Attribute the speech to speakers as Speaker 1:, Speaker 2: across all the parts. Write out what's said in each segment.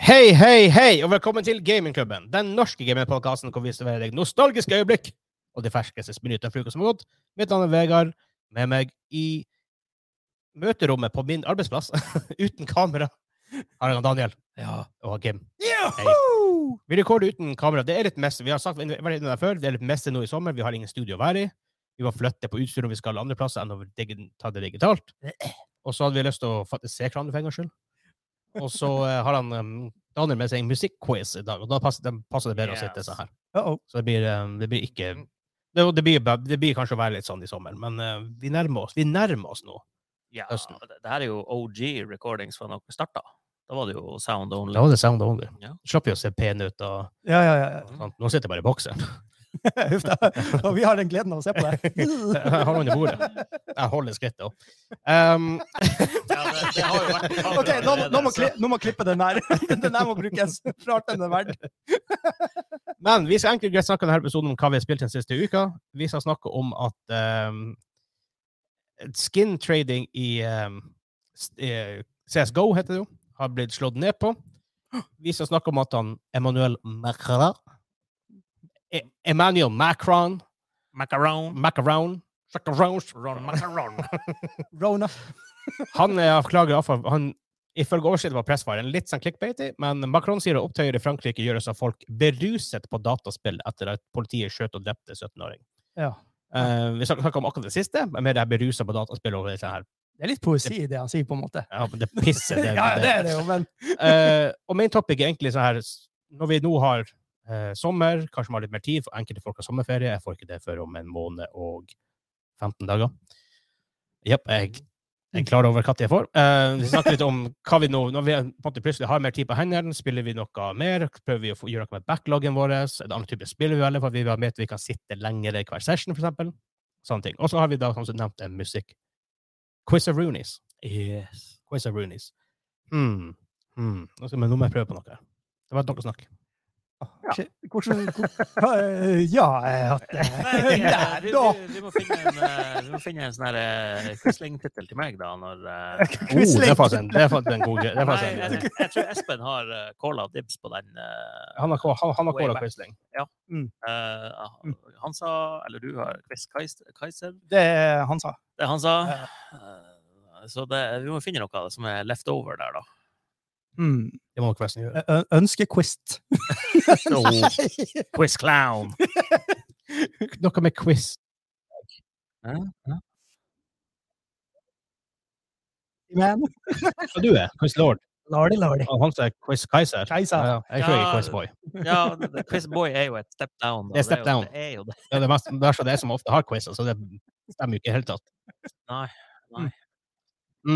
Speaker 1: Hei, hei, hei, og velkommen til Gamingklubben, den norske gamingpodkasten hvor vi serverer deg nostalgiske øyeblikk og de ferskeste minutter fra uka som har gått. Mitt navn er Vegard, med meg i møterommet på min arbeidsplass, uten kamera, har jeg han Daniel
Speaker 2: Ja.
Speaker 1: og Kim. Vi rekorder uten kamera. Det er litt messe. Vi har sagt vi har vært inne der før, det er litt messe nå i sommer. Vi har ingen studio å være i. Vi må flytte på utstyr når vi skal andre plasser enn å digi- ta det digitalt. Og så hadde vi lyst til å faktisk se hverandre for en gangs skyld. Og så eh, har han em, Daniel med seg en musikkquiz i dag, og da passer, da passer det bedre å sitte
Speaker 2: Yes.
Speaker 1: sånn her.
Speaker 2: Uh-oh.
Speaker 1: Så det blir, em, det blir ikke det, det, blir, bare- det blir kanskje å være litt sånn i sommer, men eh, vi nærmer oss. Vi nærmer oss nå.
Speaker 2: Ja,
Speaker 1: Høsten.
Speaker 2: det, det her er jo OG recordings fra da dere starta. Da var det jo sound only.
Speaker 1: Da var det sound only.
Speaker 2: Ja. Mm.
Speaker 1: Slapp vi å se pene ut og
Speaker 3: Ja, ja, ja.
Speaker 2: sånn.
Speaker 1: sånt. Nå sitter jeg bare i bokser.
Speaker 3: ja. Huff da. Og vi har den gleden av å se på deg.
Speaker 1: Jeg har under bordet. Jeg holder skrittet opp. Um,
Speaker 2: Ja, det, det har jo vært kamera
Speaker 3: Ok, nå, må- nå, må
Speaker 2: allerede,
Speaker 3: kli, nå må klippe den her. Den her må brukes. Klart den er verdt.
Speaker 1: men vi skal enkelt og greit snakke i denne episoden om hva vi har spilt den siste uka. Vi skal snakke om at um, skin trading i um, s- eh, CSGO, heter det jo, har blitt slått ned på. Vi skal snakke om at han Emmanuel Macron E- Emmanuel Macron
Speaker 2: så- Macaron.
Speaker 1: Macaron Macaron
Speaker 2: Ron Macaron.
Speaker 3: Rona.
Speaker 1: Han eh, klager iallfall Han ifølge overskriften var pressfaren litt sånn clickbaity, men Macron sier at opptøyer i Frankrike gjøres av folk beruset på dataspill etter at politiet skjøt og drepte en 17-åring.
Speaker 3: Ja.
Speaker 1: Eh, vi skal snakke om akkurat det siste, men mer det her beruset på dataspill og det her.
Speaker 3: Det er litt poesi i det han sier, på en måte.
Speaker 1: Ja, men det pisset. Det,
Speaker 3: Ja, det er det jo, men
Speaker 1: Eh, og main topic er egentlig sånn her s- Når vi nå har eh, sommer, kanskje man har litt mer tid, for enkelte folk har sommerferie. Jeg får ikke det før om en måned og 15 dager. Jepp. Jeg jeg er klar over hva jeg får. Eh, vi snakker litt om hva vi nå Når vi på en måte plutselig har mer tid på hendene, spiller vi noe mer? Prøver vi å få, gjøre noe med backloggen vår? Er det andre typer spill vi velger? For vi vil ha med at vi kan sitte lenger i hver session, for eksempel. Sånne ting. Og så har vi da, som nevnt, en musikk. Quiz of Roonies.
Speaker 2: Yes.
Speaker 1: Quiz of Roonies. Hmm. Hmm. Nå skal- Men nå må jeg prøve på noe. her. Det var et snakk.
Speaker 3: Shit, hvordan hva- Ja, eh, jeg har hatt
Speaker 2: Nei,
Speaker 3: det.
Speaker 2: det-
Speaker 3: Der,
Speaker 2: du,
Speaker 3: da!
Speaker 2: du, du må finne en, eh, du må finne en sånn her eh, quisling-tittel til meg, da. Når, eh,
Speaker 1: Oh, det er
Speaker 3: Quisling.
Speaker 1: faktisk en, det er faktisk en god greie. Det er
Speaker 2: nei, altså,
Speaker 1: faktisk en-
Speaker 2: jeg, jeg tror Espen har uh, calla dibs på den. eh,
Speaker 1: Han har kå- han- han har
Speaker 2: Way
Speaker 1: kåla
Speaker 2: back.
Speaker 1: Quisling.
Speaker 2: eh, han sa, eller du har Quiz Kais- Kaiser.
Speaker 3: Det er han sa.
Speaker 2: Det han sa. Eh, Så det, vi må finne noe som er left over der, da.
Speaker 3: Mm.
Speaker 1: Det må Quisling gjøre.
Speaker 3: Ø- Ønskequist. Nei.
Speaker 2: Quiz Clown.
Speaker 1: Noe med quiz.
Speaker 3: Men
Speaker 1: Og du er Quiz Lord.
Speaker 3: lardi, lardi.
Speaker 1: Og han som er Quiz Kaiser.
Speaker 3: Keiser.
Speaker 1: Ja, jeg tror jeg er
Speaker 2: Ja.
Speaker 1: Quiz Boy.
Speaker 2: Ja, det- det- Quiz Boy er jo et step down. da.
Speaker 1: Det er step
Speaker 2: jo-
Speaker 1: down.
Speaker 2: Det er jo det.
Speaker 1: Det er det mest, det er så det som ofte har quiz, så det stemmer jo ikke i det hele tatt.
Speaker 2: Nei, nei.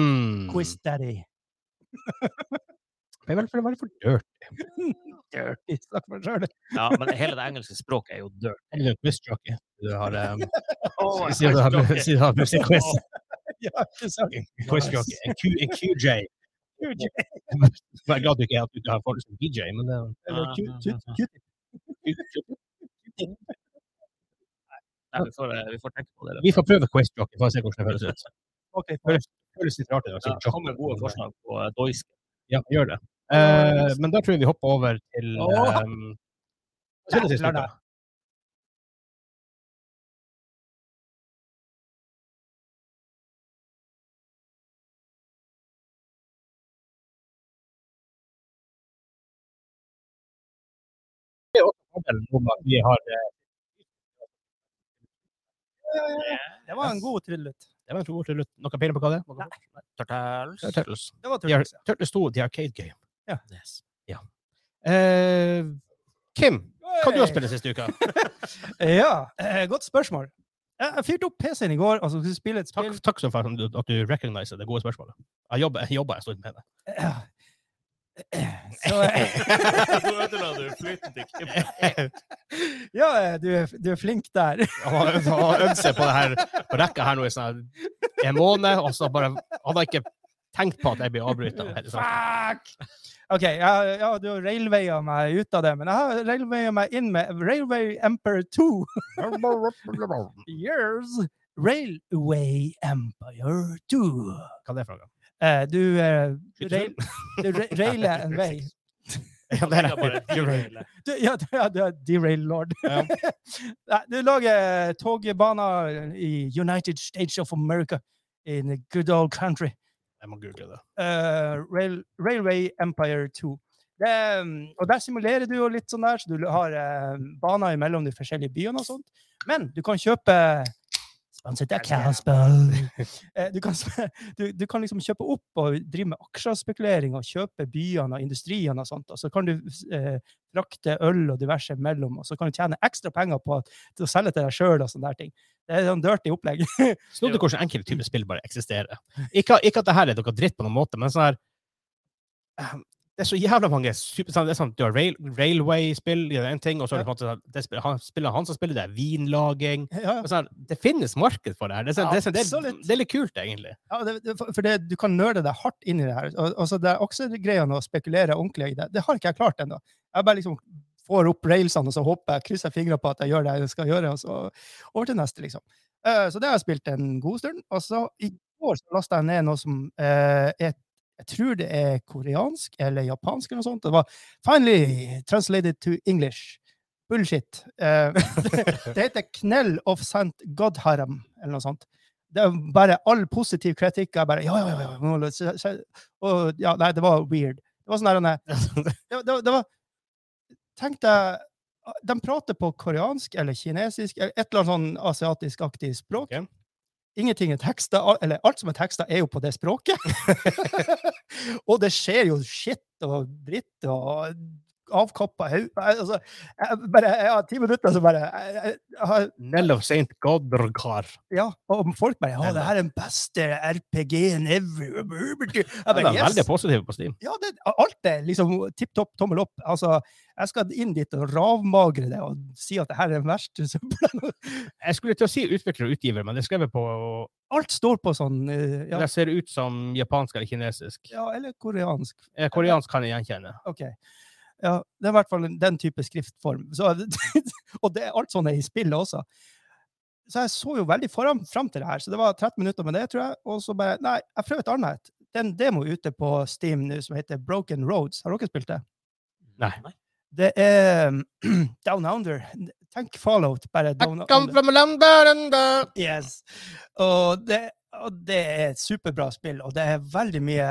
Speaker 1: Mm.
Speaker 3: Quiz daddy.
Speaker 1: Men hvorfor var det for dørt?
Speaker 3: Dirty. Snakk for deg sjøl.
Speaker 2: Ja, men hele det engelske språket er jo dirt.
Speaker 1: Er det en quizjockey? Du har um,
Speaker 2: Oh,
Speaker 1: Sier du har sier du har musikkquiz?
Speaker 3: Ja, ikke sant?
Speaker 1: En quizjockey. En, Q, en QJ. Jeg er glad du ikke er at du ikke har folk som DJ, men det er jo-
Speaker 3: Eller
Speaker 2: Ja,
Speaker 3: Q- Q-
Speaker 2: ja,
Speaker 3: Q-
Speaker 2: ja. vi, får, eh, vi får tenke på det.
Speaker 1: Vi får prøve quizjockey for å se hvordan det føles ut.
Speaker 3: Ok,
Speaker 1: Det føles litt rart i dag.
Speaker 2: Ja,
Speaker 1: som
Speaker 2: Kom med
Speaker 1: jockey.
Speaker 2: gode forslag på eh, doisk.
Speaker 1: Ja, gjør det. Eh, men da tror jeg vi hopper over til
Speaker 3: Åh!
Speaker 1: um, hva skjedde sist
Speaker 3: Dævlar,
Speaker 1: uke? Det er også fordelen nå med at Vi har eh,
Speaker 3: Det var en god tryllet.
Speaker 1: det var en to år til slutt. Noen peiling på hva det er?
Speaker 2: Turtles.
Speaker 1: Det er Turtles.
Speaker 3: Det var
Speaker 1: De har-
Speaker 3: tryllet.
Speaker 1: Turtles 2, The Arcade Game.
Speaker 2: Yes.
Speaker 1: Eh, Kim, hva du har spilt siste uka?
Speaker 3: Ja, eh, godt spørsmål. Jeg jeg fyrte opp PC-en i går og så skulle jeg spille et
Speaker 1: Takk,
Speaker 3: spill.
Speaker 1: takk så faen at du- at du recogniser det gode spørsmålet. Jeg jobber, jeg jobber en stund med det.
Speaker 3: Ja. Så, eh,
Speaker 2: Nå ødela du flyten til Kim.
Speaker 3: ja, eh, du er, du er flink der.
Speaker 1: Han har han har øvd seg på det her på rekka her nå i sånn her en måned, og så bare Han har ikke tenkt på at jeg blir avbryta.
Speaker 3: Fuck! OK, ja, ja du railwaya meg ut av det, men jeg har railwaya meg inn med Railway Empire 2.
Speaker 1: Hva
Speaker 3: Years. Railway Empire 2.
Speaker 1: er det for noe?
Speaker 3: Eh, du eh,
Speaker 1: Skyter
Speaker 3: rail, du ra- railer en vei.
Speaker 1: Ja, det er det. Derail.
Speaker 3: Du, ja, du, ja, du er derail lord.
Speaker 1: Ja.
Speaker 3: Nei, du lager togbaner i United States of America in the good old country.
Speaker 1: Jeg må google det.
Speaker 3: Eh, Rail, Railway Empire 2. Det, mm, og der simulerer du jo litt sånn der, så du har eh, baner imellom de forskjellige byene og sånt. Men du kan kjøpe Sponset av Casper. Eh, du, kan, sp- du, du kan liksom kjøpe opp og drive med aksjespekulering og kjøpe byene og industriene og sånt. Og så kan du eh, frakte øl og diverse mellom, og så kan du tjene ekstra penger på at, til å selge til deg sjøl og sånne der ting. Det er sånn dirty opplegg.
Speaker 1: Snodig hvordan enkelte typer spill bare eksisterer. Ikke, ikke at det her er noe dritt på noen måte, men sånn her ehm, Det er så jævla mange super, sånn, det er sånn, Du har rail, Railway-spill, det er en ting, og så er det på en måte sånn, det spill- han- spillet han som spiller, det er vinlaging
Speaker 3: ja, ja.
Speaker 1: Og sånn her, Det finnes marked for det her. Det er, sånn, det, er, sånn, det, er,
Speaker 3: Absolutt.
Speaker 1: det er litt kult, egentlig.
Speaker 3: Ja, det, det, for for det, du kan nøle deg hardt inn i det her. Og, og så det er også greia med å spekulere ordentlig i det. Det har ikke jeg klart ennå. Jeg bare liksom får opp railsene, og så håper jeg, krysser fingrene på at jeg gjør det jeg skal gjøre, og så over til neste, liksom. Eh, så det har jeg spilt en god stund. Og så i går så lasta jeg ned noe som eh, er jeg tror det er koreansk eller japansk eller noe sånt. Det var 'Finally translated to English'. Bullshit. Eh, det heter 'Knell of St. Godharem', eller noe sånt. Det er bare All positiv kritikk er bare ja, ja, ja, ja. nå løs- se- se- Og, ja Nei, det var weird. Det var sånn der, nei, det, var- det, var- det var Tenk deg De prater på koreansk eller kinesisk, eller et eller annet sånn asiatisk-aktig språk.
Speaker 1: Ok.
Speaker 3: Ingenting er teksta, al- eller alt som er teksta, er jo på det språket. og det skjer jo shit og dritt og avkappa hau... Altså, jeg, bare, jeg har ti minutter, så bare jeg, jeg, jeg har
Speaker 1: Nell of St. Godrgar.
Speaker 3: ja, og folk bare
Speaker 1: Ja,
Speaker 3: Ja, det her er den beste RPG-en ever. Jeg
Speaker 1: De
Speaker 3: bare,
Speaker 1: er
Speaker 3: yes.
Speaker 1: veldig positive på Steam.
Speaker 3: Ja, det, alt er liksom tipp topp, tommel opp. Altså, jeg skal inn dit og ravmagre det og si at det her er den verste søpla.
Speaker 1: Jeg skulle til å si utvikler og utgiver, men det er skrevet på
Speaker 3: Alt står på sånn eh, ja,
Speaker 1: Det ser ut som japansk eller kinesisk.
Speaker 3: ja, eller koreansk.
Speaker 1: Eh, Koreansk kan jeg gjenkjenne.
Speaker 3: OK. Ja, det er i hvert fall den type skriftform. Så, og det er alt sånn er i spillet også. Så jeg så jo veldig foran, fram til det her, så det var 13 minutter med det, tror jeg. Og så bare Nei, jeg prøver et annet. et. Det er en demo ute på Steam nå som heter Broken Roads. Har dere spilt det?
Speaker 1: Nei.
Speaker 3: Det er Down Under. Tenk Fallout, bare Down Under. Yes. Og det, og det er et superbra spill, og det er veldig mye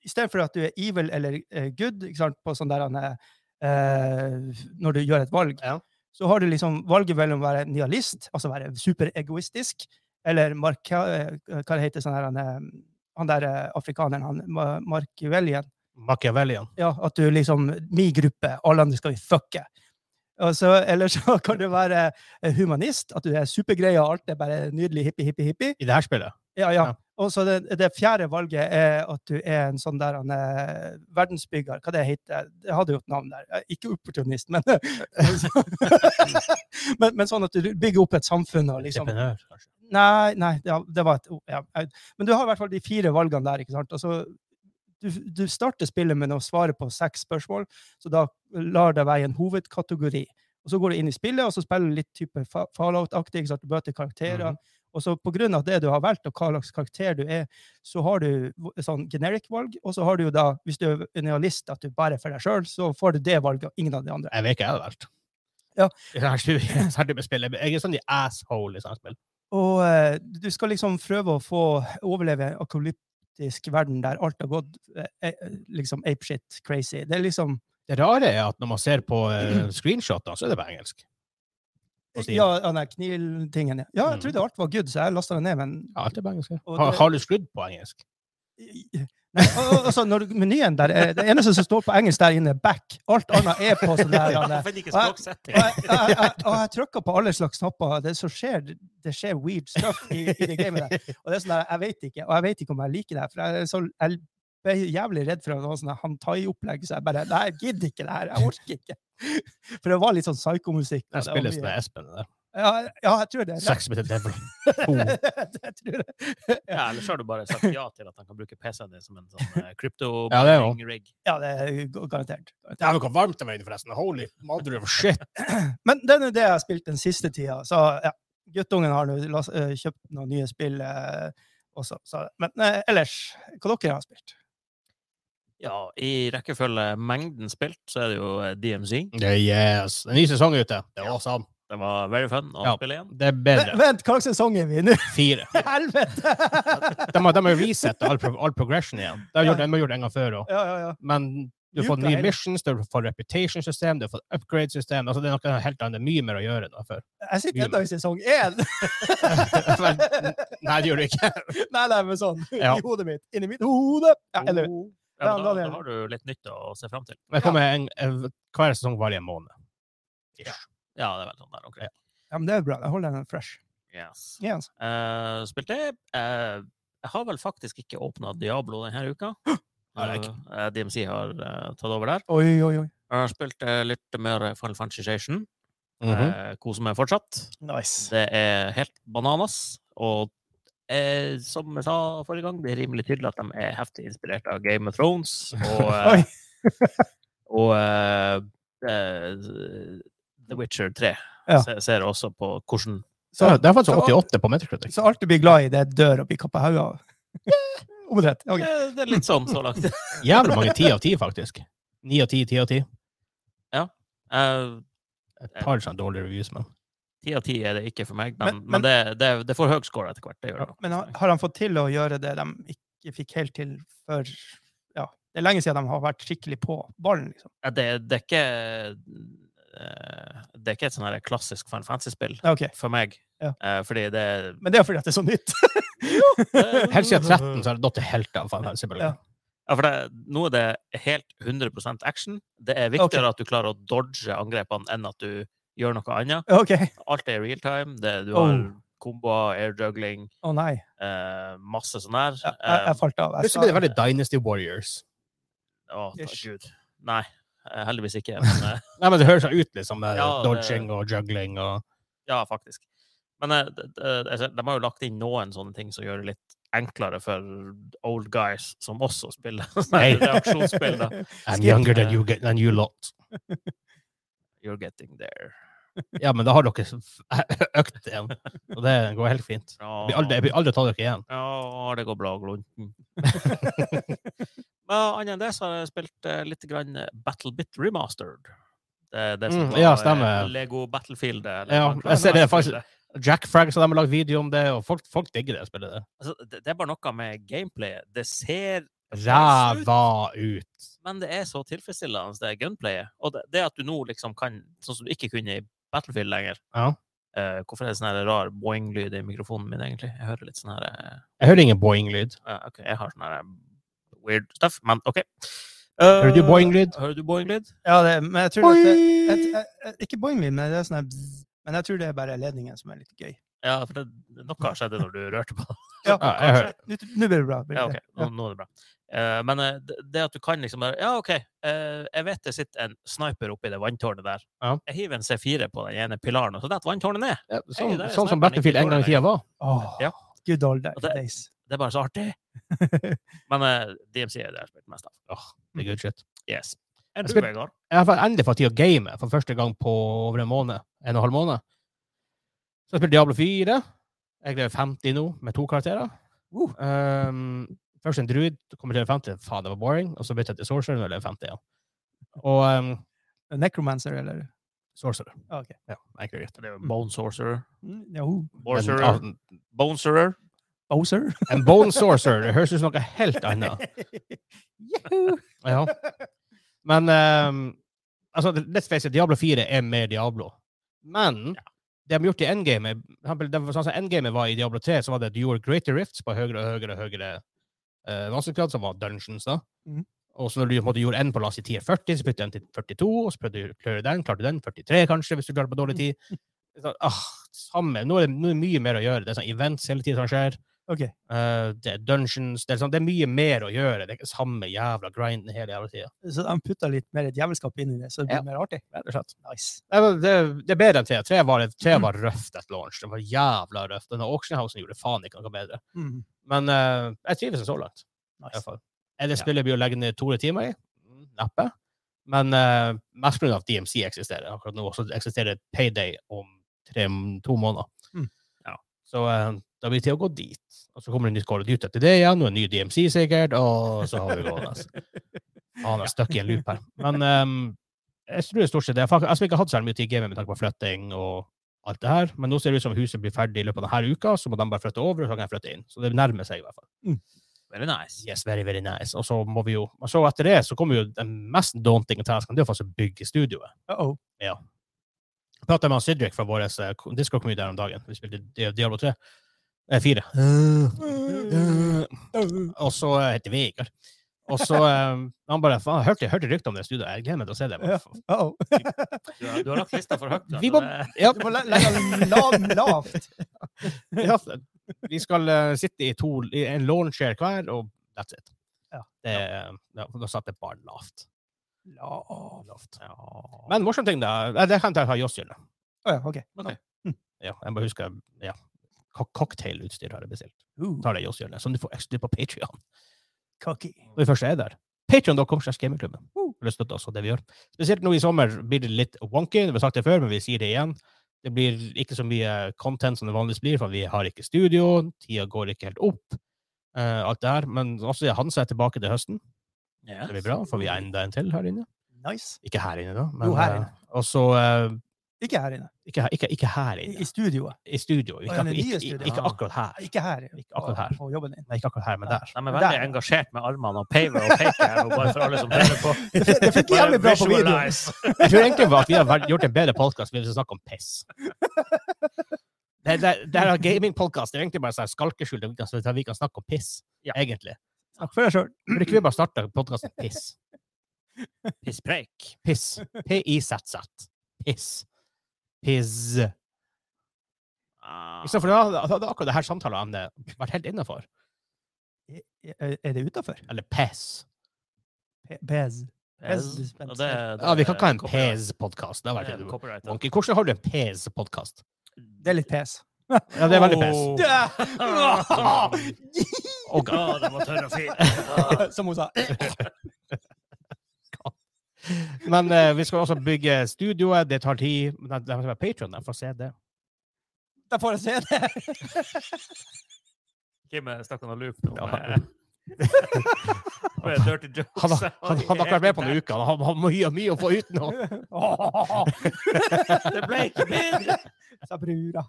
Speaker 3: I stedet for at du er evil eller eh, good ikke sant, på sånn der han er, eh, når du gjør et valg,
Speaker 1: Ja.
Speaker 3: så har du liksom valget mellom å være nihilist, altså være superegoistisk, eller marka, eh, hva det heter sånn her, han, eh, han der eh, afrikaneren, han Ma- Markivelien
Speaker 1: Machiavellian.
Speaker 3: ja, at du liksom Min gruppe, alle andre skal vi fucke. Og så, eller så kan du være eh, humanist, at du er supergreia og alt er bare nydelig, hippie, hippie, hippie.
Speaker 1: I det her spillet.
Speaker 3: Ja,
Speaker 1: Ja.
Speaker 3: ja. Og så det, det fjerde valget er at du er en sånn der han, eh, verdensbygger. Hva det heter Det hadde jo et navn der. Eh, Ikke opportunist, men men, men sånn at du bygger opp et samfunn og liksom
Speaker 1: Entreprenør, kanskje.
Speaker 3: Nei, nei, det, det var et ord, ja. jeg- Men du har i hvert fall de fire valgene der, ikke sant? Og så, du, du starter spillet med å svare på seks spørsmål, så da lar det være en hovedkategori. Og så går du inn i spillet, og så spiller du litt type fa- Fallout-aktig, ikke sant? Du møter karakterer.
Speaker 1: Mhm.
Speaker 3: Og så på grunn av det du har valgt, og hva slags karakter du er, så har du v- sånn generic-valg, og så har du jo da, hvis du er en realist, at du bare er for deg sjøl, så får du det valget, og ingen av de andre.
Speaker 1: Jeg vet ikke, jeg hadde valgt.
Speaker 3: Ja.
Speaker 1: I sånne her type- sånne type spill. Jeg er sånn i asshole i sånne spill.
Speaker 3: Og eh, du skal liksom prøve å få overleve en akolyptisk verden der alt har gått eh, eh, liksom apeshit crazy. Det er liksom
Speaker 1: Det rare er at når man ser på eh, screenshotene, så er det på engelsk. På Steam.
Speaker 3: Ja, den der kniltingen. Ja, jeg
Speaker 1: Mm.
Speaker 3: trodde alt var good, så jeg lasta det ned, men
Speaker 1: Ja, alt er på engelsk. ja.
Speaker 3: Og
Speaker 1: Har,
Speaker 3: det-
Speaker 1: har du skrudd på engelsk?
Speaker 3: Nei, og- og- altså, når du- Menyen der eh, Det eneste som står på engelsk der inne, er back. Alt annet er på sånn der. eh,
Speaker 2: Men ikke
Speaker 3: Hva?
Speaker 2: språksetting.
Speaker 3: Og jeg, jeg, jeg, og jeg trykker på alle slags knapper. Det som skjer, det skjer weird stuff i, i det gamet der. Og det er sånn der, jeg vet ikke, og jeg vet ikke om jeg liker det. her, For jeg, er så, jeg ble jævlig redd for at det var sånn hantai-opplegg, så jeg bare Nei, jeg gidder ikke det her. Jeg orker ikke. For det var litt sånn psykomusikk. og
Speaker 1: Den
Speaker 3: det var
Speaker 1: spilles
Speaker 3: mye-
Speaker 1: med Espen. det der.
Speaker 3: Ja, ja, jeg tror det.
Speaker 1: Sex with the devil. Oh.
Speaker 3: jeg tror det.
Speaker 2: Ja, eller så har du bare sagt ja til at han kan bruke PC-en din som en sånn eh, crypto
Speaker 1: Ja, det er jo.
Speaker 2: rig.
Speaker 3: Ja, det er ga- garantert.
Speaker 1: Det er noe varmt der inne, forresten. Holy mother of shit.
Speaker 3: Men det er nå det jeg har spilt den siste tida. Så ja, guttungen har nå las- eh, kjøpt noen nye spill eh, også. Så, men eh, ellers, hva dere har spilt?
Speaker 2: Ja, i rekkefølge mengden spilt, så er det jo eh, DMZ.
Speaker 1: Yes. En ny sesong er ute. Det er
Speaker 2: Ja.
Speaker 1: awesome.
Speaker 2: Det var very fun å
Speaker 1: Ja.
Speaker 2: spille igjen.
Speaker 1: Det er
Speaker 3: Vent,
Speaker 1: bedre.
Speaker 3: vent, hvilken sesong er vi i nå?
Speaker 1: Fire.
Speaker 3: Helvete!
Speaker 1: De har, de har resettet all, pro all progression igjen. De har gjort, de har gjort det en gang før òg.
Speaker 3: Ja, ja, ja.
Speaker 1: Men du har fått
Speaker 3: Djupt
Speaker 1: nye
Speaker 3: deilig.
Speaker 1: missions, du har fått reputation-system, du har fått upgrade-system. Altså, det er noe helt annet. Mye mer å gjøre enn det var før.
Speaker 3: Jeg sitter ennå i sesong én!
Speaker 1: Vel, Nei, det gjør du ikke.
Speaker 3: Nei, nei, men sånn.
Speaker 1: Ja.
Speaker 3: I hodet mitt. Inni mitt hode! Ja, eller
Speaker 2: Oh.
Speaker 3: Ja,
Speaker 2: Ja, men da,
Speaker 3: Daniel.
Speaker 2: da har du litt nytt å se fram til.
Speaker 1: Men det kommer en, en, hver sesong varer i en måned. Ish.
Speaker 2: Ja, det er vel sånn der omkring.
Speaker 3: Ja, men det er bra. Jeg holder den fresh.
Speaker 2: Yes.
Speaker 3: Ja, altså.
Speaker 2: Eh, spilte jeg eh, Jeg har vel faktisk ikke åpna Diablo denne uka.
Speaker 1: Har jeg ikke.
Speaker 2: Eh, DMC har eh, tatt over der.
Speaker 3: Oi, oi, oi.
Speaker 2: Jeg har spilt eh, litt mer Final Fantasy Station.
Speaker 3: Mhm.
Speaker 1: Mhm.
Speaker 2: Eh, koser meg fortsatt.
Speaker 3: Nice.
Speaker 2: Det er helt bananas. Og eh, som jeg sa forrige gang, det er rimelig tydelig at de er heftig inspirert av Game of Thrones. Og, eh,
Speaker 3: Oi.
Speaker 2: og eh, eh, The Witcher 3
Speaker 3: Ja.
Speaker 2: Se- ser også på hvordan
Speaker 1: Så,
Speaker 3: Så,
Speaker 1: det er faktisk
Speaker 3: så-
Speaker 1: 88 på Metacritic.
Speaker 3: så alt du blir glad i, det er dør og blir kappa hodet av. Omtrent. ok.
Speaker 2: eh, Det er litt sånn så langt.
Speaker 1: Jævlig mange 10 av 10, faktisk. 9 av 10, 10 av 10.
Speaker 2: Eh,
Speaker 1: Et par sånn dårlige reviews, men
Speaker 2: Ti av ti er det ikke for meg, men,
Speaker 3: Men-
Speaker 2: men, det, det, det får høy score etter hvert. Det gjør det.
Speaker 3: Men har, har han fått til å gjøre det de ikke fikk helt til før Ja, det er lenge siden de har vært skikkelig på ballen, liksom.
Speaker 2: Ja, det, det er ikke eh, Det er ikke et sånn her klassisk Final Fantasy-spill
Speaker 3: Ja, ok.
Speaker 2: for meg,
Speaker 3: Ja.
Speaker 2: eh, fordi det
Speaker 3: Men det er fordi at det er så nytt.
Speaker 1: Helt siden 13 så har det datt helt av. Faen, Fantasy Ballad.
Speaker 3: Ja.
Speaker 2: Ja, for det, nå er det helt 100 action. Det er viktigere at du klarer å dodge angrepene enn at du gjør noe annet.
Speaker 3: ok.
Speaker 2: Alt er real time. Det, du
Speaker 3: Oh.
Speaker 2: har komboer, air juggling,
Speaker 3: Å nei.
Speaker 2: eh, masse sånn her.
Speaker 3: Ja, jeg, jeg falt av. Jeg
Speaker 1: Plutselig blir det veldig
Speaker 3: sa-
Speaker 1: Dynasty Warriors.
Speaker 2: Eh, å, takk
Speaker 3: Ish.
Speaker 2: Gud. Nei, eh, heldigvis ikke. Men, eh,
Speaker 1: Nei, men Det høres sånn ut, liksom. Med
Speaker 2: Ja, det-
Speaker 1: dodging og juggling og
Speaker 2: Ja, faktisk. Men eh, d- d- altså, de har jo lagt inn noen sånne ting som gjør det litt enklere for old guys som også spiller sånne
Speaker 1: Hei.
Speaker 2: reaksjonsspill. da.
Speaker 1: I'm
Speaker 3: Skip. eh.
Speaker 1: younger than you, get, than you lot.
Speaker 2: You're getting there.
Speaker 1: Ja, men da har dere økt igjen. Og det går helt fint.
Speaker 2: Ja,
Speaker 1: Jeg blir aldri, jeg blir aldri ta dere igjen.
Speaker 2: ja det går bra, Glunten. Men annet enn det så har jeg spilt eh, litt grann eh, Battle Bit Remastered. Det, er det som
Speaker 1: Mm,
Speaker 2: var
Speaker 1: ja,
Speaker 2: eh,
Speaker 1: stemmer.
Speaker 2: Lego Battlefield. eller
Speaker 1: Ja,
Speaker 2: noe
Speaker 1: jeg ser det
Speaker 2: Battlefield.
Speaker 1: Jack Frag, så de har lagd video om det, og folk, folk digger det spillet. der.
Speaker 2: Altså, det, det er bare noe med gameplayet. Det ser
Speaker 1: Ræva ut.
Speaker 2: men det er så tilfredsstillende, det gunplayet. Og det, det at du nå liksom kan, sånn som du ikke kunne i Battlefield lenger
Speaker 1: Ja.
Speaker 2: Eh, Hvorfor er det sånn her rar boing-lyd i mikrofonen min, egentlig? Jeg hører litt sånn her eh,
Speaker 1: Jeg hører ingen boing-lyd.
Speaker 2: eh, OK, jeg har sånn her eh, weird stuff, men OK.
Speaker 1: Hører du
Speaker 2: Eh,
Speaker 1: boing-lyd?
Speaker 2: Hører du boing-lyd?
Speaker 3: Ja, det, men jeg tror at det, jeg, jeg, jeg, Ikke boing-lyd, men det er sånn her bzz. Men jeg tror det er bare ledningen som er litt gøy.
Speaker 2: Ja, for det, noe har skjedd når du rørte på den.
Speaker 3: Ja,
Speaker 1: Ja, jeg hører.
Speaker 3: Nå nå blir det bra. blir det
Speaker 2: Ja,
Speaker 3: det.
Speaker 2: OK, nå, nå er det bra. Eh, men eh, det, det at du kan liksom bare Ja, OK, eh, jeg vet det sitter en sniper oppi det vanntårnet der.
Speaker 1: Ja.
Speaker 2: Jeg hiver en C4 på den ene pilaren, og så detter vanntårnet ned.
Speaker 1: Ja, Sånn,
Speaker 2: der er
Speaker 1: sånn som
Speaker 2: sniperen
Speaker 1: Battlefield
Speaker 2: ikke
Speaker 1: en gang i
Speaker 2: dårlig
Speaker 1: tida var.
Speaker 3: Åh,
Speaker 2: Ja.
Speaker 3: Good old da-
Speaker 2: Og det-
Speaker 3: days.
Speaker 2: Det er bare så artig. Men eh, DMC er det jeg har spilt mest av.
Speaker 1: Det er good shit.
Speaker 2: Yes. Er
Speaker 1: Jeg
Speaker 2: du,
Speaker 1: spil-
Speaker 2: Vegard?
Speaker 1: Jeg har fa- endelig fått tid å game for første gang på over en måned. En og en halv måned. Så jeg spilte Diablo 4. Jeg er level 50 nå, med to karakterer.
Speaker 3: Woo.
Speaker 1: Um, først en druid, så kommer jeg til level 50. Faen, det var boring. Og så bytter jeg til sorcerer, nå er jeg level 50 igjen. Og um,
Speaker 3: Necromancer, eller?
Speaker 1: sorcerer.
Speaker 3: Ah, ok.
Speaker 1: Ja, enkelt og greit.
Speaker 2: Det er jo Bone Sorcerer.
Speaker 3: Mm, Ja, hun-
Speaker 1: En,
Speaker 2: Sorcerer.
Speaker 1: en-
Speaker 2: Bone Sorcerer.
Speaker 3: Bowser?
Speaker 1: en bone sorcerer, det høres ut som noe helt annet.
Speaker 3: Yahoo!
Speaker 1: Ja. Men um, altså, let's face it, Diablo 4 er mer Diablo. Men det de har gjort i endgamet for eksempel, det var Sånn som endgamet var i Diablo 3, så var det at du gjorde greater rifts på høyere og høyere og høyere eh, vanskelighetsgrad, som var dungeons, da.
Speaker 3: Mhm.
Speaker 1: Og så når du på en måte gjorde en på la oss si 10-40, så puttet du den til 42, og så prøvde du å klare den, klarte du den, 43 kanskje, hvis du klarte på dårlig tid. Så, ah, samme. Nå er, det, nå er det mye mer å gjøre. Det er sånn events hele tiden som skjer.
Speaker 3: Ok.
Speaker 1: Eh, det er dungeons. Det er, sånn, det er mye mer å gjøre. Det er ikke samme jævla grinden hele jævla tida.
Speaker 3: Så de putta litt mer et djevelskap inn i det, så det blir
Speaker 1: Ja.
Speaker 3: mer artig.
Speaker 1: Rett og slett.
Speaker 3: Nice.
Speaker 1: Nei, men Det, det er bedre enn tre. Tre var, tre var røft etter launch. Det var jævla røft. Denne auctionhousen gjorde faen ikke noe bedre.
Speaker 3: Mm.
Speaker 1: Men eh, jeg trives så langt. i
Speaker 3: nice.
Speaker 1: hvert fall. Er det
Speaker 2: Ja.
Speaker 1: spillet vi legger ned to timer i? Mm, Neppe. Men eh, mest pga. at DMC eksisterer akkurat nå. Så eksisterer Payday om tre, to måneder.
Speaker 3: Mm.
Speaker 2: Ja.
Speaker 1: Så eh, da blir det til å gå dit. Og så kommer det nytt Call of Duty etter det igjen, og en ny DMC sikkert, og så har vi gående. Ah, han altså. er stuck i en loop her. Men ehm, jeg tror det er stort sett det. Jeg har fak- jeg har ikke hatt så mye tid i gamet med tanke på flytting og alt det her, men nå ser det ut som huset blir ferdig i løpet av denne uka, så må de bare flytte over, og så kan jeg flytte inn. Så det nærmer seg i hvert fall.
Speaker 2: Very nice.
Speaker 1: Yes, very, very nice. Og så må vi jo, og så etter det så kommer jo den mest daunting tasken, det er å faktisk bygge studioet.
Speaker 3: Uh-oh.
Speaker 1: Jeg pratet med han Sidrik fra vår Discord-kommune der om dagen. Vi spilte Di- Diablo 3. Eh, 4. Og så eh, heter Vegard. Og så eh, Han bare faen, jeg hørte, jeg hørte rykter om det studioet. Jeg gleder meg til å se det. Jeg
Speaker 3: Ja.
Speaker 1: bare, faen.
Speaker 3: Uh-oh.
Speaker 2: Du har, du har lagt lista for høyt. da,
Speaker 1: Vi
Speaker 2: så
Speaker 1: må-
Speaker 2: det-
Speaker 1: Ja.
Speaker 3: Du må le- legge den lav, lavt.
Speaker 1: ja, vi skal eh, sitte i, to, i en launcher hver, og that's it.
Speaker 3: Ja.
Speaker 1: Det, ja, da satt det bare lavt. lavt.
Speaker 2: Ja.
Speaker 1: Men morsom ting, da. Nei, Det kan jeg ta Joss gjøre.
Speaker 3: Å ja, OK.
Speaker 2: Ok.
Speaker 1: Ja, jeg bare husker ja. Cock- Cocktailutstyr har jeg bestilt.
Speaker 3: Uh,
Speaker 1: Tar det i oss hjørnet, som du får ekstra på Patreon
Speaker 3: cocky.
Speaker 1: når vi først er der. Patreon.com slags gamingklubben.
Speaker 3: Uh.
Speaker 1: Vil du støtte oss og det vi gjør? Spesielt nå i sommer blir det litt wonky. Vi har sagt det før, men vi sier det igjen. Det blir ikke så mye content som det vanligvis blir, for vi har ikke studio, tida går ikke helt opp. eh, alt det her, Men også ja, Hanse er tilbake til høsten.
Speaker 2: Ja.
Speaker 1: Det blir bra, for vi er enda en til her inne.
Speaker 3: Nice.
Speaker 1: Ikke her inne, da.
Speaker 3: Jo, her
Speaker 1: eh,
Speaker 3: inne.
Speaker 1: og så, eh,
Speaker 3: Ikke her inne.
Speaker 1: ikke, her- ikke, ikke her
Speaker 3: I,
Speaker 1: inne.
Speaker 3: i studioet.
Speaker 1: I studio. Ikke,
Speaker 3: ja, det
Speaker 1: akkur-
Speaker 3: nye
Speaker 1: ikke,
Speaker 3: studioet.
Speaker 1: ikke, ikke akkurat her.
Speaker 3: Ikke her.
Speaker 1: Ikke akkurat her.
Speaker 3: På, på jobben din.
Speaker 1: Nei, ikke akkurat her, men
Speaker 3: Ja.
Speaker 1: der.
Speaker 2: De er veldig
Speaker 3: Der.
Speaker 2: engasjert med armene og paver og peker her, og bare for alle som hører på.
Speaker 3: Det fikk
Speaker 2: Bare
Speaker 3: jævlig bra på videoen.
Speaker 2: visualize.
Speaker 1: Jeg tror egentlig bare at vi har vært- gjort en bedre podkast hvis vi snakker om piss. Det, det, det her gamingpodkast er egentlig bare sånn skalkeskjul der vi kan- så vi kan snakke om piss,
Speaker 2: Ja.
Speaker 1: egentlig.
Speaker 3: Snakk for deg sjøl.
Speaker 1: Burde ikke vi bare starte podkasten Piss?
Speaker 2: Pisspreik.
Speaker 1: Piss. P-I-Z-Z. Piss. Piss.
Speaker 2: Ah.
Speaker 1: Ikke sant, for da da hadde akkurat det her samtaleemnet vært helt innafor.
Speaker 3: Er er det utafor?
Speaker 1: Eller piss.
Speaker 3: Pez.
Speaker 2: Pez. Og det-
Speaker 1: Ja, vi kan ikke ha en
Speaker 2: det er copyright.
Speaker 1: piss-podkast. Det har
Speaker 2: Det er
Speaker 1: vært
Speaker 2: copyright, da.
Speaker 1: Monkey, hvordan har du en piss-podkast?
Speaker 3: Det er litt pes.
Speaker 1: Ja, det er veldig piss.
Speaker 2: Åh. Ah,
Speaker 1: Oh, God.
Speaker 2: Ja, den var tørr og fin. Ah.
Speaker 3: Som hun sa.
Speaker 1: Men eh, vi skal også bygge studioet. Det tar tid. Men de- de som er Patreon, de får se det.
Speaker 3: Da får jeg se det.
Speaker 2: Kim snakka om loop
Speaker 1: Ja.
Speaker 2: nå. med- med Dirty jokes.
Speaker 1: Han, har- han, han har ikke vært med på noen uker. Han har mye, mye å få ut nå.
Speaker 2: Det ble ikke bedre!
Speaker 3: Sa brura.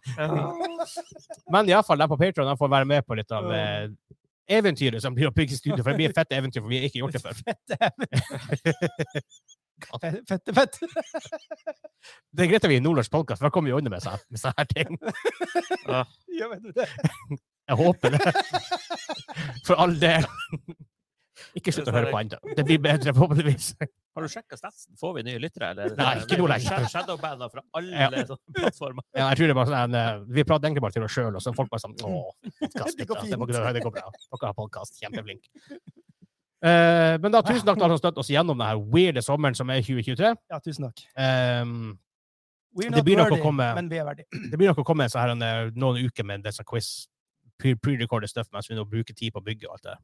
Speaker 1: Men iallfall de på Patreon de får være med på litt av eh, eventyret som blir å bygge studio. For det blir et fett eventyr, for vi har ikke gjort det før.
Speaker 3: Fett. Fett, fett.
Speaker 1: Det er greit at vi er i Nordnorsk podkast, for da kommer vi unna med sånne, med sånne her ting.
Speaker 3: Ja, vet du det.
Speaker 1: Jeg håper det. For all del. Ikke slutt å høre på ennå. Det blir bedre, forhåpentligvis.
Speaker 2: Har du sjekka statsen? Får vi nye lyttere? eller?
Speaker 1: Nei, ikke noe lenger.
Speaker 2: Shad- Shadowbander fra alle
Speaker 1: Ja.
Speaker 2: sånne plattformer.
Speaker 1: Ja, jeg tror det er bare sånn, eh, Vi prater egentlig bare til oss sjøl, og så er folk bare sånn Å, podcast,
Speaker 3: Det går
Speaker 1: gutta, det, må
Speaker 3: fint.»
Speaker 1: dere høre, det går bra. Dere har podkast. Kjempeflink. Eh, men da, tusen takk til alle som støtter oss gjennom denne weirde sommeren som er 2023.
Speaker 3: Ja, tusen takk.
Speaker 1: Ehm,
Speaker 3: We're
Speaker 1: Det
Speaker 3: not
Speaker 1: blir nok å
Speaker 3: worthy,
Speaker 1: komme-
Speaker 3: Men vi er verdige.
Speaker 1: det blir nok å komme så her en, eh, noen uker med disse quiz, pre- pre-recorded stuff, mens vi nå bruker tid på å bygge og alt det.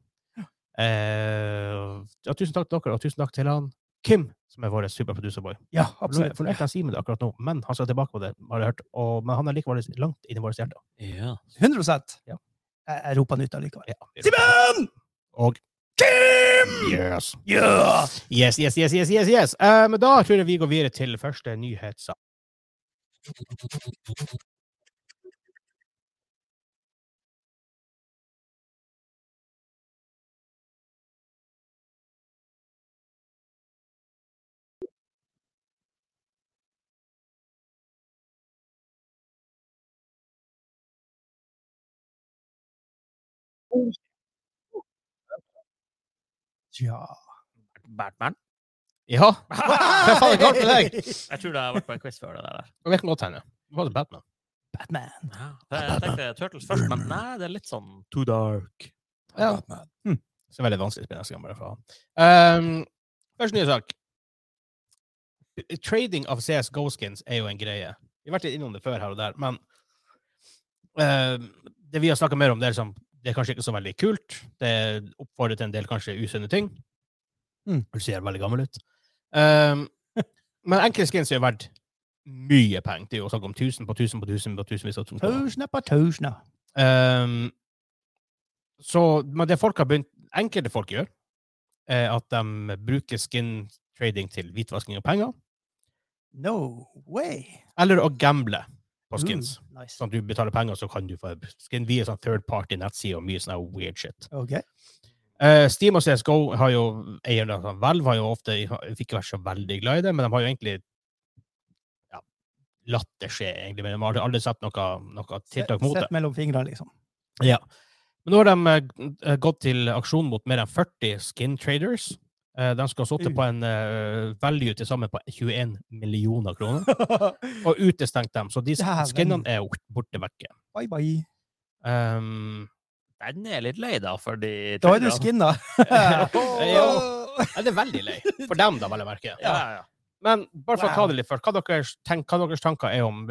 Speaker 1: Eh, ja, tusen takk til dere, og tusen takk til han Kim, som er vår superproducerboy.
Speaker 3: Ja,
Speaker 1: Absolutt.
Speaker 3: absolutt.
Speaker 1: For jeg kan si med det akkurat nå, men han skal tilbake på det, har jeg hørt. Og, men han er likevel langt inni våre hjerter.
Speaker 2: Ja.
Speaker 3: 100
Speaker 1: Ja.
Speaker 3: Jeg, jeg roper han ut allikevel.
Speaker 1: Ja,
Speaker 3: Simen!
Speaker 1: Og Kim! Yes.
Speaker 3: Ja!
Speaker 1: Yes, yes, yes, yes, yes, yes. Eh, men da tror jeg vi går videre til første nyhetssak.
Speaker 3: Ja.
Speaker 2: Batman?
Speaker 1: Ja, hva faen er galt med deg?
Speaker 2: Jeg tror det har vært på en quiz før. det der.
Speaker 1: Det kan godt hende. Det var det Batman.
Speaker 3: Batman.
Speaker 2: Jeg tenkte Turtles først, men nei, det er litt sånn Too dark.
Speaker 1: Ja.
Speaker 3: Batman.
Speaker 1: Så veldig vanskelig å spille neste gang, bare for han. Um, første nye sak. Trading av CS Go-skins er jo en greie. Vi har vært litt innom det før her og der, men um, det vi har snakka mer om, det er liksom det er kanskje ikke så veldig kult. Det oppfordrer til en del kanskje usunne ting.
Speaker 3: Mm.
Speaker 1: Du ser veldig gammel ut. Um, men enkle skins er jo verdt mye penger. Det er jo snakk om tusen på tusen på tusen på tusenvis av tusen. kroner.
Speaker 3: Tusen på tusen.
Speaker 1: Ehm, så, men det folk har begynt, enkelte folk gjør, eh, at de bruker skin trading til hvitvasking av penger,
Speaker 3: No way!
Speaker 1: eller å gamble på skins.
Speaker 3: Mm, nice.
Speaker 1: Sånn at du betaler penger, så kan du få skin via sånn third party nettside og mye sånn her weird shit.
Speaker 3: Ok.
Speaker 1: Eh, Steam og CSGO har jo eierne av sånn Valve har jo ofte fikk ikke vært så veldig glad i det, men de har jo egentlig ja, latt det skje, egentlig. Men de har aldri- aldri sett noe, noe tiltak mot det.
Speaker 3: Sett mellom fingrene, liksom.
Speaker 1: Ja. Men nå har de eh, gått til aksjon mot mer enn 40 skin traders. Eh, De skal ha sittet på en eh, value til sammen på 21 millioner kroner, og utestengt dem. Så de
Speaker 3: Dæven.
Speaker 1: skinnene er borte vekke.
Speaker 3: bye, bye.
Speaker 1: Um,
Speaker 2: Den er litt lei, da, for de
Speaker 3: Da er du skinna.
Speaker 1: ja,
Speaker 3: Åh.
Speaker 1: det er veldig lei. For dem, da, vel å merke.
Speaker 2: Ja, ja.
Speaker 1: Men bare for å ta
Speaker 3: Wow.
Speaker 1: det litt først, hva deres, tenk, hva deres tanker er om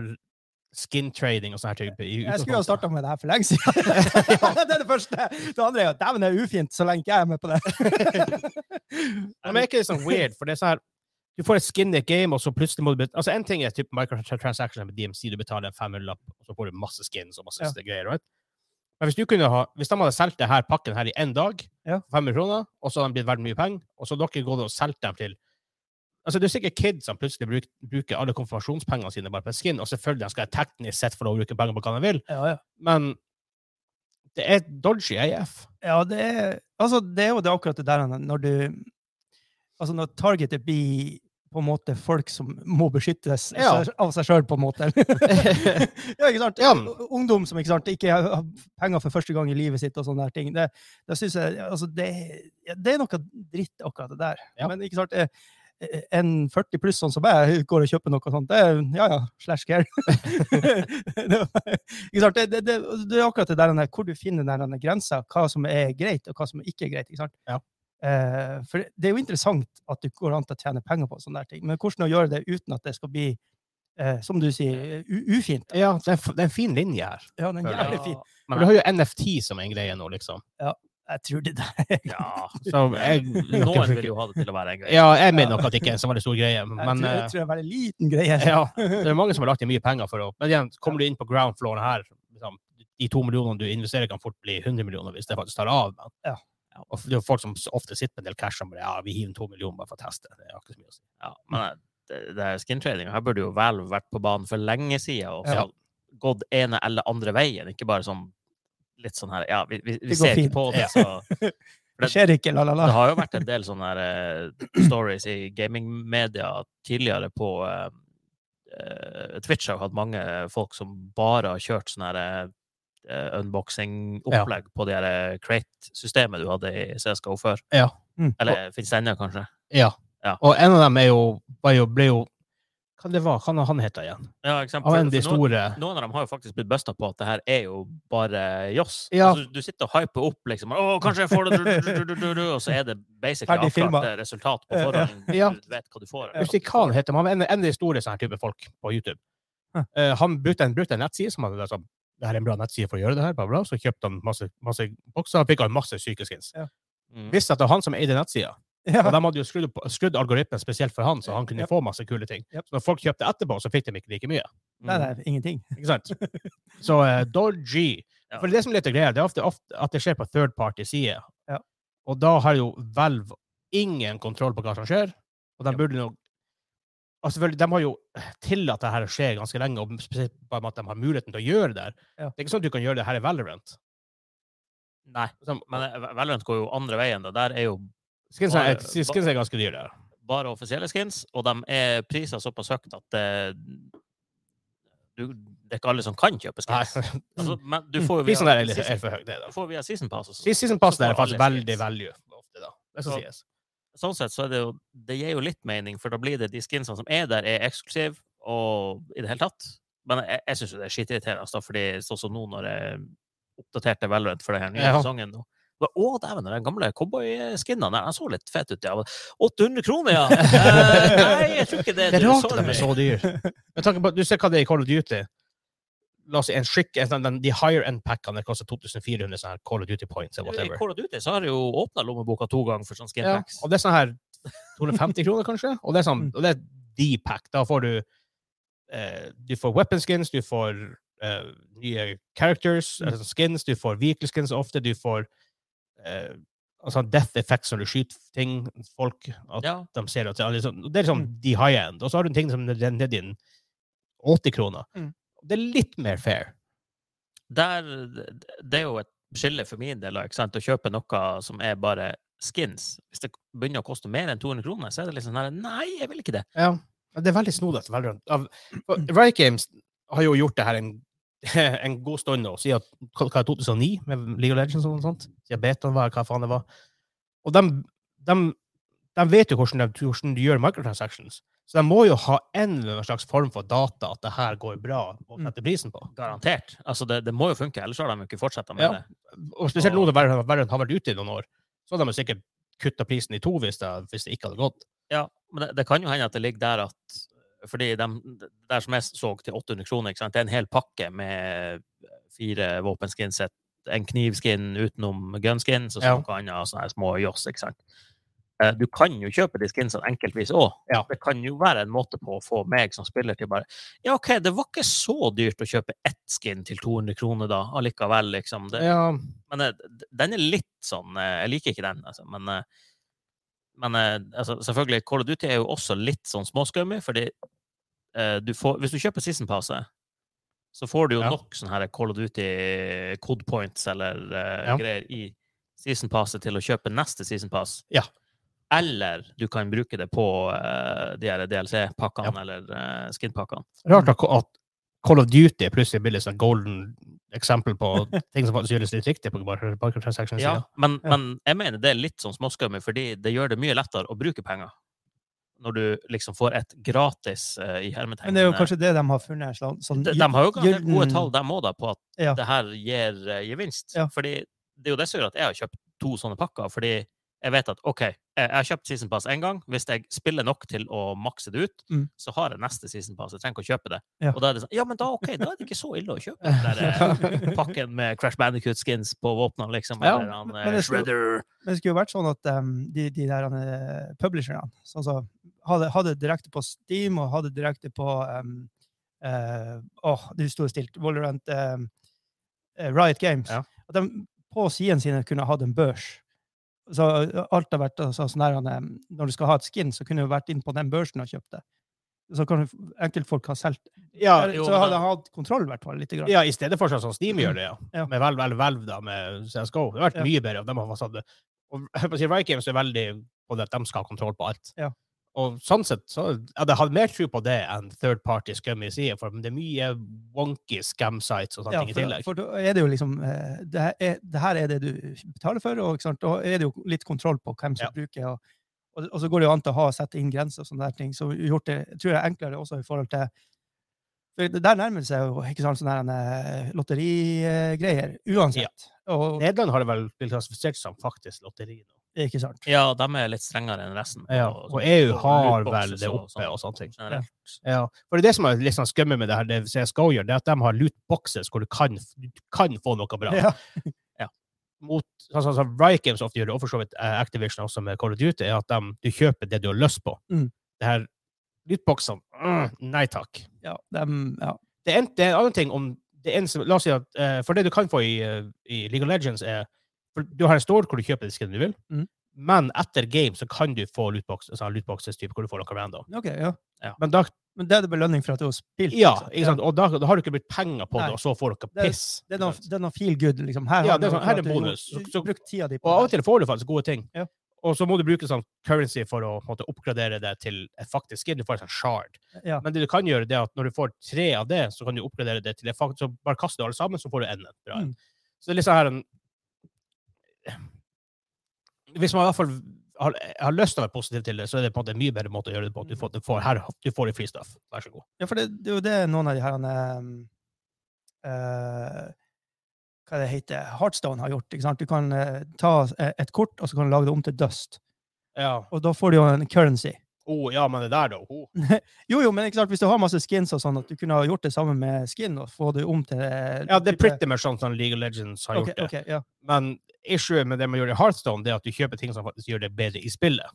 Speaker 1: skin trading og sånne her type? i
Speaker 3: Jeg skulle jo ha
Speaker 1: utgangspunktet?
Speaker 3: starta med det her for lenge siden. det er det første. Det andre er jo dæven, det er ufint så lenge ikke jeg er med på det.
Speaker 1: Ja, Men er ikke det sånn weird? For det er sånn her Du får et skin i et game, og så plutselig må du bet- Altså, en ting er typ microtransactions med DMC, du betaler en 500-lapp, og så får du masse skins og masse
Speaker 3: Ja.
Speaker 1: greier, right? Men hvis du kunne ha Hvis de hadde solgt denne pakken her i én dag,
Speaker 3: Ja.
Speaker 1: 500 kroner, og så hadde de blitt verdt mye penger, og så hadde dere gått og solgt dem til Altså, Det er sikkert kids som plutselig bruk, bruker alle konfirmasjonspengene sine bare på et skin, og selvfølgelig de skal de teknisk sett få lov å bruke penger på hva de vil,
Speaker 3: Ja, ja.
Speaker 1: men det er dodgy AF.
Speaker 3: ja det, er, altså, det er jo det akkurat det der Anna, når du Altså, når targetet blir på en måte folk som må beskyttes
Speaker 1: Ja.
Speaker 3: seg- av seg sjøl, på en måte. ja, ikke sant?
Speaker 1: Ja.
Speaker 3: Ungdom som ikke, sant, ikke har penger for første gang i livet sitt og sånne der ting. Det, det synes jeg, altså, det, ja, det er noe dritt akkurat det der.
Speaker 1: Ja.
Speaker 3: Men ikke sant, eh, eh, en 40 pluss sånn som jeg går og kjøper noe sånt, det er ja ja, slash care. det, ikke sant? Det, det, det, det er akkurat det der denne- hvor du finner den denne grensa, hva som er greit og hva som ikke er greit. ikke sant?
Speaker 1: Ja.
Speaker 3: Eh, for det er jo interessant at det går an til å tjene penger på sånne der ting, men hvordan å gjøre det uten at det skal bli, eh, som du sier, u ufint?
Speaker 1: Ja, det er, en f- det er en fin linje her.
Speaker 3: Ja, den er
Speaker 1: Føler jeg.
Speaker 3: jævlig fin.
Speaker 1: Men du har jo NFT som en greie nå, liksom.
Speaker 3: Jeg tror det der
Speaker 2: Ja.
Speaker 1: Så jeg,
Speaker 2: Noen vil jo ha det til å være en greie.
Speaker 1: ja, jeg mener nok at det ikke er en så veldig stor greie,
Speaker 3: Jeg
Speaker 1: men
Speaker 3: tror,
Speaker 1: eh,
Speaker 3: jeg tror det er en veldig liten greie.
Speaker 1: ja, det er mange som har lagt inn mye penger for å Men igjen, kommer du inn på ground flooren her, liksom, de to millionene du investerer, kan fort bli 100 millioner hvis det faktisk tar av. Men.
Speaker 3: Ja.
Speaker 1: Og det er jo folk som s- ofte sitter med en del cash som bare ja, vi hiver inn to millioner bare for å teste. Det er ikke så mye å si.
Speaker 2: Ja, men eh, det, det er skin trading. Her burde jo Valve vært på banen for lenge siden og så gått ene eller andre veien, ikke bare sånn litt sånn her Ja, vi, vi, vi
Speaker 3: Det går
Speaker 2: ser
Speaker 3: fint.
Speaker 2: ikke på det, så
Speaker 3: Det skjer ikke, la, la, la.
Speaker 2: Det har jo vært en del sånne her, eh, stories i gamingmedia tidligere på eh, eh, Twitch har jo hatt mange folk som bare har kjørt sånne her, eh, unboxing-opplegg på det her eh, crate-systemet du hadde i CSGO før.
Speaker 1: Ja.
Speaker 3: Mm.
Speaker 2: Eller finnes det ennå, kanskje?
Speaker 1: Ja.
Speaker 2: Ja.
Speaker 1: Og en av dem er jo, var jo ble jo Hva det var Hva han heter igjen?
Speaker 2: Ja, ikke sant?
Speaker 1: Av
Speaker 2: For-
Speaker 1: en av de
Speaker 2: for noen-
Speaker 1: store
Speaker 2: Noen av dem har jo faktisk blitt busta på at det her er jo bare joss.
Speaker 1: Ja.
Speaker 2: Altså, du sitter og hyper opp liksom Å, kanskje jeg får det du, du, du, du, du, du, Og så er det basically
Speaker 3: Ferdig filmet.
Speaker 2: avklart eh, resultat på
Speaker 3: Ja, ja.
Speaker 2: forhånd.
Speaker 1: Ja.
Speaker 2: Du vet hva du får.
Speaker 1: Jeg husker ikke hva han heter, men han var en, en av de store sånne her type folk på YouTube.
Speaker 3: Hæ.
Speaker 1: Eh, han brukte en, brukte en nettside som hadde liksom, det her er en bra nettside for å gjøre det her, bla, bla, bla. så kjøpte han masse, masse bokser, og fikk han masse sykeskins.
Speaker 2: Mm.
Speaker 1: Visste at det var han som eide nettsida, og
Speaker 3: Ja.
Speaker 1: de hadde jo skrudd, opp- skrudd algoritmen spesielt for han, så han kunne
Speaker 3: Yep.
Speaker 1: få masse kule ting.
Speaker 3: Yep.
Speaker 1: Så når folk kjøpte etterpå, så fikk de ikke like mye.
Speaker 2: Mm.
Speaker 3: Nei, nei, ingenting.
Speaker 1: Ikke sant? Så eh, dodgy.
Speaker 2: Ja.
Speaker 1: For det som er litt av greia, det er ofte, ofte at det skjer på third party-side.
Speaker 3: Ja.
Speaker 1: Og da har jo Valve ingen kontroll på hva som skjer, og de burde nok og selvfølgelig, De har jo tillatt det her å skje ganske lenge, og spesielt bare med at de har muligheten til å gjøre det. her.
Speaker 3: Ja.
Speaker 1: Det er ikke sånn at du kan gjøre det her i Valorant.
Speaker 2: Nei,
Speaker 1: Som-
Speaker 2: men eh, Valorant går jo andre veien. Da. Der er jo
Speaker 1: Skins
Speaker 2: Bare-
Speaker 1: er, skins er ganske dyre.
Speaker 2: bare offisielle skins, og de er priser såpass høyt at eh, du, det er ikke alle som kan kjøpe
Speaker 1: Nei,
Speaker 2: skins. Altså, men du får jo
Speaker 1: Prisen der er, litt- er
Speaker 2: season,
Speaker 1: for høy. det da.
Speaker 2: du får via season pass. og så-
Speaker 1: Season pass
Speaker 2: så
Speaker 1: der er
Speaker 2: får
Speaker 1: faktisk
Speaker 2: alle
Speaker 1: veldig
Speaker 2: skins.
Speaker 1: value. ofte da. Det skal
Speaker 2: Så-
Speaker 1: sies.
Speaker 2: sånn sett så er det jo Det gir jo litt mening, for da blir det de skinsene som er der, er eksklusive og i det hele tatt. Men jeg, jeg syns jo det er skitirriterende, da, fordi sånn som nå når jeg oppdaterte Valorant for denne nye
Speaker 1: Ja.
Speaker 2: sesongen nå bare, Å, dæven, den gamle cowboyskinnene der, den så litt fet ut, ja. 800 kroner, ja! Eh, nei, jeg tror ikke det.
Speaker 1: Det sånn er rart
Speaker 2: du, sorry.
Speaker 1: de er så dyre. Med tanke på, du ser hva det er i Call of Duty. La oss si en skikk, en, sånn- den, De higher end packene koster 2400 sånne her Call of Duty points eller
Speaker 2: I
Speaker 1: whatever.
Speaker 2: Call of Duty så har jeg jo åpna lommeboka to ganger for sånn skin
Speaker 1: Ja,
Speaker 2: packs.
Speaker 1: og det er sånn her 250 kroner, kanskje. Og det er sånn,
Speaker 3: Mm.
Speaker 1: og det er D-pack. Da får du eh, du får weapon skins, du får eh, nye characters,
Speaker 3: Mm.
Speaker 1: altså skins, du får vehicle skins ofte, du får eh, altså death effects når du skyter ting, folk at
Speaker 2: Ja.
Speaker 1: de ser at det er liksom, Det er liksom de high end. Og så har du en ting som er nedi en 80 kroner.
Speaker 3: Mm.
Speaker 1: Det er litt mer fair.
Speaker 2: Der, det er jo et skille for min del ikke sant? å kjøpe noe som er bare skins. Hvis det begynner å koste mer enn 200 kroner, så er det liksom sånn her Nei, jeg vil ikke det.
Speaker 1: Ja. Det er veldig snodig. at Valorant- av- for Riot Games har jo gjort det her en, en god stund nå, siden hva- hva er 2009 med League of Legends og noe sånt. Siden betaen var, hva faen det var. Og de, vet jo hvordan de, hvordan de gjør microtransactions. Så de må jo ha en eller annen slags form for data at det her går bra, og setter prisen på.
Speaker 2: Garantert. Altså, det, det må jo funke, ellers har de jo ikke fortsatt med
Speaker 1: Ja.
Speaker 2: det.
Speaker 1: Og spesielt nå når Valorant Valorant har vært ute i noen år, så hadde de jo sikkert kutta prisen i to hvis det, hvis det ikke hadde gått.
Speaker 2: Ja, men det, det kan jo hende at det ligger der at Fordi dem- det der som jeg så til 800 kroner, ikke sant? det er en hel pakke med eh, fire våpenskins, et- en knivskin utenom gunskins og så
Speaker 1: Ja.
Speaker 2: noe annet, og sånne her små joss, ikke sant. Eh, Du kan jo kjøpe de skinsene enkeltvis òg.
Speaker 1: Ja.
Speaker 2: Det kan jo være en måte på å få meg som spiller til bare Ja, OK, det var ikke så dyrt å kjøpe ett skin til 200 kroner da, allikevel, liksom. Det,
Speaker 1: Ja,
Speaker 2: men eh, d- den er litt sånn eh, Jeg liker ikke den, altså. Men, eh, men eh, altså, selvfølgelig, Call of Duty er jo også litt sånn småskummi, fordi eh, du får, hvis du kjøper Season Passet, så får du jo
Speaker 1: Ja.
Speaker 2: nok sånne her Call of Duty eh, code points eller eh,
Speaker 1: Ja.
Speaker 2: greier i Season Passet til å kjøpe neste Season Pass.
Speaker 1: Ja.
Speaker 2: Eller du kan bruke det på eh, de her DLC-pakkene eller eh, skin-pakkene.
Speaker 1: Rart at at Call of Duty plutselig blir litt sånn golden eksempel på ting som faktisk gjøres litt riktig på microtransactions.
Speaker 2: Ja,
Speaker 1: Ja.
Speaker 2: men,
Speaker 3: Ja.
Speaker 2: men jeg mener det er litt sånn småskummi, fordi det gjør det mye lettere å bruke penger. Når du liksom får et gratis eh, i hermetegn.
Speaker 3: Men det er jo kanskje det de har funnet. en slags- Sånn,
Speaker 2: de, de har jo garantert gode
Speaker 3: gylden-
Speaker 2: tall, de òg, på at
Speaker 3: Ja.
Speaker 2: det her gir eh, gevinst.
Speaker 3: Ja.
Speaker 2: Fordi det er jo det som gjør at jeg har kjøpt to sånne pakker. Fordi jeg vet at OK, jeg, jeg har kjøpt Season Pass én gang. Hvis jeg spiller nok til å makse det ut,
Speaker 3: Mm.
Speaker 2: så har jeg neste Season Pass. Jeg trenger ikke å kjøpe det.
Speaker 3: Ja.
Speaker 2: Og da er det sånn Ja, men da OK, da er det ikke så ille å kjøpe den der eh, pakken med Crash Bandicoot-skins på våpnene, liksom.
Speaker 1: Ja,
Speaker 2: Eller han
Speaker 3: men
Speaker 2: eh,
Speaker 3: det skulle-
Speaker 2: Shredder.
Speaker 3: Men det skulle jo vært sånn at em, de, de der eh, publisherne sånn som hadde, hadde direkte på Steam og hadde direkte på em, eh, Åh, det sto stilt. Valorant em, eh, Riot Games.
Speaker 2: Ja.
Speaker 3: At de på sidene sine kunne hatt en børs. Så alt har vært altså, sånn der, em, Når du skal ha et skin, så kunne du vært inn på den børsen og kjøpt det. Så kan du- enkeltfolk ha solgt det.
Speaker 1: Ja,
Speaker 2: jo,
Speaker 3: Så
Speaker 2: men
Speaker 3: hadde
Speaker 2: da-
Speaker 3: de hatt kontroll, i hvert fall. Lite grann.
Speaker 1: ja, i stedet for sånn som Steam gjør det, ja.
Speaker 3: Ja.
Speaker 1: Med Valve eller Valve, da, med CSGO. Det har vært
Speaker 3: Ja.
Speaker 1: mye bedre. og De har faktisk hatt det. Og jeg får si, Riot Games er veldig på det at de skal ha kontroll på alt.
Speaker 3: Ja.
Speaker 1: Og sånn sett så jeg hadde hatt mer tro på det enn third party scum i siden, for det er mye wonky scam sites og sånne
Speaker 3: Ja,
Speaker 1: ting i
Speaker 3: for,
Speaker 1: tillegg.
Speaker 3: for da er det jo liksom eh, det her, er, det her er det du betaler for, og ikke sant? da er det jo litt kontroll på hvem som
Speaker 1: Ja.
Speaker 3: bruker. Og, og, og så går det jo an til å ha, sette inn grenser og sånne der ting, som gjort det tror jeg er enklere også i forhold til for det Der nærmer det seg jo ikke sant, sånne her, eh, lotterigreier, uansett. Og,
Speaker 1: Nederland har det vel blitt klassifisert som faktisk lotteri nå.
Speaker 3: ikke sant?
Speaker 2: Ja, de er litt strengere enn resten.
Speaker 1: Ja,
Speaker 2: på-
Speaker 1: og sånn EU
Speaker 2: på
Speaker 1: har
Speaker 2: lootboxes
Speaker 1: vel det
Speaker 2: og
Speaker 1: oppe
Speaker 2: sånn
Speaker 1: og sånne ting.
Speaker 2: generelt.
Speaker 1: Ja, for det er det som er litt sånn skummelt med det her, det CSGO gjør, det er at de har lootboxes hvor du kan, du kan få noe bra.
Speaker 3: Ja.
Speaker 1: Mot, sånn som sånn, Riot Games ofte gjør det, og for så vidt eh, Activision også med Call of Duty, er at de, du kjøper det du har lyst på.
Speaker 3: Mm.
Speaker 1: Det her lootboxene, mm, nei takk.
Speaker 3: Ja, dem- ja.
Speaker 1: Det er en, det er en annen ting om det er en som, La oss si at eh, For det du kan få i, eh, i League of Legends, er for Du har en store hvor du kjøper disken du vil,
Speaker 3: Mm.
Speaker 1: men etter game så kan du få lootboxes, sånn lootboxes typ, hvor du får noe random.
Speaker 3: Ok, ja.
Speaker 1: Men da
Speaker 3: Men det er det belønning for at du har spilt. liksom.
Speaker 1: Ja,
Speaker 3: sant?
Speaker 1: ikke sant? og da, da har du ikke brukt penger på
Speaker 3: Nei.
Speaker 1: det, og så får dere
Speaker 3: Det er-
Speaker 1: piss.
Speaker 3: Det er
Speaker 1: ikke
Speaker 3: noe,
Speaker 1: sant?
Speaker 3: det er noe feel good. liksom. Her
Speaker 1: Ja,
Speaker 3: har
Speaker 1: det er
Speaker 3: du
Speaker 1: sånn, her er
Speaker 3: at du
Speaker 1: bonus.
Speaker 3: gjort-
Speaker 1: Så- så-
Speaker 3: Brukt tida di
Speaker 1: og
Speaker 3: på
Speaker 1: av og
Speaker 3: det.
Speaker 1: til får du faktisk gode ting.
Speaker 3: Ja.
Speaker 1: Og så må du bruke sånn currency for å på en måte, oppgradere det til et faktisk skin. Du får en sånn shard.
Speaker 3: Ja.
Speaker 1: Men det du kan gjøre, det er at når du får tre av det, så kan du oppgradere det til et faktisk Så bare kaster du alle sammen, så får du enden. Bra.
Speaker 3: Mm.
Speaker 1: Så det er litt sånn her en Hvis man i hvert fall har, har lyst til å være positiv til det, så er det på en måte en mye bedre måte å gjøre det på. Du får, du får, her, du får i free stuff. Vær så god.
Speaker 3: Ja, for det, det er jo det noen av de her ehm, eh, Hva det heter Heartstone har gjort. ikke sant? Du kan eh, ta eh, et kort, og så kan du lage det om til dust.
Speaker 1: Ja.
Speaker 3: Og da får du jo en currency.
Speaker 1: Oh, ja, men det der, da. Oh.
Speaker 3: Jo, jo, men ikke sant, hvis du har masse skins og sånn, at du kunne ha gjort det sammen med skin og få det om til eh,
Speaker 1: Ja, det er
Speaker 3: type-
Speaker 1: pretty much sånn som League of Legends har
Speaker 3: Ok,
Speaker 1: gjort det.
Speaker 3: ok, ja.
Speaker 1: Men issue med det man gjør i Hearthstone, det er at du kjøper ting som faktisk gjør det bedre i spillet.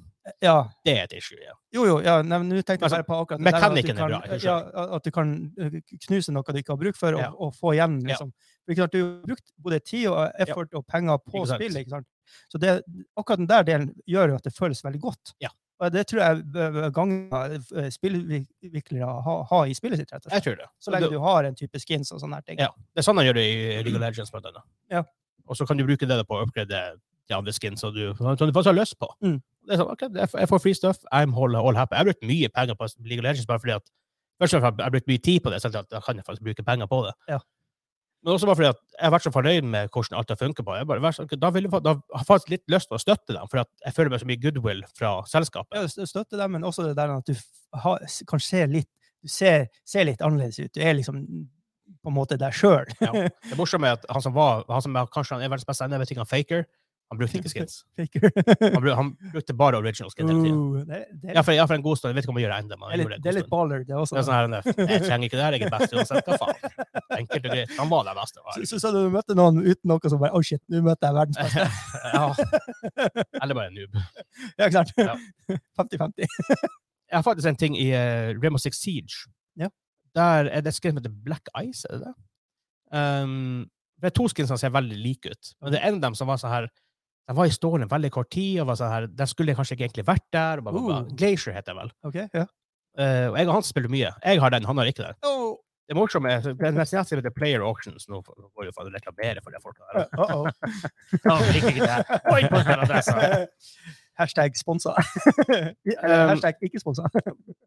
Speaker 3: ja.
Speaker 1: Det er et issue, ja.
Speaker 3: Jo, jo, ja, nei, men nå tenkte jeg
Speaker 1: Altså,
Speaker 3: bare på akkurat at du
Speaker 1: mekanikken er
Speaker 3: kan-
Speaker 1: bra, jeg skjønner.
Speaker 3: Ja, at du kan eh, knuse noe du ikke har bruk for, og,
Speaker 1: Ja.
Speaker 3: og få igjen,
Speaker 1: Ja.
Speaker 3: liksom. Ikke sant, Du har brukt både tid og effort og penger på
Speaker 1: Ikke sant.
Speaker 3: spillet, ikke sant? Så det, akkurat den der delen gjør jo at det føles veldig godt.
Speaker 1: Ja.
Speaker 3: Og det tror jeg bør- bør ganger eh, spillutviklere har ha i spillet sitt, rett og slett.
Speaker 1: Jeg tror det.
Speaker 3: Så lenge du har en type skins og sånne her ting.
Speaker 1: Ja. Det er sånn han gjør det i League of Legends, blant annet.
Speaker 3: Mm. Ja.
Speaker 1: Og så kan du bruke det da på å upgrade de andre skins som du, som du faktisk har lyst på.
Speaker 3: Mm.
Speaker 1: Det er sånn, ok, jeg får- jeg får free stuff, I'm all, all happy. Jeg har brukt mye penger på League of Legends bare fordi at Først og fremst har jeg- jeg har brukt mye tid på det, så jeg tenkte at da kan jeg faktisk bruke penger på det.
Speaker 3: Ja.
Speaker 1: Men også bare fordi at jeg har vært så fornøyd med hvordan alt har funket på. Jeg bare, vært så- da, vil jeg, fa- da har jeg faktisk litt lyst til å støtte dem, for at jeg føler meg så mye goodwill fra selskapet.
Speaker 3: Ja, stø- støtte dem, men også det der at du f- har, s- kan se litt, du ser, ser litt annerledes ut. Du er liksom på en måte deg sjøl.
Speaker 1: Det morsomme er at han som var, han som er, kanskje han er verdens beste, jeg vet ikke, han faker, han brukte ikke skins. Han, bru- han brukte bare original skins hele tiden.
Speaker 3: Uh, det, det, er
Speaker 1: Ja,
Speaker 3: litt,
Speaker 1: for, ja, for en god stund. Jeg vet ikke om jeg gjør det ennå. men
Speaker 3: det,
Speaker 1: han
Speaker 3: er
Speaker 1: gjorde
Speaker 3: litt, det
Speaker 1: en
Speaker 3: er litt
Speaker 1: god stund.
Speaker 3: baller, det
Speaker 1: Det er
Speaker 3: også.
Speaker 1: sånn her, nei, jeg trenger ikke det her, jeg er best uansett. Hva faen? Enkelt og greit. Han var den beste.
Speaker 3: Så,
Speaker 1: var
Speaker 3: så, så du møtte noen uten noe som bare Å, shit, nå møtte jeg verdens beste.
Speaker 1: det. Ja. Eller bare en noob.
Speaker 3: Ja, ikke sant?
Speaker 1: Ja.
Speaker 3: 50-50.
Speaker 1: Jeg har faktisk en ting i uh, Rainbow Six Siege.
Speaker 3: Ja.
Speaker 1: Der er det et skin som heter Black Ice, er det det? Um, det er to skins som ser veldig like ut. Men det er en av dem som var sånn her Den var i stålen veldig kort tid, og var sånn her Den skulle kanskje ikke egentlig vært der. Og bla, bla, bla.
Speaker 3: Uh.
Speaker 1: Glacier heter den vel.
Speaker 3: Ok, ja.
Speaker 1: Eh, og jeg og han spiller mye. Jeg har den, han har ikke den.
Speaker 3: Oh,
Speaker 1: Det morsomme er det er nesten jeg som heter Player Auctions. Nå får- nå får jeg jo faen reklamere for de folka der.
Speaker 3: uh -oh.
Speaker 2: Ja, men liker ikke det her. Oi, på den adressen.
Speaker 3: Hashtag sponsa. Eller
Speaker 1: Um,
Speaker 3: hashtag ikke sponsa.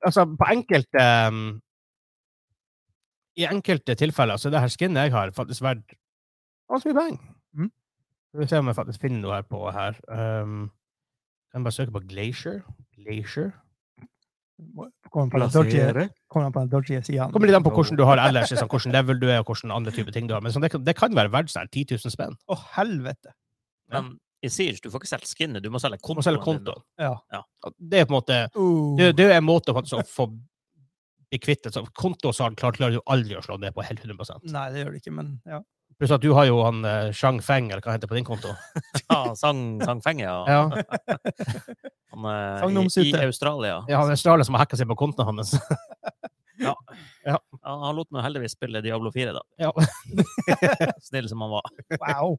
Speaker 1: altså, på enkelte um, I enkelte tilfeller så er det her skinnet jeg har, faktisk verdt ganske mye penger.
Speaker 3: Mm.
Speaker 1: Skal vi se om jeg faktisk finner noe her på her. Um, kan jeg bare søke på Glacier. Glacier.
Speaker 3: Kommer han på den dodgy- kommer han på den dodgy sida?
Speaker 1: Kommer litt an på hvordan du har ellers, liksom, hvordan level du er, og hvordan andre typer ting du har. Men sånn, det, kan, det kan være verdt sånn her 10 000 spenn.
Speaker 3: Å, helvete!
Speaker 2: Men i Siege, du får ikke solgt skinnet, du må selge
Speaker 1: Du må
Speaker 2: kontoen.
Speaker 1: selge
Speaker 2: din.
Speaker 1: kontoen.
Speaker 3: Ja.
Speaker 1: Det er på en måte
Speaker 3: Uh.
Speaker 1: det, det er en måte faktisk å få bli kvitt det. Så Kontosalg klar- klarer du aldri å slå ned på helt 100
Speaker 3: Nei, det gjør det ikke, men ja.
Speaker 1: Pluss at du har jo han eh, Shang Feng, eller hva han heter på din konto.
Speaker 2: Ja, sang, sangfenge, ja.
Speaker 1: Ja,
Speaker 2: Han, eh, i,
Speaker 3: Sagnomsute.
Speaker 2: I Australia.
Speaker 1: ja han Australier som har hacka seg på kontoen hans.
Speaker 2: Han, han lot meg heldigvis spille Diablo 4, da.
Speaker 1: Ja.
Speaker 2: Snill som han var.
Speaker 3: Wow!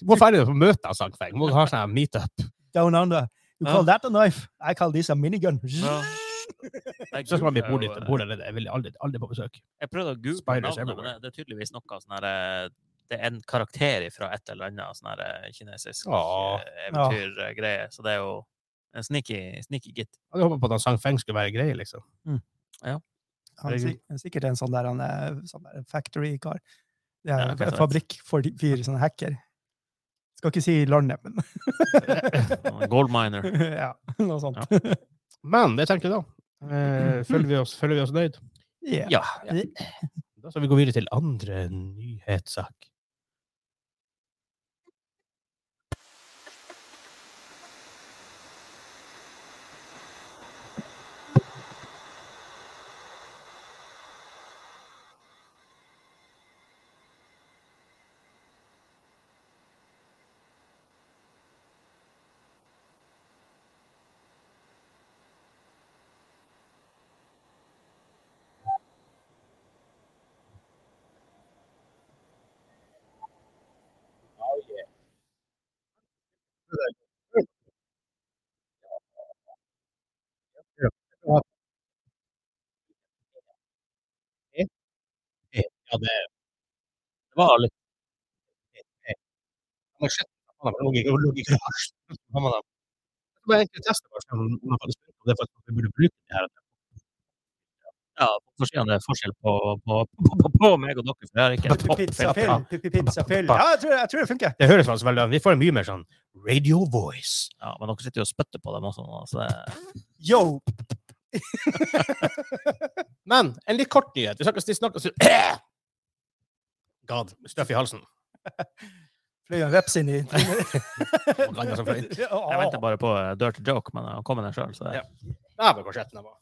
Speaker 1: Du må ferdig på møte av Shang Feng. Du må ha sånn her meetup.
Speaker 3: Down under. You
Speaker 2: Ja.
Speaker 3: call that a knife? I call this a minigun.
Speaker 2: Ja. Jeg,
Speaker 1: Så skal man bli
Speaker 2: googlet jo, eh,
Speaker 1: bordlig eller det. Jeg vil aldri, aldri på besøk.
Speaker 2: jeg prøvde å google
Speaker 1: Spiders
Speaker 2: navnet, men det,
Speaker 1: everywhere.
Speaker 2: det er tydeligvis noe sånn her eh, Det er en karakter fra et eller annet sånn her eh, kinesisk
Speaker 1: Åh.
Speaker 2: eh, eventyrgreie, så det er jo en sneaky, sneaky git.
Speaker 1: Jeg hadde håpet på at han Shang Feng skulle være grei, liksom.
Speaker 3: Han er sik- han er sikkert en sånn der, han er sånn der factory-kar. Det er
Speaker 2: Ja,
Speaker 3: en
Speaker 2: kanskje.
Speaker 3: fabrikk for de- fire sånne hacker. Skal ikke si landet, men
Speaker 2: Gold miner.
Speaker 3: Ja, noe sånt.
Speaker 1: Men det tenker jeg da. Eh, føler, vi oss, føler vi oss nøyd?
Speaker 3: Ja.
Speaker 2: Ja.
Speaker 1: Da skal vi gå videre til andre nyhetssak. Ja, det, det var litt Han har sett han har ligget og ligget i garasjen. Så har man dem. Jeg skal bare egentlig teste bare se om om jeg faktisk bruker det for at vi burde bruke det her.
Speaker 2: Ja, på forsiden er det forskjell på, på, på, på, på meg og dere, for jeg har ikke en
Speaker 3: Pizza
Speaker 2: toppfilter.
Speaker 3: pill, pi- pi- pizza pill. Ja, jeg tror, jeg tror det funker.
Speaker 1: Det høres faktisk veldig Vi får mye mer sånn radio voice.
Speaker 2: Ja, men dere sitter jo og spytter på dem også. nå, Så det,
Speaker 3: Yo!
Speaker 1: Men en litt kort nyhet. Vi snakker, snakker, snakker God, støff i halsen.
Speaker 3: Fløy en veps inn i
Speaker 1: ganger som fløy.
Speaker 3: Ja, å.
Speaker 2: jeg venter bare på eh, dirty joke, men han kommer den sjøl, så det
Speaker 1: Ja. Dæven, hvor skjetten jeg var.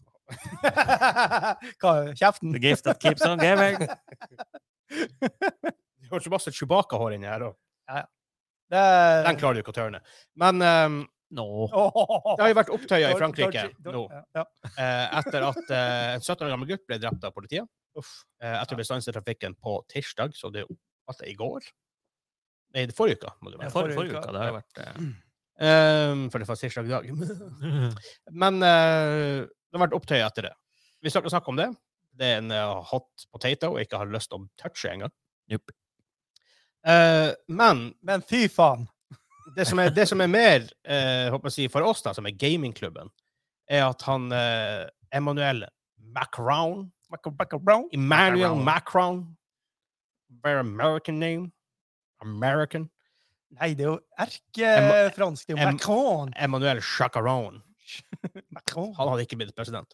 Speaker 3: Hva, kjeften?
Speaker 2: The gift that keeps on giving.
Speaker 1: Det hørtes masse Chewbacca-hår inni her òg.
Speaker 3: Det er-
Speaker 1: Den klarer du ikke å tørne. Men ehm,
Speaker 2: No.
Speaker 3: Åh.
Speaker 1: det har jo vært opptøyer i Frankrike
Speaker 3: Dodgy-
Speaker 1: nå
Speaker 3: Ja.
Speaker 1: eh, etter at eh, en 17 år gammel gutt ble drept av politiet. Eh, etter å bli stanset i trafikken på tirsdag, så det er jo at det er i går. altså Nei, det forrige uka, må du
Speaker 2: Ja,
Speaker 1: være.
Speaker 2: forrige, forrige uka. Det har jo vært
Speaker 1: Ehm, for det var siste dag i dag.
Speaker 2: eh,
Speaker 1: Men eh, det har vært opptøy etter det. Vi skal ikke snakke om det. Det er en eh, hot potato jeg ikke har lyst til å touche engang.
Speaker 2: Jupp.
Speaker 1: Uh, men
Speaker 3: Men fy faen!
Speaker 1: det som er, det som er mer eh, håper jeg å si, for oss, da, som er gamingklubben, er at han uh, Emmanuel Macron
Speaker 3: Backa, backa, brown.
Speaker 1: Emmanuel
Speaker 2: Macron.
Speaker 1: Macron Very American name. American.
Speaker 3: Nei, det er jo
Speaker 1: Em-
Speaker 3: erkefransk. Det er jo
Speaker 1: em-
Speaker 3: Macron.
Speaker 1: Emmanuel Chacaron.
Speaker 3: Macron.
Speaker 1: Han hadde ikke blitt president.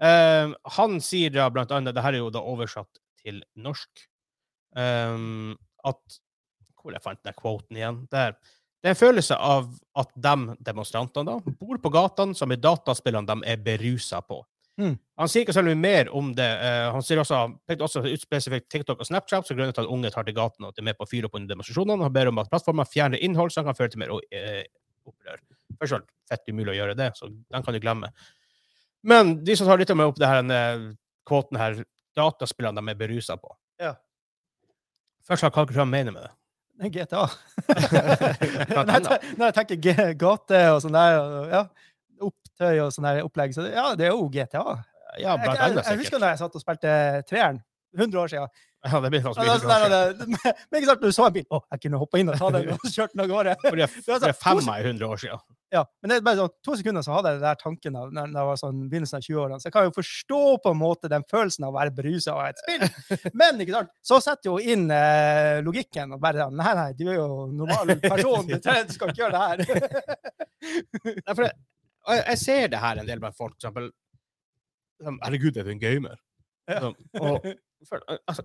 Speaker 1: Ehm, han sier da blant annet, det her er jo da oversatt til norsk, ehm, at Hvor jeg fant den kvoten igjen? Der. Det er en følelse av at de demonstrantene da, bor på gatene som i dataspillene de er berusa på.
Speaker 3: Mm.
Speaker 1: Han sier ikke så veldig mye mer om det. eh, han sier også, han pekte også ut spesifikt TikTok og Snapchat som grunner til at unge tar til gatene og at de er med på å fyre opp under demonstrasjonene. Han ber om at plattformen fjerner innhold som kan føre til mer eh, opprør. Først og fremst fett umulig å gjøre det, så den kan du glemme. Men de som tar litt mer opp det her, denne kvoten her, dataspillene de er berusa på.
Speaker 3: Ja.
Speaker 1: Først har Kalker Trump mener med det.
Speaker 3: Det er GTA.
Speaker 1: Blant
Speaker 3: når, jeg,
Speaker 1: annet.
Speaker 3: te- når jeg tenker g- gate og sånn der, og, ja, opptøy og sånn der opplegg, så det- ja, det er jo GTA.
Speaker 1: Ja,
Speaker 3: jeg,
Speaker 1: blant
Speaker 3: jeg,
Speaker 1: annet,
Speaker 3: jeg
Speaker 1: sikkert.
Speaker 3: husker da jeg satt og spilte treeren. 100 år siden.
Speaker 1: Ja, det blir faktisk
Speaker 3: Ja,
Speaker 1: mye
Speaker 3: det er sånn der,
Speaker 1: kontroversielt.
Speaker 3: og det- men men ikke sant, når du så en bil, å, jeg kunne hoppa inn og ta den og kjørt den av gårde.
Speaker 1: For det er-
Speaker 3: Det var
Speaker 1: det er
Speaker 3: sånn, to
Speaker 1: femma i 100 år siden.
Speaker 3: Ja, men det er bare sånn, to sekunder så hadde jeg den der tanken av, når når jeg var sånn begynnelsen av 20-årene. Så jeg kan jo forstå på en måte den følelsen av å være berusa av et spill. Men ikke sant, så setter jo inn eh, logikken og bare Nei, nei, du er jo normal person. Du, trenger- du skal ikke gjøre det her.
Speaker 1: Nei, for det, og jeg, jeg ser det her en del blant folk, for eksempel. som, Herregud, er du en gamer?
Speaker 3: Ja.
Speaker 1: Sånn, og, for, altså,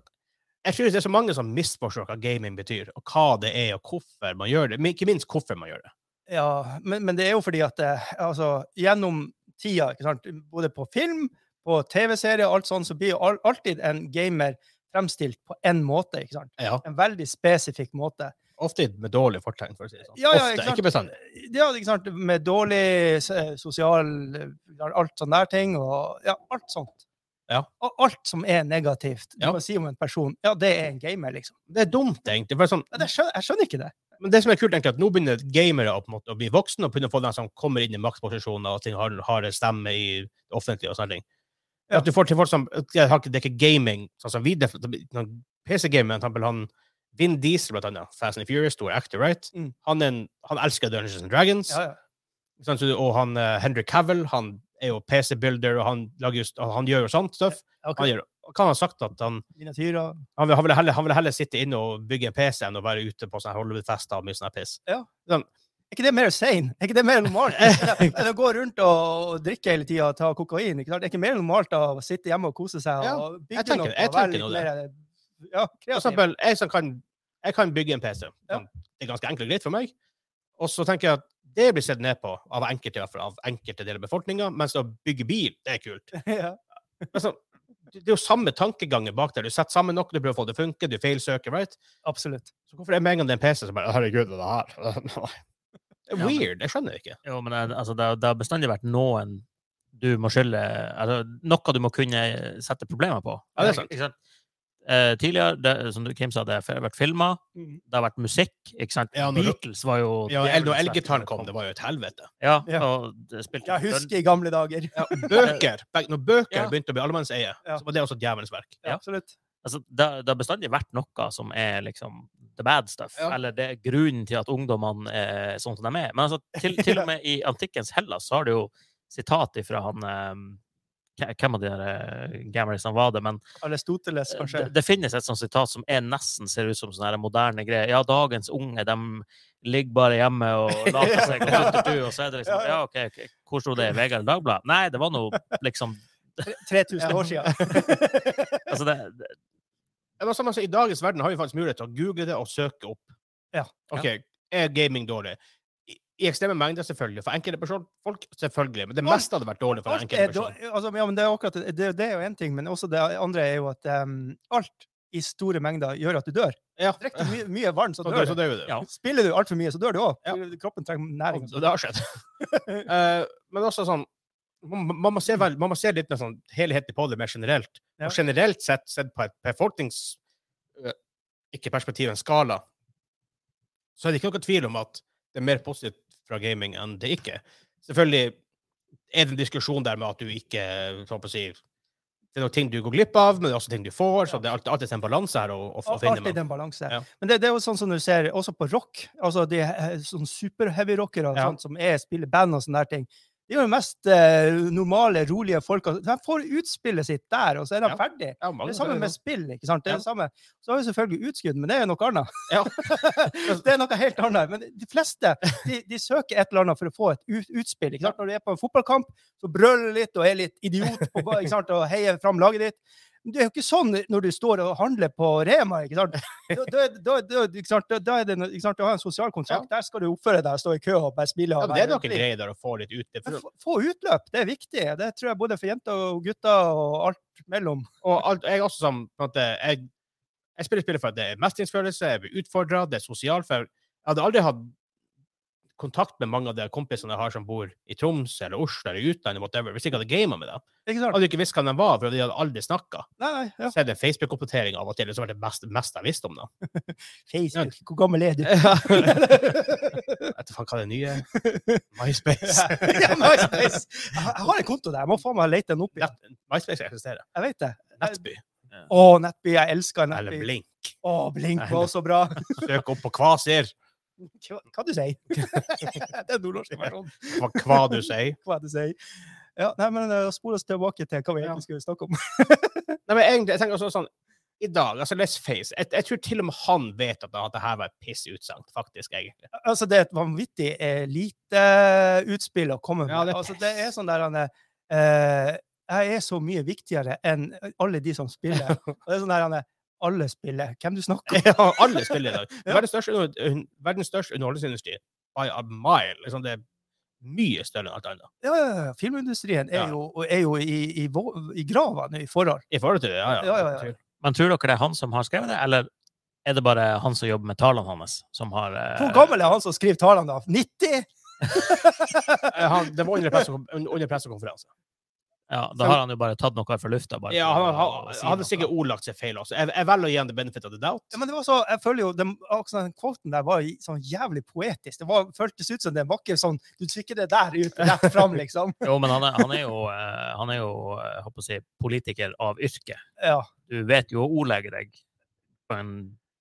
Speaker 1: jeg tror det er så mange som misforstår hva gaming betyr, og hva det er, og hvorfor man gjør det. Men ikke minst hvorfor man gjør det.
Speaker 3: Ja, men, men det er jo fordi at eh, altså, gjennom tida, ikke sant, både på film, på TV-serier og alt sånt, så blir jo al- alltid en gamer fremstilt på én måte, ikke sant.
Speaker 1: Ja,
Speaker 3: En veldig spesifikk måte.
Speaker 1: ofte med dårlig fortegn, for å si det sånn.
Speaker 3: Ja, ja,
Speaker 1: ofte,
Speaker 3: ikke sant.
Speaker 1: ikke sånn- bestandig.
Speaker 3: Ja, ikke sant? Med dårlig eh, sosial eh, Alt sånn der ting. Og, ja, alt sånt.
Speaker 1: Ja.
Speaker 3: Og alt som er negativt. Du
Speaker 1: Ja.
Speaker 3: kan si om en person Ja, det er en gamer, liksom.
Speaker 1: Det er dumt, egentlig. For det er sånn,
Speaker 3: Ja, det skjønner, jeg skjønner ikke det.
Speaker 1: Men det som er kult, egentlig, er at nå begynner gamere å, på en måte, å bli voksne og begynner å få dem som kommer inn i maktposisjoner og ting har, har en stemme i det offentlige og sånne ting. At du får til folk som jeg har ikke, Det er ikke gaming, sånn som vi def- sånn PC-gamer, for eksempel han Vin Diesel, blant annet. Fast and Furious, stor actor, right?
Speaker 3: Mm.
Speaker 1: Han, er en, han elsker Dungeons and Dragons.
Speaker 3: Ja, ja.
Speaker 1: Sånn, så- og han eh, Henry Cavill, han er jo PC-builder, og han, lager just, og han gjør jo sånt stuff.
Speaker 3: Jeg har
Speaker 1: Han
Speaker 3: ikke
Speaker 1: gjør, kan ha sagt at han
Speaker 3: miniatyrer.
Speaker 1: han vil, han, vil heller, han vil heller sitte inne og bygge en PC enn å være ute på sånne Hollywood-fester og mye sånn her piss.
Speaker 3: Er ikke det mer sane? Er ikke det mer normalt? Enn å- enn å gå rundt og drikke hele tida og ta kokain? Ikke sant? Er ikke mer normalt å sitte hjemme og kose seg
Speaker 1: Ja,
Speaker 3: og bygge
Speaker 1: jeg tenker-
Speaker 3: noe?
Speaker 1: jeg
Speaker 3: og være
Speaker 1: tenker
Speaker 3: litt
Speaker 1: nå
Speaker 3: mer, eh, ja,
Speaker 1: For
Speaker 3: kreativ.
Speaker 1: eksempel, jeg, som kan, jeg kan bygge en PC.
Speaker 3: Ja.
Speaker 1: Sånn, Det er ganske enkelt og greit for meg. Og så tenker jeg at det blir sett ned på av enkelte, i hvert fall, av enkelte deler av befolkninga, mens å bygge bil, det er kult.
Speaker 3: Ja.
Speaker 1: Men så, det det er jo samme tankegangen bak der. Du setter sammen noe, du prøver å få det til å funke, du feilsøker, right?
Speaker 3: Absolutt.
Speaker 1: Så hvorfor er det med en gang det er en PC som bare Herregud, hva er det her? Det er
Speaker 2: Ja, men-
Speaker 1: weird. Jeg skjønner det ikke.
Speaker 2: Jo, men eh, altså, det, har- det har bestandig vært noen du må skylde altså, Noe du må kunne sette problemer på.
Speaker 1: Ja, det er sant.
Speaker 2: Ikke sant? Eh, tidligere, det, som du, Kim sa, det har vært filmer,
Speaker 3: Mhm.
Speaker 2: det har vært musikk. ikke sant?
Speaker 1: Ja, når du-
Speaker 2: Beatles var jo
Speaker 1: Ja,
Speaker 2: djevelens
Speaker 1: Når
Speaker 2: verk
Speaker 1: elgitaren
Speaker 2: når
Speaker 1: kom, det var jo et helvete.
Speaker 2: Ja,
Speaker 3: Ja.
Speaker 2: og det spilte
Speaker 3: Jeg husker i gamle dager.
Speaker 1: Bøker! Når bøker
Speaker 2: Ja.
Speaker 1: begynte å bli allemannseie,
Speaker 3: Ja.
Speaker 1: så var det også et djevelens verk.
Speaker 2: Ja.
Speaker 3: Absolutt.
Speaker 2: altså, det, det har bestandig vært noe som er liksom the bad stuff,
Speaker 1: Ja.
Speaker 2: eller det er grunnen til at ungdommene er sånn som de er. Men altså, til, til og med i antikkens Hellas så har du jo sitat ifra han eh, hva- Hvem av de der eh, gamersene var det? Men
Speaker 3: Aristoteles, kanskje.
Speaker 2: Eh, det, det finnes et sånt sitat som er nesten ser ut som sånne her moderne greier. Ja, dagens unge, de ligger bare hjemme og later seg, og, tuttertu, og så er det liksom Ja, OK, ok, hvor sto det i VG eller Dagbladet? Nei, det var nå liksom
Speaker 3: 3000 år siden.
Speaker 2: Altså, det,
Speaker 1: Det var samme som I dagens verden har vi faktisk mulighet til å google det og søke opp.
Speaker 3: Ja.
Speaker 1: Ok, Er gaming dårlig? I, i ekstreme mengder, selvfølgelig. For enkelte person, folk, selvfølgelig. Men det
Speaker 3: Alt-
Speaker 1: meste hadde vært dårlig for en
Speaker 3: Alt er
Speaker 1: enkelte person.
Speaker 3: då- altså, ja, men det, er akkurat, det, det er jo én ting, men også det andre er jo at em, alt i store mengder gjør at du dør.
Speaker 1: Ja.
Speaker 3: Drikker du mye, mye varmt, så
Speaker 1: Så dør,
Speaker 3: dør
Speaker 1: så
Speaker 3: du.
Speaker 1: dør jo det.
Speaker 2: Ja.
Speaker 3: Spiller du altfor mye, så dør du òg.
Speaker 1: Ja.
Speaker 3: Kroppen trenger næring.
Speaker 1: Og det har skjedd. Eh, men også sånn man, man, må se vel, man må se litt mer sånn helhetlig på det mer generelt.
Speaker 3: Ja.
Speaker 1: Og generelt sett, sett på et befolknings... eh, Ikke perspektiv, en skala. så er det ikke noe tvil om at det er mer positivt fra gaming enn det ikke er. Selvfølgelig er det en diskusjon der med at du ikke så å si, Det er noen ting du går glipp av, men det er også ting du får. Så det er alltid, alltid en balanse her å, å, å finne.
Speaker 3: Alltid
Speaker 1: mellom.
Speaker 3: en balanse.
Speaker 1: Ja.
Speaker 3: Men det, det er jo sånn som du ser også på rock. altså De eh, sånn super-heavy-rockere
Speaker 1: Ja.
Speaker 3: sånn, som er, spiller band og sånne der ting. De er jo de mest eh, normale, rolige folka. De får utspillet sitt der, og så er de
Speaker 1: Ja.
Speaker 3: ferdig.
Speaker 1: Ja, mange-
Speaker 3: Det er det samme med spill. ikke sant? Det er
Speaker 1: Ja.
Speaker 3: det samme. Så har vi selvfølgelig utskudd, men det er jo noe annet.
Speaker 1: Ja.
Speaker 3: det er noe helt annet. Men de fleste de, de søker et eller annet for å få et ut, utspill. ikke sant? Når du er på en fotballkamp, så brøler du litt og er litt idiot på, ba- ikke sant? og heier fram laget ditt. Men det er jo ikke sånn når du står og handler på Rema. ikke sant? Da, da, da, da, ikke sant? da, da er det, noe- ikke sant? Du har en sosial kontrakt. Der skal du oppføre deg, stå i kø og bare smile.
Speaker 1: Ja,
Speaker 3: og
Speaker 1: det er
Speaker 3: være
Speaker 1: noen
Speaker 3: blid.
Speaker 1: greier der å få litt ut. Det
Speaker 3: Men
Speaker 1: for-
Speaker 3: få- Få utløp, det er viktig. Det tror jeg både for jenter og gutter og alt mellom.
Speaker 1: Og alt, jeg er også som på en måte, jeg, jeg spiller spillet for at det er mestringsfølelse, jeg blir utfordra, det er sosialt. For jeg hadde aldri hatt kontakt med mange av de kompisene jeg har som bor i Troms eller Oslo eller i utlandet, whatever, hvis jeg ikke hadde gama med dem.
Speaker 3: Ikke
Speaker 1: Jeg
Speaker 3: sant?
Speaker 1: hadde ikke visst hvem de var, for de hadde aldri snakka.
Speaker 3: Nei, nei, ja.
Speaker 1: Så er det Facebook-oppdatering av og til, og så var det mest, mest jeg visste om dem.
Speaker 3: Facebook, hvor gammel er du?
Speaker 1: Etter faen hva er det nye MySpace.
Speaker 3: ja, MySpace. Jeg har- jeg har en konto der. Jeg må faen meg lete den opp igjen.
Speaker 1: Nett, MySpace eksisterer.
Speaker 3: Jeg vet det.
Speaker 1: Nettby
Speaker 3: Å, Nettby. Jeg elsker
Speaker 1: eller
Speaker 3: Nettby.
Speaker 1: Blink.
Speaker 3: Å, Blink var også bra.
Speaker 1: Søk opp på Kvasir.
Speaker 3: Hva, hva du sier Det er nordnorsk versjon.
Speaker 1: Hva, hva du sier.
Speaker 3: Hva du sier. Ja, nei, men eh, Spol oss tilbake til hva vi egentlig skulle snakke om.
Speaker 1: Nei, men egentlig, jeg tenker også sånn, i dag, altså let's face, jeg, jeg tror til og med han vet at, at det her var et pissutsagn, faktisk, egentlig.
Speaker 3: Altså, Det er et vanvittig eh, lite eh, utspill å komme med.
Speaker 1: Ja, det er
Speaker 3: altså, det er sånn der han er, eh, Jeg er så mye viktigere enn alle de som spiller. Og det er sånn der han er, Alle spiller. Hvem du snakker om?
Speaker 1: Ja, alle spiller i dag. Verdens største, under- un- verdens største underholdningsindustri by a mile. Liksom, det er mye større enn alt annet.
Speaker 3: Ja, ja, ja. Filmindustrien er
Speaker 1: Ja.
Speaker 3: jo, og er jo i, i, vå- i grava nå i forhold.
Speaker 1: I forhold til det, ja, ja.
Speaker 3: Ja, ja, ja.
Speaker 2: Men tror dere det er han som har skrevet det, eller er det bare han som jobber med tallene hans, som har eh,
Speaker 3: Hvor gammel er han som skriver talene, da? 90?
Speaker 1: Eh, Han, det var under presse- under pressekonferanse.
Speaker 2: Ja, da har han jo bare tatt noe fra lufta. Bare,
Speaker 1: Ja,
Speaker 2: for
Speaker 1: han,
Speaker 2: å
Speaker 1: han,
Speaker 2: si
Speaker 1: han hadde
Speaker 2: noe.
Speaker 1: sikkert ordlagt seg feil også. Jeg, jeg velger å gi han the benefit of the doubt.
Speaker 3: Ja, men det var så, jeg føler jo, den, akkurat den kvoten der var i- sånn jævlig poetisk. Det var, føltes ut som det var ikke sånn Du trykker det der ut, rett fram, liksom.
Speaker 2: Jo, men han er, han er jo, eh, han er jo eh, jeg håper å si, politiker av yrke.
Speaker 3: Ja.
Speaker 2: Du vet jo å ordlegge deg på en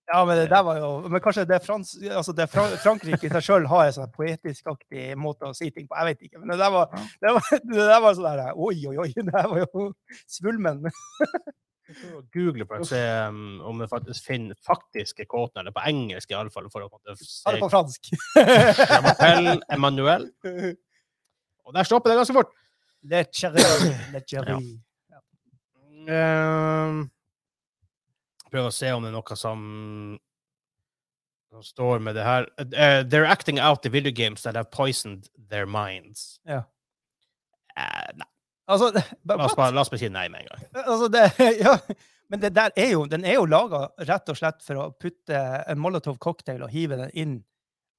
Speaker 3: ja, men det der var jo Men kanskje det, Frans, altså det Fra- Frankrike i seg sjøl har en sånn poetisk-aktig måte å si ting på. Jeg vet ikke. Men det der var, det var, det der var sånn der Oi, oi, oi. Det der var jo svulmen.
Speaker 1: Google for å se um, om det faktisk finner faktiske kåtene, eller på engelsk i alle fall, for å på en måte se
Speaker 3: Ta det på fransk.
Speaker 1: Rappel Emmanuel. Og der stopper det ganske fort.
Speaker 3: Le chéri, le chéri.
Speaker 1: Uh, prøver å se om det er noe som, som står med det her. Eh, they're acting out the video games that have poisoned their minds.
Speaker 3: Ja.
Speaker 1: Eh, nei.
Speaker 3: Altså, det-
Speaker 1: La oss,
Speaker 3: but,
Speaker 1: bare, la oss bare si nei med en gang.
Speaker 3: altså det, ja. Men det der er jo, den er jo laga rett og slett for å putte en molotov-cocktail og hive den inn.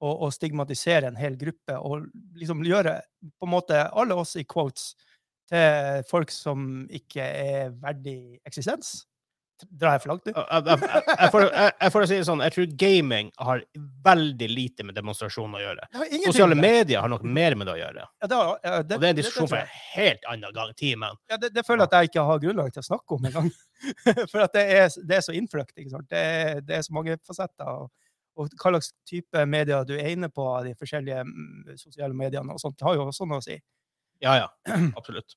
Speaker 3: Og, og stigmatisere en hel gruppe og liksom gjøre på en måte alle oss i quotes til folk som ikke er verdig eksistens. Drar jeg for langt, du?
Speaker 1: Jeg, jeg, jeg, jeg, får, jeg, jeg får si det sånn, jeg tror gaming har veldig lite med demonstrasjon å gjøre.
Speaker 3: Det har ingenting
Speaker 1: Sosiale
Speaker 3: med-
Speaker 1: medier har noe mer med det å gjøre.
Speaker 3: Ja, det, har- ja, det,
Speaker 1: Og det er en
Speaker 3: det- det tror
Speaker 1: diskusjon for
Speaker 3: jeg.
Speaker 1: en helt annen gang. Timen.
Speaker 3: Ja, det, det føler jeg at jeg ikke har grunnlag til å snakke om engang. For at det er, det er så innfløkt. ikke sant? Det er, det er så mange fasetter. Og, og hva slags type medier du er inne på, av de forskjellige mm, sosiale mediene og sånt, det har jo også noe å si.
Speaker 1: Ja, ja. Absolutt.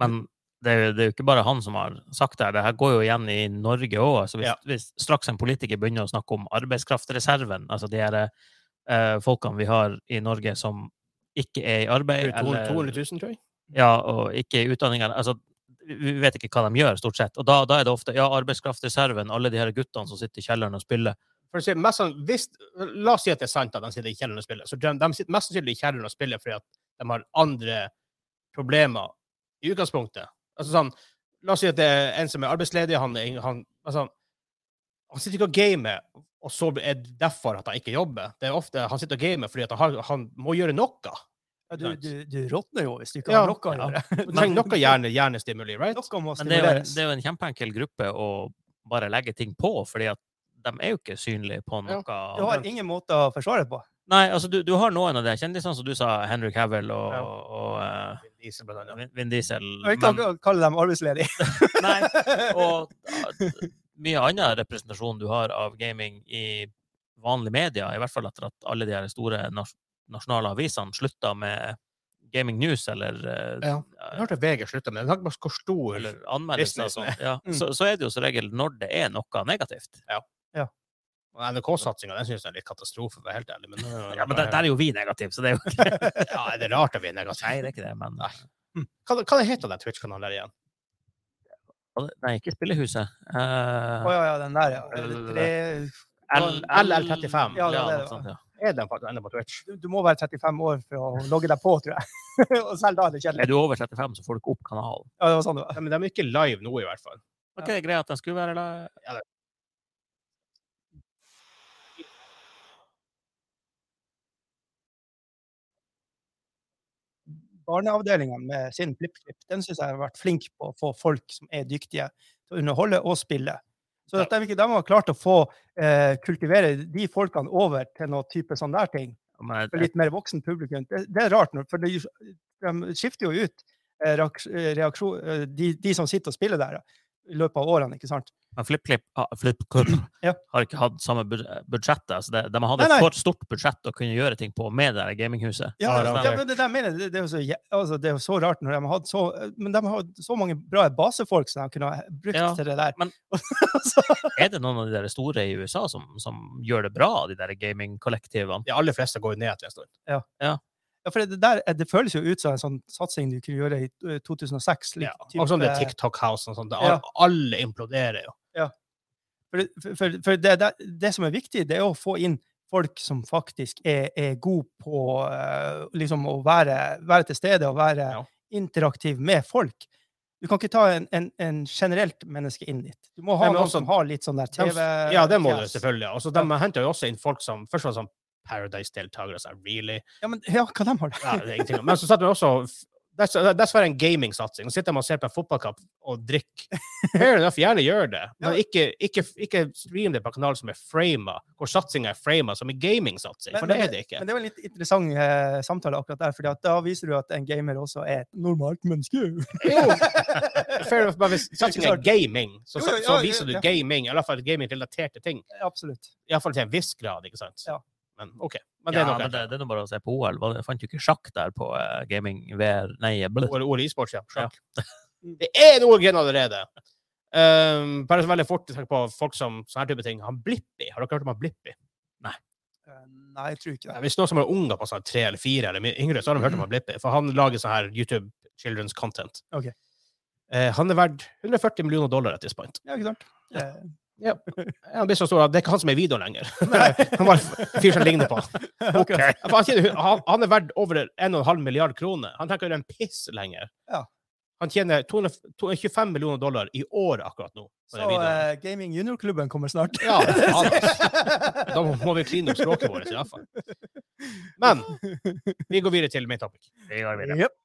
Speaker 2: Men det er, jo, det er jo ikke bare han som har sagt det. her. Det her går jo igjen i Norge òg. Altså hvis,
Speaker 1: Ja.
Speaker 2: hvis straks en politiker begynner å snakke om arbeidskraftreserven, altså de her eh, folkene vi har i Norge som ikke er i arbeid
Speaker 1: 200
Speaker 2: eller-
Speaker 1: 000, tror jeg.
Speaker 2: ja, og ikke i utdanning eller- altså, Vi vi vet ikke hva de gjør, stort sett. Og da, da er det ofte ja, arbeidskraftreserven, alle de her guttene som sitter i kjelleren og spiller.
Speaker 1: For å si, mest sann, hvis, la oss si at det er sant at de sitter i kjelleren og spiller. Så de, de sitter mest sannsynlig i kjelleren og spiller fordi at de har andre problemer i utgangspunktet. Altså sånn, La oss si at det er en som er arbeidsledig. Han, er ing- han, altså, han sitter ikke og gamer, og så er det derfor at han ikke jobber. Det er ofte Han sitter og gamer fordi at han, har- han må gjøre noe.
Speaker 3: Ja, du, du, du råtner jo hvis du ikke
Speaker 1: Ja,
Speaker 3: har noe å
Speaker 1: ja.
Speaker 3: gjøre.
Speaker 1: Du trenger noe hjerne, hjernestimuli, right?
Speaker 3: Noe må
Speaker 2: Men det er jo en,
Speaker 3: stimuleres.
Speaker 2: det er jo en kjempeenkel gruppe å bare legge ting på, fordi at de er jo ikke synlige på
Speaker 3: Ja,
Speaker 2: noe
Speaker 3: Du har ingen måte å forsvare det på.
Speaker 2: Nei, altså, du, du har noen av de kjendisene som du sa, Henry Cavill og,
Speaker 1: Ja.
Speaker 2: og eh,
Speaker 1: Vin Diesel, blant annet.
Speaker 2: Vin- Vin Diesel.
Speaker 3: Jeg vil ikke
Speaker 2: men-
Speaker 3: akkurat kalle dem arbeidsledige.
Speaker 2: nei, og ja, mye annen representasjon du har av gaming i vanlige media, i hvert fall etter at alle de her store nas nasjonale avisene slutta med gaming news eller, eh,
Speaker 1: Ja. Jeg hørte VG slutta med det. Jeg tenkte bare hvor stor
Speaker 2: eller anmeldelser og
Speaker 1: Disney.
Speaker 2: sånt. Ja.
Speaker 3: Mm.
Speaker 2: Så, så er det jo som regel når det er noe negativt.
Speaker 1: Og NRK-satsinga den synes jeg er litt katastrofe, for å være helt ærlig. Men, øh,
Speaker 2: Ja, men der, der er jo vi negative, så det er jo
Speaker 1: ja, er det rart at vi er negative?
Speaker 2: Nei, det er ikke det, men
Speaker 1: Hva, hva heter den Twitch-kanalen der igjen?
Speaker 2: Nei, ikke Spillehuset. Eh,
Speaker 3: Å ja, ja, den der, ja. Det,
Speaker 2: L-
Speaker 1: LL35.
Speaker 2: Ja,
Speaker 3: Ja, det var det
Speaker 2: noe
Speaker 3: det var.
Speaker 2: sånt, ja.
Speaker 1: Er den faktisk ennå på Twitch?
Speaker 3: du, du må være 35 år for å logge deg på, tror jeg. Og selv da er det
Speaker 2: Er
Speaker 3: kjedelig.
Speaker 2: du over 35, så får du ikke opp kanalen.
Speaker 3: Ja, det var sånn det var.
Speaker 1: Nei, men de er ikke live nå, i hvert fall.
Speaker 2: Var ikke det greit at den skulle være la-
Speaker 3: Barneavdelinga med sin FlippKlipp, den syns jeg har vært flink på å få folk som er dyktige, til å underholde og spille. Så at de, ikke- de har klart å få eh, kultivere de folkene over til noe type sånn der ting.
Speaker 2: Men
Speaker 3: for litt mer voksen publikum. Det, det er rart, nå, for de, de skifter jo ut eh, reaks- eh, reaksjon, eh, de, de som sitter og spiller der, da, i løpet av årene. ikke sant?
Speaker 2: Men FlippKlipp ah, FlippKlipp
Speaker 3: Ja.
Speaker 2: har ikke hatt samme bud- budsjettet. Altså de, de hadde
Speaker 3: Nei, nei.
Speaker 2: et for stort budsjett å kunne gjøre ting på med det der gaminghuset.
Speaker 3: Ja,
Speaker 1: Ja,
Speaker 3: altså,
Speaker 1: det
Speaker 3: ja,
Speaker 1: er-
Speaker 3: men det, der mener jeg, det, det, er jo så, jæ- altså, det er jo så rart når de har hatt så Men de har hatt så mange bra basefolk som de kunne ha brukt
Speaker 2: Ja,
Speaker 3: til det der.
Speaker 2: men-
Speaker 3: Så-
Speaker 2: Er det noen av de der store i USA som, som gjør det bra, de der gamingkollektivene?
Speaker 1: De aller fleste går jo ned etter en stund.
Speaker 3: ja, for det, der, eh, det føles jo ut som en sånn satsing du kunne gjøre i eh, 2006. litt
Speaker 1: Ja.
Speaker 3: type-
Speaker 1: Og sånn det TikTok-house og sånt. det-
Speaker 3: Ja.
Speaker 1: Alle imploderer jo.
Speaker 3: For, det- for- for, for det, det, det som er viktig, det er å få inn folk som faktisk er, er gode på eh, liksom å være, være til stede og være
Speaker 1: Ja.
Speaker 3: interaktiv med folk. Du kan ikke ta en, en, en generelt menneske inn dit. Du må
Speaker 1: Nei,
Speaker 3: ha
Speaker 1: men
Speaker 3: noen
Speaker 1: også-
Speaker 3: som har litt sånn der
Speaker 1: De-
Speaker 3: TV
Speaker 1: Ja, det må du
Speaker 3: fjes.
Speaker 1: selvfølgelig. Og så de henter jo også inn folk som først var sånn Paradise-deltakere. Så really?
Speaker 3: Ja, men ja, hva de har
Speaker 1: Ja, det er ingenting. Men så satt de også Det er svært en gaming-satsing. Nå sitter de og ser på en fotballkamp og drikker. Fair enough, gjerne gjør det, men ikke, ikke, ikke stream det på en kanal som er frama, hvor satsinga er frama som en gaming-satsing. For
Speaker 3: Men-
Speaker 1: det er det ikke.
Speaker 3: Men det var en litt interessant eh, samtale akkurat der, for da viser du at en gamer også er et normalt menneske.
Speaker 1: Jo, Fair enough, men hvis satsingen er
Speaker 3: sant?
Speaker 1: gaming, så,
Speaker 3: Jo, jo, ja,
Speaker 1: så viser du
Speaker 3: ja, ja.
Speaker 1: gaming, i alle fall gaming-relaterte ting.
Speaker 3: Absolutt.
Speaker 1: Iallfall til en viss grad, ikke sant?
Speaker 3: Ja.
Speaker 1: Men OK. Men det
Speaker 2: Ja,
Speaker 1: er noe
Speaker 2: men det, det er nå bare å se på OL. Var det- Fant du ikke sjakk der på eh, gaming VR? Nei, bl-
Speaker 1: Or- Ordet e-sport, ja. Sjakk.
Speaker 3: Mm.
Speaker 1: Det er en ordgren allerede! Um, bare så veldig fort tenk på folk som sånne her type ting. Han Blippi, har dere hørt om han Blippi?
Speaker 3: Eh, Nei, jeg tror ikke det.
Speaker 1: Hvis noen som er unger på sånn tre eller fire eller mye yngre, så har de hørt om han Blippi. For han lager sånn her YouTube children's content.
Speaker 3: Ok.
Speaker 1: Eh, han er verdt 140 millioner dollar at this point.
Speaker 3: Ja, ikke sant? Eh,
Speaker 1: Han blir så stor at det er ikke han som er i videoen lenger. han var en fyr som ligner på han. Ok. For han, tjener, han, han er verdt over 1,5 milliard kroner. Han trenger ikke gjøre en piss lenger.
Speaker 3: Ja.
Speaker 1: Han tjener 200, 225 millioner dollar i året akkurat nå. på
Speaker 3: Så
Speaker 1: den videoen.
Speaker 3: eh, Gaming Junior-klubben kommer snart.
Speaker 1: Ja, faen, ass. Da må vi kline opp språket vårt, i hvert fall. Men vi går videre til main topic.
Speaker 2: Vi går videre.
Speaker 3: Jep.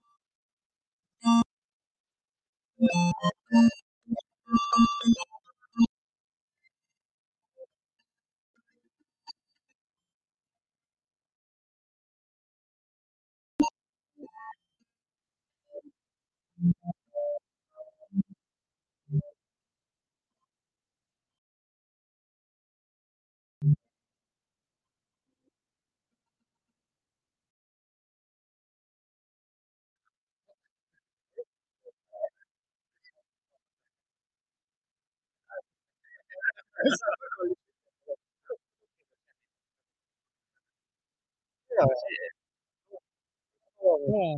Speaker 3: Oh,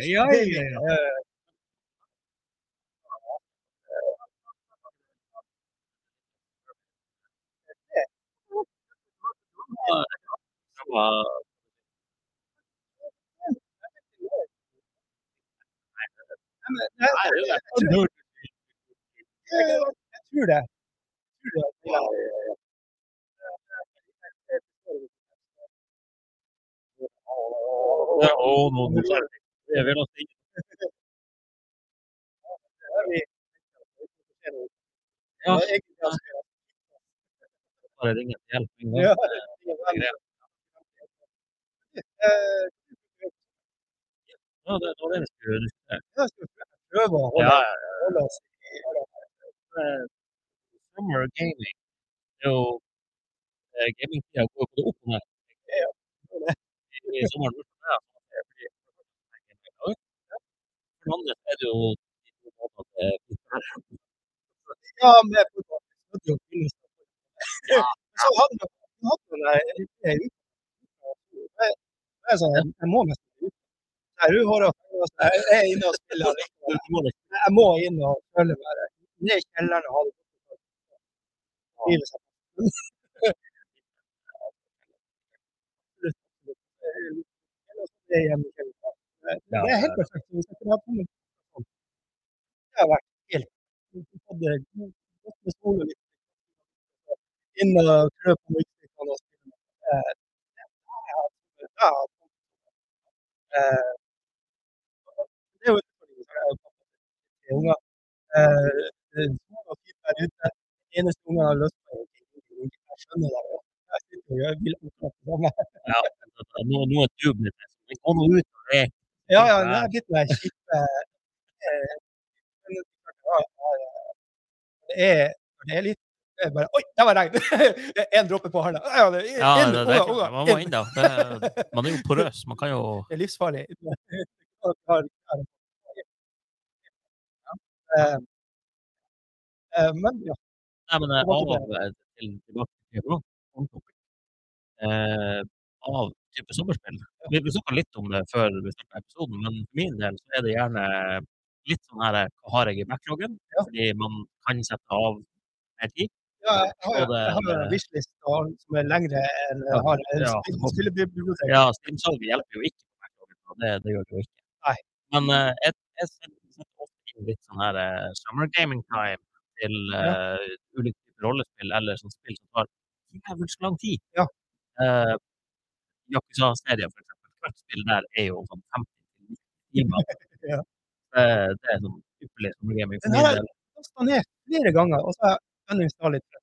Speaker 4: Ja, ja, ja.
Speaker 3: Jeg tror- Jeg tror det.
Speaker 2: bare ringe til hjelp. en gang.
Speaker 4: Ja.
Speaker 2: Ja, det det var det vi skulle diskutere.
Speaker 4: sånn Jeg skal prøve å
Speaker 2: Ja,
Speaker 4: holde,
Speaker 2: ja,
Speaker 4: holde oss
Speaker 2: eh, summer of gaming det er jo eh, gamingtida går både opp og ned. I i sommeren burde det være sånn at det blir- For det andre så er det jo de to månedene det er fint vær.
Speaker 4: Ja, med fotball. Det er jo fint. Men Så hadde jeg hatt den der en uke. Jeg- jeg sa, sånn, Jeg må nesten ut. Nei, du har hatt den, altså. Jeg jeg er inne og spiller likevel.
Speaker 2: Du må liksom-
Speaker 4: Jeg må inn og føle meg der. Ned i kjelleren og ha det godt. Hvile seg. Ellers er jeg hjemme i kjelleren.
Speaker 2: Ja,
Speaker 4: Det er helt perfekt. Hvis jeg kunne hatt med sånn. Det har vært helt Hadde god- godt med sol og litt Inn og trø på musikken og spille med. Eh, det har jeg hatt- det har jeg hatt. Eh, Det er jo en utfordring hvis jeg har hatt tre unger. Eh, det er to og fire der ute. Den eneste ungen har lyst på en ting. Jeg skjønner det. jo. Jeg sitter og gjør- vil akkurat det samme.
Speaker 2: Nå, nå er du blitt det. Men Gå nå ut og lek.
Speaker 4: Ja, ja,
Speaker 2: Ja.
Speaker 4: det er litt mer kjipt. eh, men ja, ja, ja. Det er, det er litt det er bare, Oi, der var regn! Én dråpe på handa. Ja, det er,
Speaker 2: Ja,
Speaker 4: inn,
Speaker 2: det,
Speaker 4: unga,
Speaker 2: det, er klart,
Speaker 4: unga,
Speaker 2: man må
Speaker 4: inn.
Speaker 2: inn, da. Det, man er jo porøs. Man kan jo
Speaker 4: Det er livsfarlig. Ja, ja, ja. Eh, eh, Men ja.
Speaker 2: Nei, men eh,
Speaker 4: Det var ikke
Speaker 2: av eh, til tilbake til Europa, on topic. Eh, av type sommerspill. Vi, vi snakka litt om det før vi starta episoden, men for min del så er det gjerne litt sånn her eh, Hva har jeg i backloggen?
Speaker 4: Ja.
Speaker 2: Fordi man kan sette av mer tid.
Speaker 4: ja jeg har,
Speaker 2: Og det-
Speaker 4: jeg har en wishlist og- som er lengre enn jeg har. Jeg
Speaker 2: Ja.
Speaker 4: spiller- spiller bibliotek.
Speaker 2: Ja, Steam-salget hjelper jo ikke på backloggen, og det, det gjør det jo ikke.
Speaker 4: Nei.
Speaker 2: Men eh, jeg, jeg setter setter ofte inn litt sånn her eh, summer gaming time til eh, ulike typer rollespill eller sånn spill som tar jævlig lang tid.
Speaker 4: Ja.
Speaker 2: Eh, Yakuza-serien, for eksempel. Hvert spill der er jo sånn 50 timer.
Speaker 4: Ja.
Speaker 2: Eh, det er sånn ypperlig summer gaming
Speaker 4: Den
Speaker 2: for min
Speaker 4: her-
Speaker 2: del.
Speaker 4: lasta ned flere ganger, og så har jeg uninstallet litt for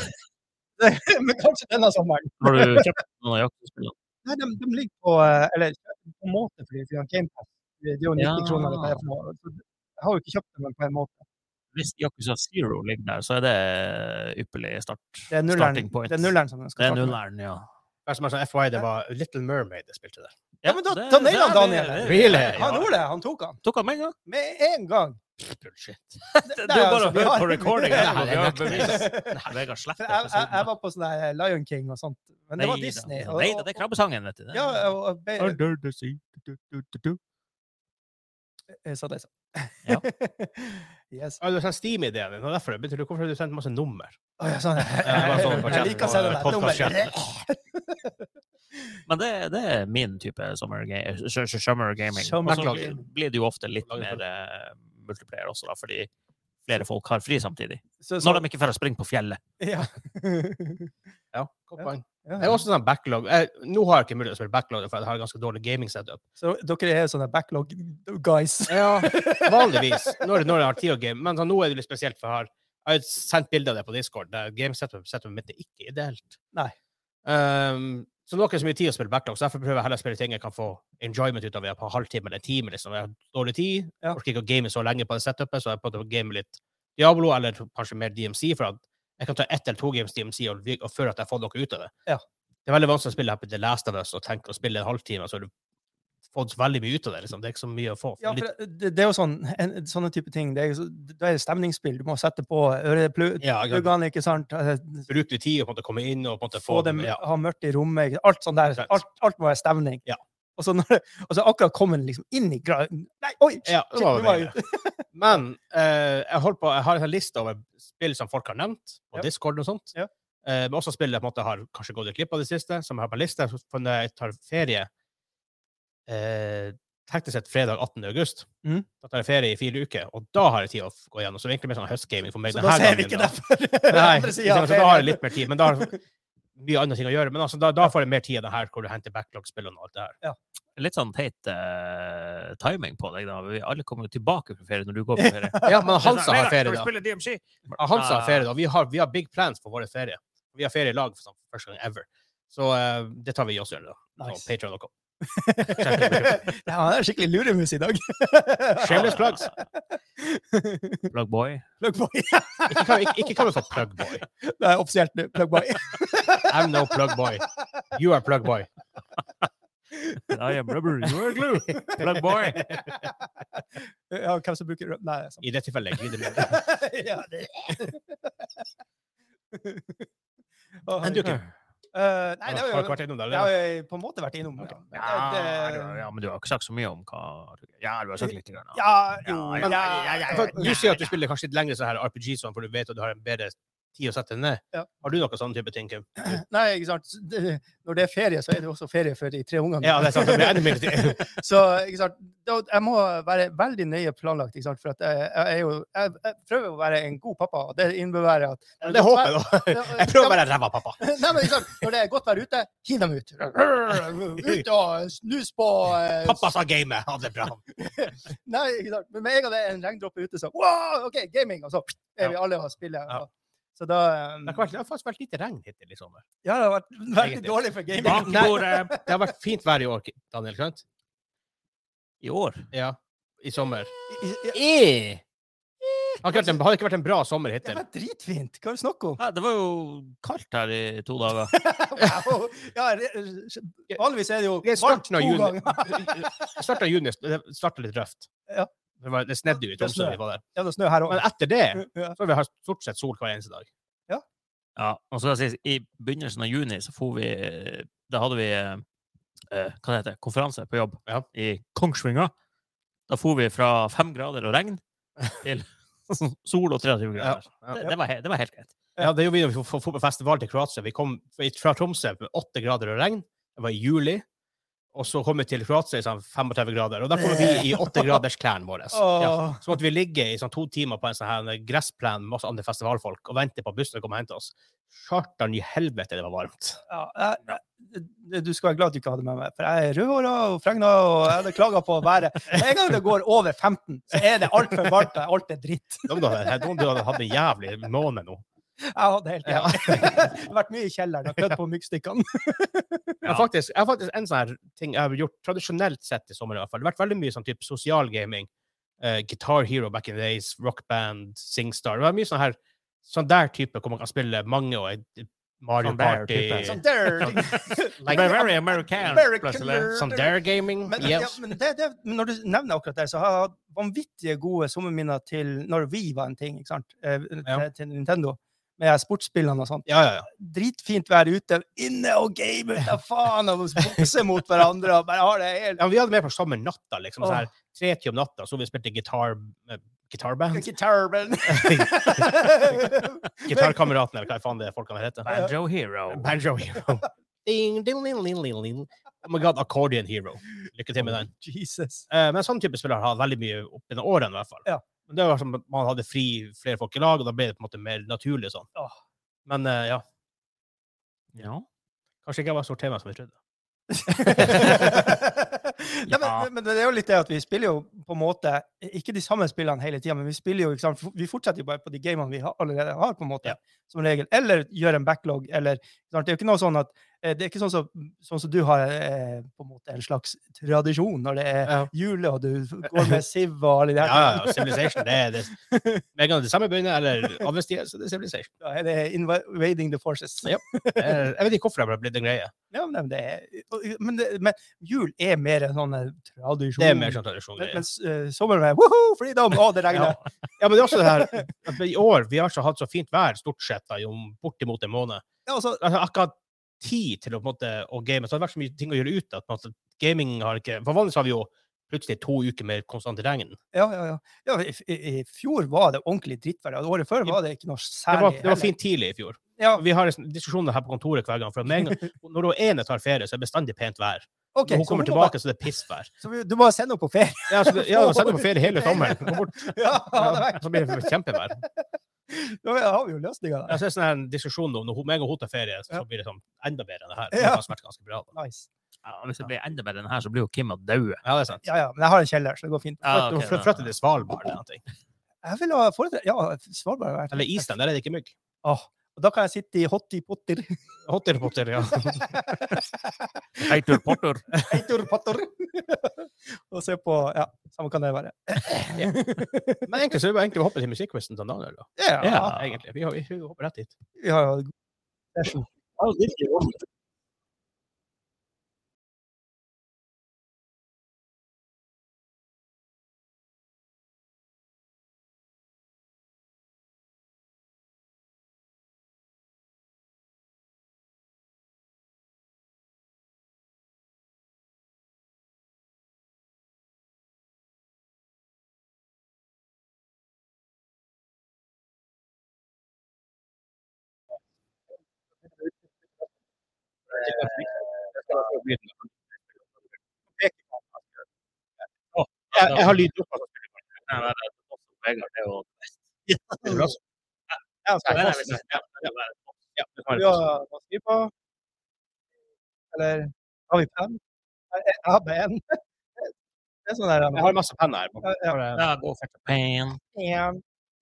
Speaker 4: jeg trenger Men kanskje denne sommeren.
Speaker 2: Har du kjøpt noen av Yakuza-spillene?
Speaker 4: Nei, de, de ligger på eh, Eller på en måte, fordi vi har GamePass. Det det er jo 90 kroner. dette her for noe, så Jeg har jo ikke kjøpt dem men på en måte.
Speaker 2: Hvis Yakuza Zero ligger der, så er det ypperlig start.
Speaker 3: Det er
Speaker 2: starting point.
Speaker 3: Det er nulleren som den
Speaker 2: Det
Speaker 3: skal
Speaker 2: er
Speaker 3: starte med.
Speaker 2: nulleren, ja.
Speaker 1: Hver som er sånn FY, det var Little Mermaid jeg spilte der.
Speaker 3: Ja, men da- da nailer han Daniel her.
Speaker 1: Really?
Speaker 3: Han
Speaker 2: Ja.
Speaker 3: gjorde det, han tok han.
Speaker 2: Tok han med en gang?
Speaker 3: Med en gang.
Speaker 1: Bullshit.
Speaker 3: det
Speaker 2: Det er jo
Speaker 3: er
Speaker 2: bare
Speaker 3: altså-
Speaker 2: å
Speaker 3: vi
Speaker 2: høre
Speaker 3: har-
Speaker 2: på recording.
Speaker 3: Ja,
Speaker 2: her,
Speaker 1: det
Speaker 2: vi
Speaker 1: er
Speaker 2: har
Speaker 1: nok-
Speaker 2: bevis. Vegard
Speaker 3: For
Speaker 2: sletter
Speaker 3: jeg, jeg, jeg
Speaker 2: episoden.
Speaker 3: var på sånn der Lion King og sånt, men det var Disney. og-
Speaker 2: Nei da, det er krabbesangen, vet du. Det er-
Speaker 3: Ja, og, og, be-
Speaker 1: Under the sea. Du, du, du, du.
Speaker 3: jeg sa det, så.
Speaker 2: Ja.
Speaker 3: yes.
Speaker 1: Ja, du har Altså, sånn Steam-ideen din, og derfor jeg begynte å lure på hvorfor har du sendt masse nummer.
Speaker 3: Å, ja, sånn.
Speaker 1: bare sånn på
Speaker 3: Jeg
Speaker 1: chatten
Speaker 3: liker å se
Speaker 1: og
Speaker 3: det der.
Speaker 1: podcast-chatten.
Speaker 3: Nummer-
Speaker 2: Men det, det er min type summer, ga s- s- summer gaming.
Speaker 3: Summer
Speaker 2: og så
Speaker 3: gaming.
Speaker 2: blir- blir det jo ofte litt
Speaker 1: Lager
Speaker 2: mer eh, multiplayer også, da, fordi flere folk har fri samtidig.
Speaker 3: Så- så-
Speaker 2: Når de ikke får springe på fjellet.
Speaker 3: Ja.
Speaker 1: Ja, godt poeng.
Speaker 3: Ja,
Speaker 1: Jeg
Speaker 3: ja.
Speaker 1: har også sånn backlog. Jeg, nå har jeg ikke mulighet til å spille backlog, for jeg har ganske dårlig gaming-setup.
Speaker 3: Så dere er sånne backlog guys.
Speaker 1: Ja, vanligvis. Når, når jeg har tid å game. Men sånn, nå er det litt spesielt, for jeg har, jeg har sendt bilder av det på Discord. der Game-setupet setupet mitt er ikke ideelt.
Speaker 3: Nei.
Speaker 1: Ehm, så nå har jeg ikke så mye tid å spille backlog, så derfor prøver jeg heller å spille ting jeg kan få enjoyment ut av i et par halvtime eller en time. liksom. Jeg har dårlig tid,
Speaker 3: Ja.
Speaker 1: orker ikke å game så lenge på det setupet, så jeg prøver å game litt Diablo eller kanskje mer DMC, for at jeg kan ta ett eller to games DMC og, vi- og føle at jeg får noe ut av det.
Speaker 3: Ja.
Speaker 1: Det er veldig vanskelig å spille Happy The Last of Us og tenke å spille en halvtime, så har du fått veldig mye ut av det. liksom. Det er ikke så mye å få.
Speaker 3: Ja,
Speaker 1: Litt-
Speaker 3: for det, det er jo sånn, en, sånne type ting. Det er, jo så- da er det stemningsspill. Du må sette på øreplugene,
Speaker 1: Ja, ikke sant?
Speaker 3: ikke sant? Eh,
Speaker 1: bruke litt tid og på en måte komme inn og på en måte
Speaker 3: Få dem,
Speaker 1: ja.
Speaker 3: ha mørkt i rommet. ikke sant? Alt sånn der.
Speaker 1: Sant.
Speaker 3: Alt, alt må være stemning.
Speaker 1: Ja.
Speaker 3: Og så, når, og så akkurat kommer den liksom inn i gra... Nei, oi!
Speaker 1: Ja,
Speaker 3: shit,
Speaker 1: det var
Speaker 3: nå
Speaker 1: vel
Speaker 3: jeg ute.
Speaker 1: Men eh, jeg, holdt på, jeg har en liste over spill som folk har nevnt, på
Speaker 3: Ja.
Speaker 1: Discord og sånt.
Speaker 3: Ja.
Speaker 1: Eh, men også spill jeg på en måte har kanskje gått glipp av det siste, som jeg har på en liste. For når jeg tar ferie eh, Teknisk sett fredag 18. august.
Speaker 3: Mhm.
Speaker 1: Da tar jeg ferie i fire uker, og da har jeg tid å f- gå igjennom. Så det er egentlig mer sånn høstgaming for meg.
Speaker 3: Så
Speaker 1: denne
Speaker 3: da ser vi
Speaker 1: gangen
Speaker 3: ikke
Speaker 1: da.
Speaker 3: derfor.
Speaker 1: Nei,
Speaker 3: Andre
Speaker 1: ikke
Speaker 3: siden
Speaker 1: sant, så da har
Speaker 3: av
Speaker 1: jeg
Speaker 3: ferien.
Speaker 1: litt mer tid. Men da har jeg mye andre ting å gjøre. Men altså, da, da får jeg mer tid av det her, hvor du henter backlog-spillene og alt det her.
Speaker 2: Litt sånn teit eh, timing på deg, da. Vi alle kommer jo tilbake fra ferie når du går på ferie.
Speaker 1: Ja, men
Speaker 2: Det er sånn,
Speaker 1: Hansa har
Speaker 2: Vegard, skal
Speaker 1: ferie,
Speaker 2: vi
Speaker 1: da.
Speaker 2: spille DMC?
Speaker 1: Ja, Han sa
Speaker 2: Ah.
Speaker 1: ferie, da. Vi har, vi har big plans for våre ferie. Vi har ferie i lag for sånn, for første gang ever. Så eh, det tar vi i oss gjerne, da. Nice.
Speaker 3: Nice.
Speaker 1: Patreon.com.
Speaker 3: ja, han er skikkelig luremus i dag.
Speaker 1: Shameless plugs.
Speaker 2: Plug boy.
Speaker 3: Plugboy.
Speaker 1: Ikke kan, ikke, ikke kan vi få plugboy.
Speaker 3: Det er offisielt nå. Plugboy.
Speaker 1: I'm no plugboy. You are plugboy.
Speaker 2: I am rubber, you are glue. Plug boy.
Speaker 3: Ja, hvem som bruker rød- Nei, det er sant.
Speaker 1: I det tilfellet. Gud, det blir-
Speaker 3: ja, det. Å,
Speaker 1: Enn du, Kim?
Speaker 3: Eh, nei,
Speaker 1: Har
Speaker 3: det var
Speaker 1: dere
Speaker 3: jo
Speaker 1: vært innom det?
Speaker 3: Det har
Speaker 1: eller?
Speaker 3: jeg på en måte vært innom.
Speaker 1: Ok.
Speaker 3: Ja,
Speaker 2: Ja,
Speaker 3: det-
Speaker 2: du- ja, men du har ikke sagt så mye om hva Ja, du har sagt litt. Grann, da.
Speaker 3: Ja, jo,
Speaker 2: Ja,
Speaker 3: ja,
Speaker 2: ja,
Speaker 3: ja, ja,
Speaker 1: For Du sier at du spiller kanskje litt lengre sånn her RPG, sånn, for du vet at du har en bedre tid å sette deg ned.
Speaker 3: Ja.
Speaker 1: Har du noe sånn type ting, Kim?
Speaker 3: Nei, ikke sant. Det, når det er ferie, så er det også ferie for de tre ungene.
Speaker 1: Ja, det er sant. Det blir enda mindre tid.
Speaker 3: så ikke sant? Da, jeg må være veldig nøye planlagt, ikke sant? for at jeg, jeg, er jo, jeg, jeg prøver å være en god pappa. og Det innebærer at
Speaker 1: Det håper jeg, da. Jeg prøver å være ræva pappa.
Speaker 3: Nei, men ikke sant? Når det er godt vær ute, hiv dem ut. Ut og snus på eh,
Speaker 1: Pappa sa gamet. Ha det bra.
Speaker 3: Nei, ikke sant. Men med en gang det er en regndråpe ute, så wow, OK, gaming! Og så er vi alle og spiller.
Speaker 1: Ja.
Speaker 3: og- Så da ehm,
Speaker 1: Det har, vært, det har faktisk vært lite regn hittil i sommer.
Speaker 3: Ja, det har vært veldig
Speaker 1: Egentlig.
Speaker 3: dårlig for gaming.
Speaker 1: Bak bordet. Det har vært fint vær i år, Daniel. Sant?
Speaker 2: I år?
Speaker 1: Ja. I sommer.
Speaker 3: I- i-
Speaker 1: Eh. Det har ikke vært en- har ikke vært en bra sommer
Speaker 3: Det
Speaker 1: hittil.
Speaker 3: var dritfint! Hva er det snakk om?
Speaker 2: Ja, det var jo kaldt her i to dager.
Speaker 3: Wow. Ja, re- re- vanligvis er det jo
Speaker 1: Det er
Speaker 3: varmt
Speaker 1: starten
Speaker 3: to
Speaker 1: av juni.
Speaker 3: ganger.
Speaker 1: Det starta i juni. Det starta litt røft.
Speaker 3: Ja.
Speaker 1: Det, var, det snedde jo i
Speaker 3: Det
Speaker 1: Tromsø.
Speaker 3: snø.
Speaker 1: da vi var der.
Speaker 3: Ja, det er snø her
Speaker 1: Men
Speaker 3: òg.
Speaker 1: etter det
Speaker 3: Ja.
Speaker 1: så har vi hatt stort sett sol hver eneste dag.
Speaker 2: Ja, og så skal det sies, I begynnelsen av juni så for vi Da hadde vi eh, eh, hva det heter, konferanse på jobb
Speaker 1: Ja.
Speaker 2: i Kongsvinga. Da for vi fra fem grader og regn til sol og 23 grader.
Speaker 1: Ja.
Speaker 2: Det, det, var, he- det var helt greit.
Speaker 1: Ja, det gjorde vi da vi for- for på festival til Kroatia. Vi kom fra Tromsø med åtte grader og regn. Det var i juli. Og så kom vi til Kroatia i sånn 35 grader. Og da kom vi i åttegradersklærne våre. Ja.
Speaker 3: Åh.
Speaker 1: Så måtte vi ligge i sånn to timer på en sånn her gressplen med masse andre festivalfolk og vente på at bussen kom og hente oss. Chartan i helvete, det var varmt.
Speaker 3: Ja, jeg- jeg- du skal være glad du ikke hadde med meg, for jeg er rødhåra og fregna, og jeg hadde klaga på været. Med en gang det går over 15, så er det altfor varmt, og alt er dritt.
Speaker 1: Noen hadde hatt en jævlig måned nå.
Speaker 3: Jeg hadde helt
Speaker 1: Ja.
Speaker 3: jævlig. Det har vært mye i kjelleren og klødd på myggstykkene.
Speaker 1: Jeg har faktisk, jeg har faktisk en sånn her ting jeg har gjort tradisjonelt sett i sommer. i hvert fall. Det har vært veldig mye sånn type sosial gaming. eh, Guitar Hero back in the days, rock band, Singstar. Det var mye sånn her, sånn der type hvor man kan spille mange og et- Mario
Speaker 2: Sånn der
Speaker 1: Party.
Speaker 2: type.
Speaker 3: Sånn der.
Speaker 2: Det ble very American,
Speaker 3: American.
Speaker 2: plutselig.
Speaker 1: Sånn der gaming.
Speaker 3: Men, ja,
Speaker 1: Yes.
Speaker 3: men det, det, men når du nevner akkurat det, så har jeg hatt vanvittige gode sommerminner til når vi var en ting, ikke sant? Eh,
Speaker 1: Ja.
Speaker 3: Til, til Nintendo. Med sportsspillene og sånt.
Speaker 1: Ja, ja, ja.
Speaker 3: Dritfint vær ute, inne og game ute, faen, og bokse mot hverandre og bare har det helt
Speaker 1: ja. men Vi hadde med på sommernatta, liksom.
Speaker 3: Åh.
Speaker 1: Sånn her, tre til om natta, så vi spilte gitar, eh, gitarband.
Speaker 3: Guitar band.
Speaker 1: Gitarkameratene, eller hva faen det folkene heter.
Speaker 2: Banjo Hero.
Speaker 1: Banjo Hero. Ding, ding, ding, ding, ding, ding. Oh my god, Accordion Hero. Lykke til med den.
Speaker 3: Jesus.
Speaker 1: Eh, Men sånn type spillere har veldig mye opp gjennom årene, i hvert fall.
Speaker 3: Ja.
Speaker 1: Men det var som at man hadde fri flere folk i lag, og da ble det på en måte mer naturlig sånn.
Speaker 3: Åh.
Speaker 1: Men eh, ja,
Speaker 2: Ja.
Speaker 1: kanskje ikke jeg var så tema som jeg trodde.
Speaker 3: Nei, men, men det er jo litt det at vi spiller jo på en måte ikke de samme spillene hele tida, men vi spiller jo, ikke sant, vi fortsetter jo bare på de gamene vi har, allerede har, på en måte,
Speaker 1: Ja.
Speaker 3: som regel. Eller gjør en backlog, eller ikke sant? Det er jo ikke noe sånn at eh, Det er ikke sånn som, sånn som du har eh, på en måte en slags tradisjon når det er
Speaker 1: Ja.
Speaker 3: jule, og du går med siv og alle de
Speaker 1: Ja, ja,
Speaker 3: der.
Speaker 1: ja, Civilization, det er det. Med en gang det samme begynner, eller avvestige, så det er Civilization.
Speaker 3: Da er det invading the forces.
Speaker 1: Ja. Det er- Jeg vet ikke hvorfor det ble blitt en greie.
Speaker 3: Ja, men, det er, men, det, men jul er mer en sånn eh, tradisjon.
Speaker 1: Det er mer sånn tradisjon.
Speaker 3: Men-
Speaker 1: greie.
Speaker 3: Mens eh, sommeren er woho, freedom! Å, det regner!
Speaker 1: Ja, men det er også det her at i år, vi har ikke hatt så fint vær stort sett da, i om bortimot en måned.
Speaker 3: Ja, altså,
Speaker 1: altså, akkurat tid til å, på en måte, å game. Så det har vært så mye ting å gjøre ut av at på en måte, gaming har ikke For vanligvis har vi jo plutselig to uker med konstant regn.
Speaker 3: ja, ja, ja. ja i, i, I fjor var det ordentlig drittvær. og Året før var det ikke noe
Speaker 1: Det
Speaker 3: særlig.
Speaker 1: var, det var
Speaker 3: heller.
Speaker 1: fint tidlig i fjor.
Speaker 3: Ja,
Speaker 1: Vi har en diskusjon her på kontoret hver gang. For med en gang, når hun ene tar ferie, så er det bestandig pent vær.
Speaker 3: ok,
Speaker 1: når hun
Speaker 3: så
Speaker 1: kommer
Speaker 3: hun må
Speaker 1: tilbake, så er det pissvær.
Speaker 3: bare- Så vi, du må sende henne på ferie!
Speaker 1: Ja, så det, ja, så er det på ferie hele sommeren. Gå bort.
Speaker 3: ja,
Speaker 1: Ja,
Speaker 3: det er
Speaker 1: så blir det kjempevær.
Speaker 3: Da har vi jo løsninga
Speaker 1: Ja,
Speaker 3: der.
Speaker 1: så er det sånn her en diskusjon om når hun, med en gang hun tar ferie,
Speaker 3: Ja.
Speaker 1: så blir det sånn enda bedre enn det her. Det
Speaker 3: Ja.
Speaker 1: har vært ganske bra. Da.
Speaker 3: Nice.
Speaker 2: ja. Hvis det blir enda bedre enn her, så blir jo Kim å daue.
Speaker 1: Ja, det er sant.
Speaker 3: Ja, ja, men jeg har en kjeller, så det går fint.
Speaker 2: Ja, ok,
Speaker 1: Flytte flytte til Svalbard eller noe.
Speaker 3: Jeg vil ha foretre... Ja, Svalbard har vært
Speaker 1: Eller Island, der er det ikke mygg.
Speaker 3: Åh, Og da kan jeg sitte i hotti potter.
Speaker 1: Hotter potter, ja.
Speaker 2: Heitur Porter.
Speaker 3: Heitor Potter. og se på Ja, samme kan det være.
Speaker 1: Men egentlig så er det bare egentlig å hoppe til musikkquizen til Daniel, da.
Speaker 3: Ja,
Speaker 2: Ja.
Speaker 1: Egentlig. Vi, har, vi hopper rett dit.
Speaker 3: Vi har jo en god session.
Speaker 4: Ja, det virker jo.
Speaker 1: Jeg, jeg har altså. lyd oppe.
Speaker 4: Det er bra.
Speaker 3: Ja, så er det fast. Vi har hva skal vi på? Eller har vi fem? Jeg jeg har bare én. Det er sånn der
Speaker 1: Jeg har masse penner her. Bare-
Speaker 3: Ja,
Speaker 1: bare-
Speaker 2: Ja, gå for pen,
Speaker 3: ja,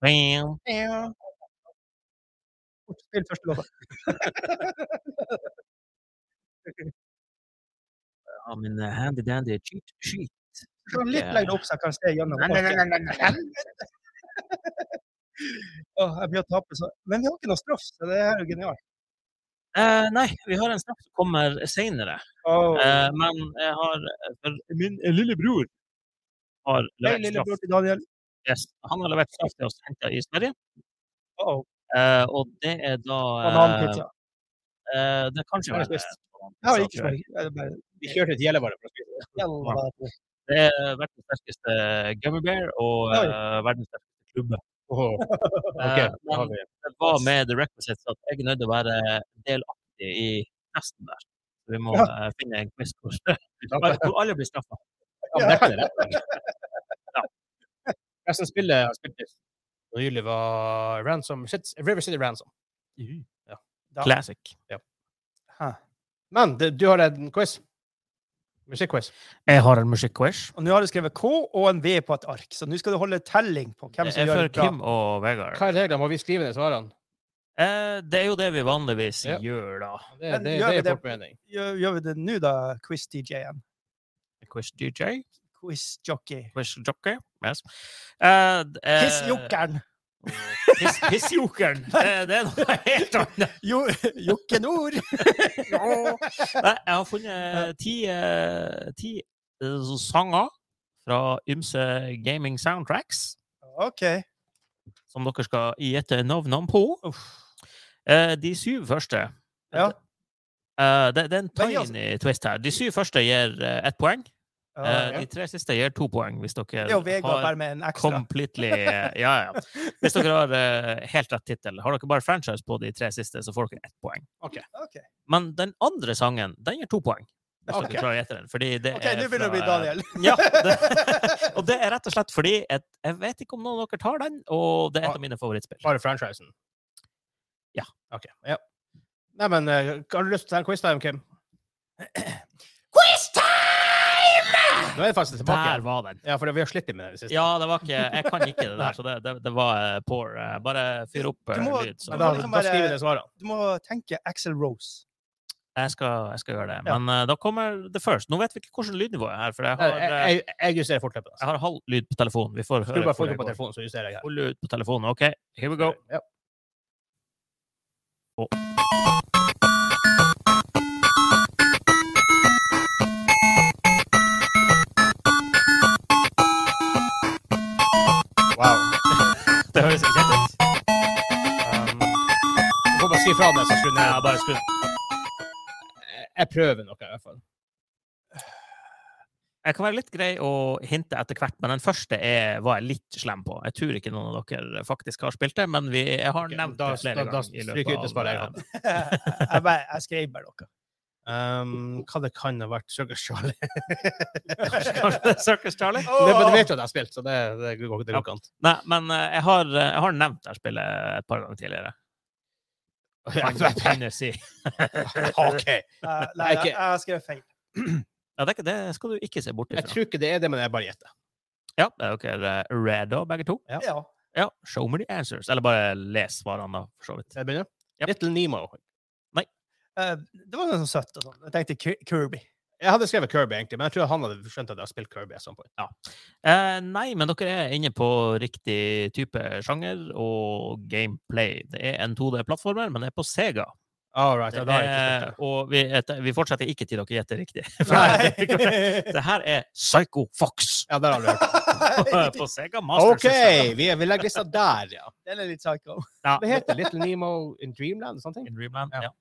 Speaker 2: pen.
Speaker 3: ja. Fort, Spill første låta.
Speaker 2: Ja, min handy dandy cheat sheet.
Speaker 3: Sånn Litt
Speaker 2: Ja.
Speaker 3: lenger opp, så jeg kan se gjennom. folket. Åh, Jeg blir å tape, så. Men vi har ikke noe straff, så det her er jo genialt.
Speaker 2: Eh, nei, vi har en snakk som kommer seinere.
Speaker 3: Åh.
Speaker 2: Eh, men jeg har for Min eh, lillebror har
Speaker 3: Hei,
Speaker 2: levert straff.
Speaker 3: lillebror til Daniel.
Speaker 2: Yes. Han har levert straff til oss henta i Sverige.
Speaker 3: Åh,
Speaker 2: Eh, og det er da eh,
Speaker 3: Bananpizza.
Speaker 2: eh, Det kan ikke
Speaker 1: Har jeg
Speaker 2: være
Speaker 1: spist?
Speaker 3: Jeg har ikke smak. Det er bare
Speaker 1: Vi kjørte til Gjellivare for å spise.
Speaker 3: jævla
Speaker 2: Det er verdens sterkeste gummy bear og
Speaker 3: Oi.
Speaker 2: eh, verdens sterkeste klubbe.
Speaker 1: Åh, ok,
Speaker 2: Eh,
Speaker 1: da har
Speaker 2: men
Speaker 1: vi.
Speaker 2: det var med the requisites at jeg er nødt til å være delaktig i testen der. Så vi må
Speaker 3: Ja.
Speaker 2: eh, finne en quiz hvor, hvor alle blir straffa.
Speaker 1: Ja, men det kan jeg rette. Ja. Resten spillet jeg har spilt nytt. Og nylig var Ransom Shit, River City Ransom.
Speaker 2: Classic.
Speaker 3: Hæ.
Speaker 1: Men det, du har en quiz. Musikkquiz.
Speaker 2: Jeg har en musikkquiz.
Speaker 3: Og nå har du skrevet K og en V på et ark, så nå skal du holde telling på hvem
Speaker 2: Det
Speaker 3: som
Speaker 2: er
Speaker 3: gjør
Speaker 2: for
Speaker 3: det bra.
Speaker 2: Kim og Vegard.
Speaker 1: Hva er reglene? Må vi skrive ned svarene?
Speaker 2: Eh, det er jo det vi vanligvis
Speaker 1: Ja.
Speaker 2: gjør, da.
Speaker 1: Det,
Speaker 3: Men
Speaker 1: det,
Speaker 3: gjør
Speaker 1: det
Speaker 3: vi
Speaker 1: er
Speaker 3: det?
Speaker 1: fort mening.
Speaker 3: Gjør, gjør vi det nå, da, quiz-DJ-en?
Speaker 2: Quiz DJ,
Speaker 3: Quiz-jockey.
Speaker 2: quiz jockey. Yes. Eh, d- eh,
Speaker 3: Piss-jokkeren!
Speaker 2: piss- Pissjokeren! Eh, det er noe helt annet.
Speaker 3: Jo, Jokkenord!
Speaker 2: Nei, jeg har funnet ti, eh, ti eh, sanger fra ymse gaming soundtracks.
Speaker 3: OK.
Speaker 2: som dere skal gjette navnene på. Eh, de syv første
Speaker 3: Ja.
Speaker 2: Eh, det, det er en
Speaker 3: Men vi
Speaker 2: tiny
Speaker 3: har-
Speaker 2: twist her. De syv første gir eh, ett poeng.
Speaker 3: Ja,
Speaker 2: Eh,
Speaker 1: ja.
Speaker 2: de tre siste gir to poeng, hvis dere
Speaker 3: Det er jo Vegard
Speaker 2: har
Speaker 3: bare med en ekstra.
Speaker 2: completely eh, Ja, ja. Hvis dere har eh, helt rett tittel. Har dere bare franchise på de tre siste, så får dere ett poeng.
Speaker 3: OK,
Speaker 2: Men den andre sangen, den gir to poeng. Hvis
Speaker 1: Ok.
Speaker 2: dere klarer å gjette den. Fordi det
Speaker 3: Ok,
Speaker 2: er
Speaker 3: nå begynner det å bli
Speaker 2: fra-
Speaker 3: Daniel.
Speaker 2: Ja, det, og det er rett og slett fordi at jeg vet ikke om noen av dere tar den, og det er
Speaker 3: Ah.
Speaker 2: et av mine favorittspill.
Speaker 1: Bare franchisen?
Speaker 2: Ja.
Speaker 1: Ok. Ja. Nei, men eh, har du lyst til en quiz time, Kim? Nå er det faktisk tilbake.
Speaker 2: Der
Speaker 1: igjen.
Speaker 2: var den.
Speaker 1: Ja, for vi har slitt med det i det siste.
Speaker 2: Ja, det var ikke Jeg kan ikke det der, så det, det, det var eh, poor. eh, Bare fyr opp eh,
Speaker 3: Du må-
Speaker 2: lyd. Så.
Speaker 1: Men
Speaker 3: det
Speaker 1: da,
Speaker 3: var liksom
Speaker 1: da
Speaker 3: bare-
Speaker 1: skriver vi det svarene.
Speaker 3: Du må tenke Axel Rose.
Speaker 2: Jeg skal, jeg skal gjøre det.
Speaker 3: Ja.
Speaker 2: Men eh, da kommer det først. Nå vet vi ikke hvordan lydnivå er her, for jeg
Speaker 1: Jeg,
Speaker 2: har, eh,
Speaker 1: jeg, jeg justerer altså. fortløpende.
Speaker 2: jeg har halv lyd på telefonen. Vi får
Speaker 1: Skru
Speaker 2: høre
Speaker 1: bare
Speaker 2: hvor
Speaker 1: fokus
Speaker 2: det
Speaker 1: på
Speaker 2: går.
Speaker 1: telefonen, så justerer jeg her.
Speaker 2: Full lyd på telefonen. OK, here we go.
Speaker 1: Ja. Wow.
Speaker 2: Det høres ikke kjent ut.
Speaker 1: Um, jeg får bare si fra meg, så skrur jeg ned.
Speaker 2: Ja, bare skru.
Speaker 1: Jeg- Jeg prøver noe, i hvert fall.
Speaker 2: Jeg kan være litt grei å hinte etter hvert, men den første er, var jeg litt slem på. Jeg tror ikke noen av dere faktisk har spilt det, men vi, jeg har
Speaker 1: Ok,
Speaker 2: nevnt
Speaker 1: da-
Speaker 2: det flere
Speaker 1: da- da
Speaker 2: ganger. i løpet
Speaker 1: stryker jeg ut det
Speaker 2: av,
Speaker 1: svaret jeg
Speaker 2: eh,
Speaker 1: hadde.
Speaker 3: jeg, bare, jeg skrev bare noe.
Speaker 1: Um, hva det kan ha vært Sugar Charlie?
Speaker 2: Kanskje det er Circus Charlie?
Speaker 1: Det men du vet jo at jeg har spilt, så det, det går det går ikke an.
Speaker 2: Nei, men eh, jeg har, eh, jeg har nevnt det her spillet et par ganger tidligere. Kan jeg kunne si.
Speaker 1: OK.
Speaker 3: Eh,
Speaker 1: Nei,
Speaker 3: nei,
Speaker 1: ikke-
Speaker 3: jeg, jeg skrev feil.
Speaker 2: Ja, det, er ikke, det skal du ikke se bort
Speaker 1: Jeg
Speaker 2: ifra.
Speaker 1: tror ikke det er det, men jeg bare gjetter.
Speaker 2: Ja, er dere ready, begge to?
Speaker 1: Ja.
Speaker 3: Ja.
Speaker 2: Ja, show me the answers. Eller bare les svarene, da, for så vidt.
Speaker 1: Skal jeg begynne?
Speaker 2: Ja. Yep.
Speaker 1: Little Nemo.
Speaker 3: Eh, det var noe sånn søtt og sånn. Jeg tenkte Ki- Kirby.
Speaker 1: Jeg hadde skrevet Kirby, egentlig, men jeg tror han hadde skjønt at jeg har spilt Kirby. Sånn på. Ja.
Speaker 2: Eh, nei, men dere er inne på riktig type sjanger og gameplay. Det er en 2D-plattformer, men det er på Sega.
Speaker 1: All right,
Speaker 2: Det
Speaker 1: ja, da har jeg ikke
Speaker 2: er,
Speaker 1: spilt det.
Speaker 2: og vi, et, vi fortsetter ikke til dere gjetter riktig.
Speaker 3: Nei.
Speaker 2: det her er Psycho Fox
Speaker 1: Ja, der har du hørt.
Speaker 2: på Sega Master
Speaker 1: OK,
Speaker 2: System.
Speaker 1: vi, vi legger lista der, ja.
Speaker 3: Den er litt sånn. psycho.
Speaker 2: Ja,
Speaker 1: Hva heter det? Little Nemo in Dreamland? Sånne ting?
Speaker 2: in Dreamland.
Speaker 1: Ja.
Speaker 2: Ja.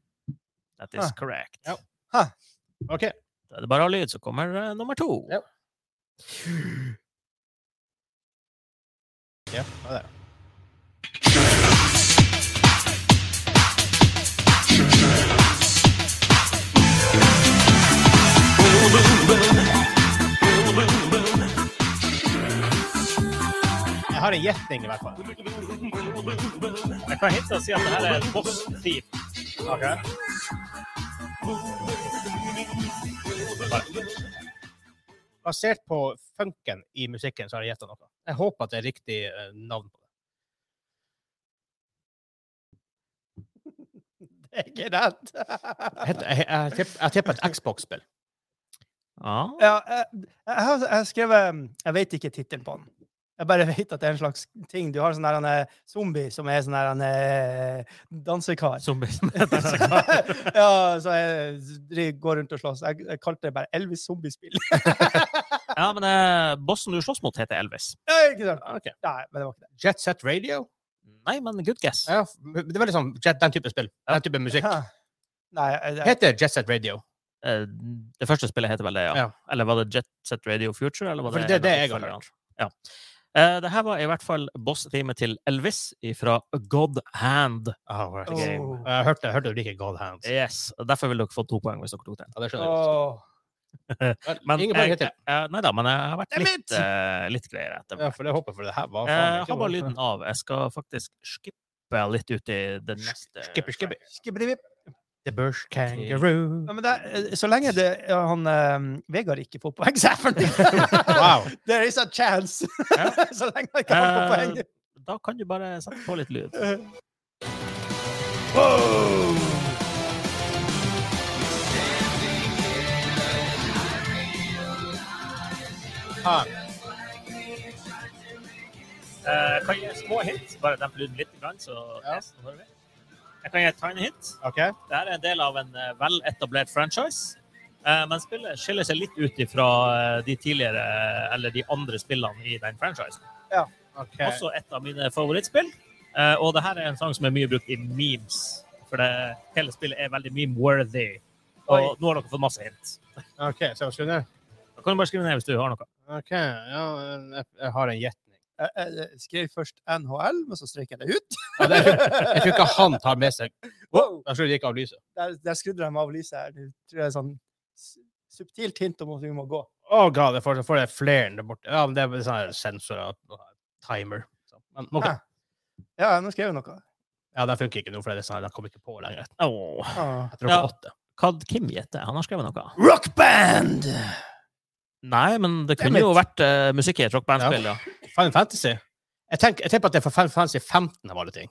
Speaker 2: That is
Speaker 3: Ah.
Speaker 2: correct.
Speaker 1: Ja.
Speaker 3: Ah.
Speaker 1: OK.
Speaker 2: Da er det bare av lyd, så kommer eh, nummer to.
Speaker 1: Ja. Ja, det er det. Jeg har en gjetning, i hvert fall.
Speaker 2: Jeg kan hittil si at det her er Boss Thief.
Speaker 1: Basert på funken i musikken, så har jeg gjetta noe. Jeg håper at det er riktig eh, navn på det.
Speaker 3: Det er ikke rett.
Speaker 1: Jeg, heter- jeg, jeg, tipp- jeg tipper et Xbox-spill.
Speaker 2: Ja.
Speaker 3: Ja, jeg, jeg har jeg har skrevet um, Jeg vet ikke tittelen på den. Jeg bare vet at det er en slags ting. Du har sånn der en eh, zombie som er sånn der en eh, dansekar.
Speaker 2: Zombie.
Speaker 3: ja, så jeg dri- går rundt og slåss. Jeg, jeg kalte det bare Elvis zombiespill.
Speaker 2: ja, men eh, bossen du slåss mot, heter Elvis.
Speaker 3: ja, ikke sant?
Speaker 1: Ah, ok.
Speaker 3: Nei, men det var ikke det.
Speaker 1: Jet Set Radio?
Speaker 2: Nei, men good guess.
Speaker 1: Ja, det var liksom jet, den type spill. Den type musikk.
Speaker 3: Ja. Nei, jeg, jeg,
Speaker 1: Heter Jet Set Radio.
Speaker 2: Eh, Det første spillet heter vel det, ja.
Speaker 1: Ja.
Speaker 2: Eller var det Jet Set Radio Future? Eller var
Speaker 1: For
Speaker 2: det,
Speaker 1: det er det
Speaker 2: en av
Speaker 1: jeg har
Speaker 2: oppfølgerne? Ja. Eh, det her var i hvert fall boss-teamet til Elvis fra God Hand.
Speaker 1: right.
Speaker 2: Ok.
Speaker 3: Åh.
Speaker 1: Jeg hørte, jeg hørte du liker God Hands. Ja,
Speaker 2: Yes, og Derfor vil dere få to poeng hvis dere tok den.
Speaker 1: det skjønner jeg.
Speaker 3: Åh.
Speaker 1: godt.
Speaker 2: Men
Speaker 1: Ingen
Speaker 2: jeg,
Speaker 1: poeng hittil.
Speaker 2: eh, nei da, men jeg har vært
Speaker 3: Damn
Speaker 2: litt, eh, litt greiere etter
Speaker 1: Ja, for det håper jeg, for det her var
Speaker 2: Eh, Jeg har
Speaker 1: faen
Speaker 2: bare
Speaker 1: ikke-
Speaker 2: lyden av. Jeg skal faktisk skippe litt ut i det neste.
Speaker 1: Skipper, skipper.
Speaker 3: Skibidi-bip.
Speaker 1: The Bush Kangaroo.
Speaker 3: Ja, men det, er- eh, så lenge det, ja, han eh, Vegard ikke får poeng, så er jeg fornøyd.
Speaker 1: Wow.
Speaker 3: There is a chance!
Speaker 2: Ja.
Speaker 3: så lenge han ikke har
Speaker 2: Eh,
Speaker 3: fått poeng.
Speaker 2: Da kan du bare sette på litt lyd.
Speaker 1: Ah,
Speaker 2: Jeg Eh, kan gi små hint. Bare demp lyden litt, så
Speaker 1: Ja.
Speaker 2: hører vi. Jeg kan gi et tiny hint.
Speaker 1: OK.
Speaker 2: Dette er en del av en eh, veletablert franchise. eh, Men spillet skiller seg litt ut ifra eh, de tidligere, eh, eller de andre spillene i den franchisen.
Speaker 1: ok.
Speaker 2: Også et av mine favorittspill. Eh, Og det her er en sang som er mye brukt i memes. For det, hele spillet er veldig meme-worthy. Og
Speaker 3: Oi.
Speaker 2: nå har dere fått masse hint.
Speaker 1: OK, så jeg skjønner.
Speaker 2: Da kan du bare skrive ned hvis du har noe.
Speaker 1: OK, ja, jeg, jeg har en gjetning.
Speaker 3: Jeg, jeg skrev først NHL, men så strøk jeg det ut.
Speaker 1: Ja, det, jeg tror ikke han tar med seg
Speaker 3: Wow.
Speaker 1: Jeg tror de ikke av lyset.
Speaker 3: Der, der skrudde de av lyset her. Det tror jeg er sånn s- subtilt hint om at vi må gå.
Speaker 1: Å god, jeg får, jeg får det flere der borte. Ja, men det er bare sånne sensorer og timer. Så, men, ok.
Speaker 3: Hæ? Ja, nå skrev jeg noe.
Speaker 1: Ja, den funker ikke nå, for det er sånn, den kommer ikke på lenger.
Speaker 2: Åh.
Speaker 3: Ah.
Speaker 1: Jeg tror på
Speaker 2: Ja.
Speaker 1: åtte.
Speaker 2: Kad Kim gjetter. Han har skrevet noe.
Speaker 3: Rockband!
Speaker 2: Nei, men det
Speaker 3: Damn
Speaker 2: kunne
Speaker 3: it.
Speaker 2: jo vært eh, musikk i et rockbandspill, ja.
Speaker 1: Final Fantasy? Jeg, tenker, jeg tipper at det er for Final Fantasy 15 av alle ting.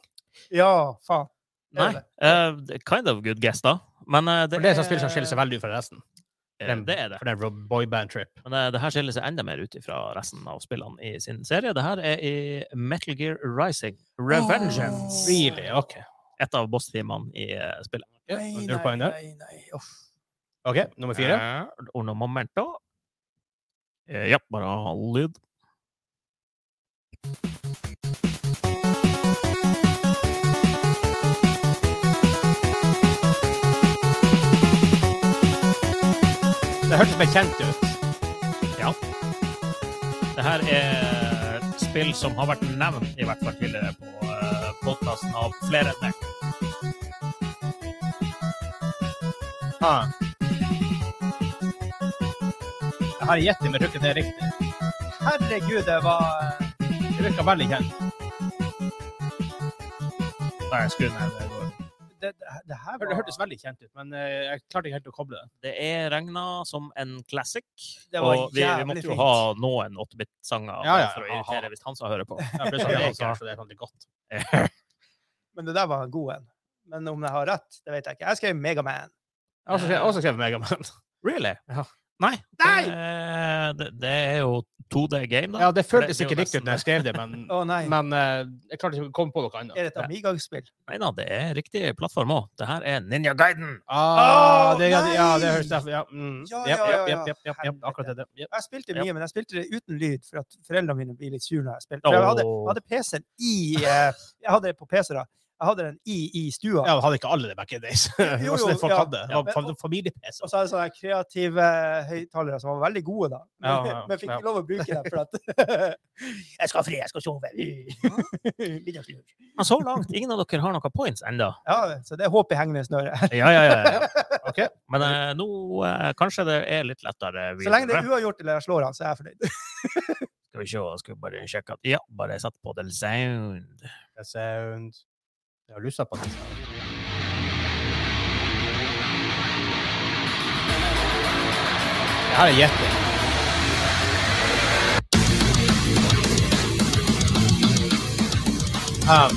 Speaker 3: Ja, faen. Det er
Speaker 2: Nei. eh, kind of good guess, da. Men eh, det,
Speaker 1: For det er et sånt spill som skiller seg veldig ut fra resten.
Speaker 2: Eh, Det er det.
Speaker 1: For det er Rob- boyband trip.
Speaker 2: Men eh, det her skiller seg enda mer ut fra resten av spillene i sin serie. Det her er i Metal Gear Rising Revengeance.
Speaker 1: Really? OK.
Speaker 2: Et av boss-teamene i eh, spillet.
Speaker 1: Ja,
Speaker 3: Nei,
Speaker 1: null poeng der.
Speaker 3: nei, nei. Uff.
Speaker 1: OK, nummer fire.
Speaker 2: Eh, Og noe momento. Eh, Ja, bare ha lyd.
Speaker 1: Det hørtes bekjent ut.
Speaker 2: Ja. Det her er et spill som har vært nevnt, i hvert fall tidligere, på podkasten av flere enn meg.
Speaker 1: Ah. Jeg har gjett det, men jeg tror ikke det er riktig.
Speaker 3: Herregud, det var
Speaker 1: Det virker veldig kjent.
Speaker 2: Nei, skru ned. det går.
Speaker 3: Det, det, det her
Speaker 1: Det
Speaker 3: var
Speaker 1: hørtes veldig kjent ut, men eh, jeg klarte ikke helt å koble det.
Speaker 2: Det er regna som en classic.
Speaker 3: Det var
Speaker 2: Og vi, vi
Speaker 3: jævlig
Speaker 2: måtte jo
Speaker 3: fint.
Speaker 2: ha noen 8-bit-sanger
Speaker 1: Ja, ja,
Speaker 2: for å
Speaker 1: ja, ha.
Speaker 2: irritere hvis Hansa hører på.
Speaker 1: Ja, plutselig,
Speaker 2: Ja,
Speaker 1: ja,
Speaker 2: klart.
Speaker 1: så det er sånn det er godt.
Speaker 3: Men det der var en god en. men om jeg har rett, det vet jeg ikke. Jeg skrev Megaman.
Speaker 1: Jeg har også skrevet- også skrevet Megaman.
Speaker 2: Eh, Really?
Speaker 1: Ja.
Speaker 2: altså, Nei!
Speaker 3: Nei!
Speaker 2: Det, er- det, det er jo 2D-game, da.
Speaker 1: Ja, det føltes
Speaker 2: det er jo
Speaker 1: ikke riktig ut
Speaker 2: nesten
Speaker 1: når jeg skrev det, men,
Speaker 3: Å nei,
Speaker 1: men eh, jeg klarte ikke å komme på noe annet.
Speaker 3: er det et Amiga-spill?
Speaker 2: Nei da, det er riktig plattform òg. Det her er Ninja Gaiden.
Speaker 1: Ah,
Speaker 3: Åh,
Speaker 1: det, ja, det- ja, det
Speaker 3: nei!
Speaker 1: høres derfor ja, mm,
Speaker 3: Ja,
Speaker 1: jep,
Speaker 3: ja,
Speaker 1: jep,
Speaker 3: ja,
Speaker 1: jep, jep, jep, jep, Akkurat det. det, jep.
Speaker 3: Jeg spilte
Speaker 2: Ja.
Speaker 3: mye, men jeg spilte det uten lyd, for at foreldrene mine blir litt sure når jeg spiller. For jeg hadde,
Speaker 2: Åh.
Speaker 3: jeg hadde PC-en i eh, Jeg hadde det på PC, da. Jeg hadde den i, i stua.
Speaker 1: Ja, hadde ikke alle det back in days? Det var
Speaker 3: jo,
Speaker 1: sånn det folk
Speaker 3: ja,
Speaker 1: hadde.
Speaker 3: ja,
Speaker 1: Det
Speaker 3: men-
Speaker 1: var fam- Familie-PC.
Speaker 3: Og så er det sånne kreative eh, høyttalere som var veldig gode, da. Men,
Speaker 1: Ja, ja,
Speaker 3: men fikk
Speaker 1: ja.
Speaker 3: ikke lov å bruke dem, for at Jeg skal ha fri, jeg skal sove. Middagslur.
Speaker 2: Men så langt, ingen av dere har noen points ennå.
Speaker 3: ja, så det er håp i hengende snøre.
Speaker 2: Ja, ja, ja, ja.
Speaker 1: Ok.
Speaker 2: Men eh, nå eh, kanskje det er litt lettere.
Speaker 3: Så lenge det er uavgjort eller jeg slår han, så er jeg fornøyd.
Speaker 2: Skal vi se, jeg skal bare sjekke at Ja, bare sett på the sound.
Speaker 1: The sound. Jeg har lyst på det. Det her er gjetting. Um.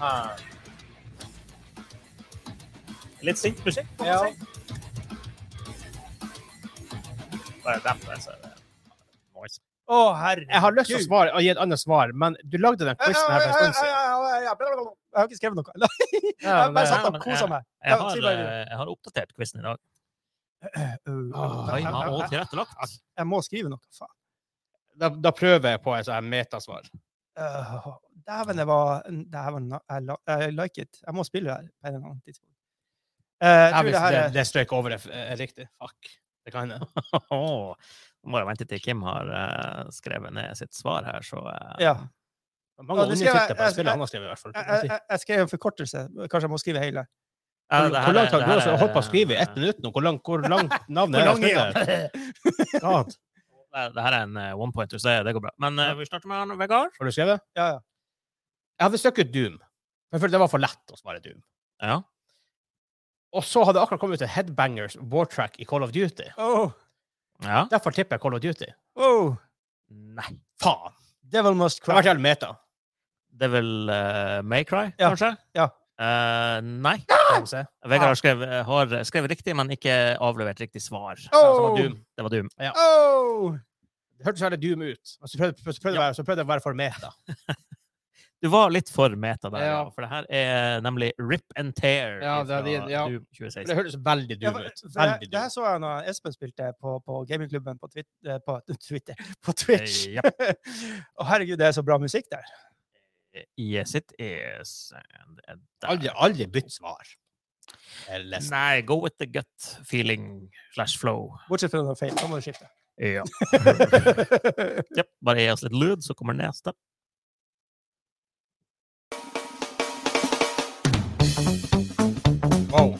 Speaker 1: Ah.
Speaker 2: Litt sint musikk, kan
Speaker 3: Ja.
Speaker 2: man si. Bare dempe, så er det noise.
Speaker 3: Å, herre.
Speaker 1: Jeg har lyst til å svare, å gi et annet svar, men du lagde den quizen her for en stund siden.
Speaker 3: Jeg har ikke skrevet noe. Nei,
Speaker 1: Ja,
Speaker 3: Jeg bare
Speaker 1: men-
Speaker 3: satt
Speaker 2: men
Speaker 3: og kosa
Speaker 2: jeg-
Speaker 3: meg.
Speaker 2: Jeg
Speaker 3: Ja, si
Speaker 2: har,
Speaker 3: bare
Speaker 2: eh, jeg har oppdatert quizen i dag.
Speaker 1: Åh,
Speaker 3: Uh, jeg-
Speaker 2: Timer og
Speaker 3: jeg- jeg-
Speaker 2: tilrettelagt.
Speaker 3: Jeg må skrive noe, faen.
Speaker 1: Da, da prøver jeg på et sånt her metasvar.
Speaker 3: Øh, Dæven, det var Dæven, jeg la- jeg like it. Jeg må spille det her på en eller annen tidspunkt. Eh, jeg
Speaker 1: Ja,
Speaker 3: tror
Speaker 1: hvis
Speaker 3: det her
Speaker 1: det,
Speaker 3: er
Speaker 1: det strøk over er, er riktig. Fuck. Det kan hende.
Speaker 2: Åh, Nå må jeg vente til Kim har eh, skrevet ned sitt svar her, så eh,
Speaker 3: Ja.
Speaker 1: Mange
Speaker 3: Ja, det skal
Speaker 1: undertitler
Speaker 3: jeg-
Speaker 1: på det
Speaker 3: jeg-
Speaker 1: spillet han har skrevet, i hvert fall.
Speaker 3: Jeg, jeg, jeg- jeg skrev en forkortelse. Kanskje jeg må skrive hele.
Speaker 1: Hvor
Speaker 2: Ja, det her
Speaker 1: hvor
Speaker 2: er-
Speaker 1: langt har
Speaker 2: det
Speaker 1: du
Speaker 2: her
Speaker 1: også
Speaker 2: er-
Speaker 1: holdt på å skrive i ett minutt nå? Hvor langt, hvor langt navnet
Speaker 3: Hvor
Speaker 1: er
Speaker 3: lang er
Speaker 1: det spillet? God.
Speaker 2: Nei, Det her er en eh, one pointer, så det, det går bra. Men eh, vi starter med han, Vegard.
Speaker 1: Har du skrevet?
Speaker 3: Ja, ja.
Speaker 1: Jeg hadde søkt ut Doom. For jeg følte det var for lett å svare Doom.
Speaker 2: Ja.
Speaker 1: Og så hadde det akkurat kommet ut en Headbangers War Track i Call of Duty.
Speaker 3: Oh,
Speaker 2: ja.
Speaker 1: Derfor tipper jeg Call of Duty.
Speaker 3: oh,
Speaker 2: Nei.
Speaker 1: Faen!
Speaker 3: Devil Must
Speaker 1: Det har vært
Speaker 3: Cry.
Speaker 1: jævlig meta.
Speaker 2: Det er vel eh, Maycry,
Speaker 3: Ja.
Speaker 2: kanskje?
Speaker 3: Ja.
Speaker 2: Eh, nei.
Speaker 1: Kan vi se.
Speaker 2: Vegard har skrevet, har skrevet riktig, men ikke avlevert riktig svar. Eh,
Speaker 1: Så
Speaker 3: Oh,
Speaker 1: var Doom.
Speaker 2: Det var Doom.
Speaker 3: oh.
Speaker 1: Det hørtes veldig Doom ut. Og så prøvde, så prøvde, jeg, så prøvde jeg å være for meta.
Speaker 2: Du var litt for meta der, ja.
Speaker 1: Ja.
Speaker 2: for det her er nemlig Rip and Tear
Speaker 1: Ja, det er
Speaker 2: fra
Speaker 1: de- ja.
Speaker 2: Doom
Speaker 1: For Det
Speaker 2: 2016.
Speaker 1: hørtes veldig
Speaker 3: Ja,
Speaker 1: Doom
Speaker 3: for-
Speaker 1: ut.
Speaker 3: for
Speaker 1: Veldig
Speaker 3: jeg- Det her
Speaker 1: Doom.
Speaker 3: så jeg når Espen spilte på, på gamingklubben på, Twit- eh, på Twitter, på Twitch.
Speaker 2: Eh,
Speaker 3: Å, herregud, det er så bra musikk der.
Speaker 2: Yes, it is. And- and that-
Speaker 1: Aldri, aldri bytt svar. Eller s-
Speaker 2: Nei, go with the gut feeling slash flow.
Speaker 3: Bortsett fra noe feil. Da må du skifte.
Speaker 2: Ja. Jep, bare gi oss litt lyd, så kommer neste.
Speaker 1: wow.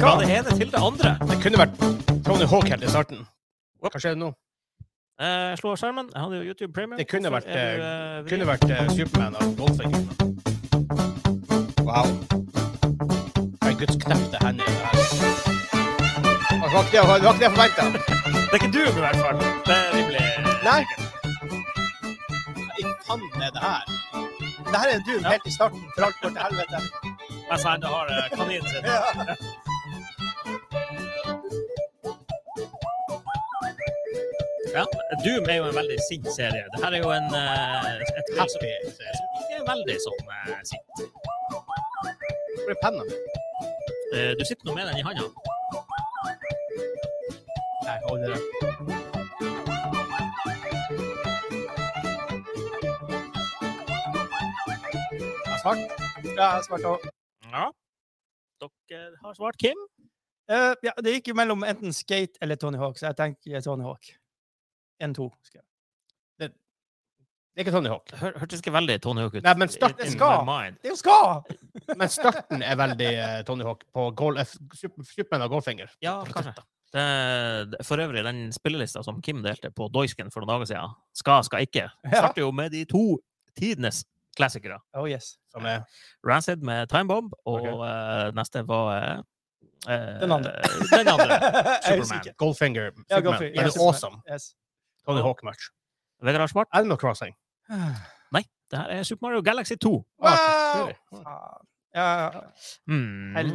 Speaker 2: Fra
Speaker 3: Skal
Speaker 2: det ene til det andre.
Speaker 1: Det kunne vært Tony Hawk helt i starten. Hva skjer nå?
Speaker 2: Eh, slå av skjermen. Jeg hadde jo YouTube Premium.
Speaker 1: Det kunne
Speaker 2: Hvorfor
Speaker 1: vært,
Speaker 2: er du, eh,
Speaker 1: Det kunne vært eh, Superman og Goldfinger. Wow. Herregud, guds knepte hender. i det her. Det var ikke det- det var ikke det jeg forventa.
Speaker 2: Det er ikke du, i hvert fall. Det er rimelig.
Speaker 3: Nei.
Speaker 1: I fanden er det her?
Speaker 3: Det her er Doom helt i starten, for alt går til helvete.
Speaker 2: Jeg sa det har eh, kaninen sin. Ja, Doom er jo en veldig sint serie. Det her er jo en eh, et spill som
Speaker 1: Happy.
Speaker 2: ikke er veldig sånn eh, sint.
Speaker 1: Hvor er penna mi?
Speaker 2: Eh, du sitter nå med den i handa.
Speaker 1: Nei, hold det der.
Speaker 3: Jeg har svart. Ja, jeg har svart også.
Speaker 2: Ja. Dere har svart Kim.
Speaker 3: Eh, ja, det gikk jo mellom enten Skate eller Tony Hawk, så jeg tenker Tony Hawk. En, to. Skal jeg.
Speaker 1: Det er ikke Tony Hawk.
Speaker 2: Hør, hørtes ikke veldig Tony Hawk ut.
Speaker 1: Nei, men start-
Speaker 2: In- in
Speaker 3: skal.
Speaker 2: my mind.
Speaker 3: Det er jo Ska!
Speaker 1: Men starten er veldig eh, Tony Hawk på Gold, eh, Super- Superman og Goldfinger.
Speaker 2: Ja, kanskje. Det, det- for øvrig, den spillelista som Kim delte på Doisken for noen dager siden, skal, skal ikke, starter jo med de to tidenes klassikere.
Speaker 3: Oh yes.
Speaker 1: Som er
Speaker 2: Rancid med Time Bomb, og eh, neste var eh, eh,
Speaker 3: Den andre.
Speaker 2: Den andre.
Speaker 3: Jeg husker
Speaker 2: Superman.
Speaker 3: ikke.
Speaker 1: Goldfinger.
Speaker 3: Ja,
Speaker 1: Superman.
Speaker 3: Goldfinger,
Speaker 1: That
Speaker 3: ja,
Speaker 1: is
Speaker 3: Superman.
Speaker 1: awesome.
Speaker 3: Yes.
Speaker 1: Tony Hawk merch.
Speaker 2: Vegard Smart,
Speaker 1: Animal Crossing.
Speaker 2: Ah,
Speaker 1: Ah,
Speaker 2: det her er Super Mario Galaxy 2.
Speaker 3: Wow!
Speaker 1: Wow!
Speaker 3: Faen. Ja,
Speaker 2: Hmm.
Speaker 3: Hel-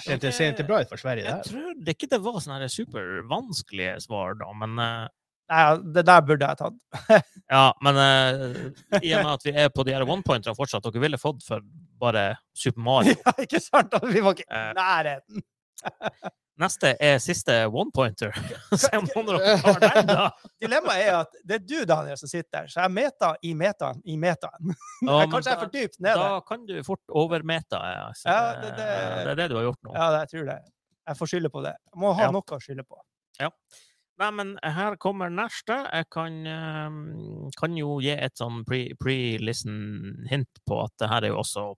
Speaker 1: Ser inte- ser inte bra ut för Sverige det
Speaker 2: Jeg
Speaker 1: här.
Speaker 2: trodde ikke det var sånne her supervanskelige svar, da, men eh,
Speaker 3: Nei, det der burde jeg tatt.
Speaker 2: Ja, men eh, i og med at vi er på de her one-pointerne fortsatt, dere ville fått for bare Super Mario.
Speaker 3: Ja, ikke sant? Da? Vi var ikke i
Speaker 2: Eh.
Speaker 3: nærheten.
Speaker 2: Neste er siste one-pointer. Se om noen av dere har den, da!
Speaker 3: Dilemmaet er at det er du, Daniel, som sitter her, så jeg er meta i metaen i metaen.
Speaker 2: Ja, men
Speaker 3: Kanskje jeg er
Speaker 2: da-
Speaker 3: for dypt nede.
Speaker 2: Da kan du fort overmeta. Ja, så,
Speaker 3: Ja, det-
Speaker 2: det,
Speaker 3: det-
Speaker 2: er det du har gjort nå.
Speaker 3: Ja, jeg tror det. Jeg får skylde på det. Jeg må ha
Speaker 2: Ja.
Speaker 3: noe å skylde på.
Speaker 2: Nei, men her kommer neste. Jeg kan, eh, kan jo gi et sånn pre- pre-listen-hint på at det her er jo også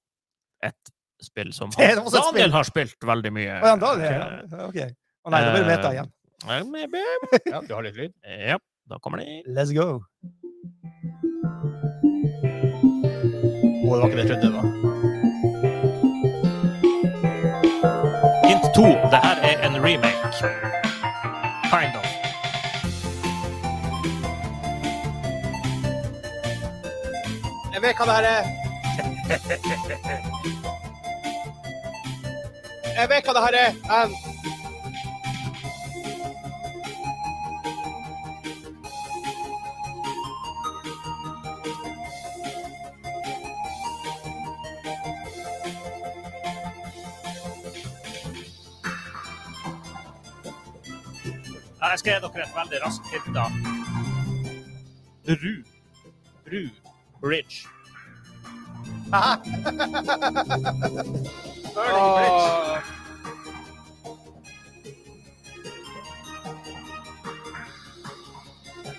Speaker 2: et spill som
Speaker 3: Det er
Speaker 2: han-
Speaker 3: også et spill.
Speaker 2: Daniel har spilt veldig mye.
Speaker 3: Å ja, Daniel. ja. OK. Å nei, da blir det meta igjen.
Speaker 2: Eh, maybe.
Speaker 1: Ja, du har litt lyd.
Speaker 2: Ja, da kommer det
Speaker 3: Let's go.
Speaker 1: Och det var inte det jag trodde det var.
Speaker 2: hint to. Det her er en remake. Kind of.
Speaker 3: Jeg vet hva det her er. Jeg vet hva det her er. Um...
Speaker 2: Jeg skal gi dere et veldig raskt hint, da. Bru. Bru. Bridge.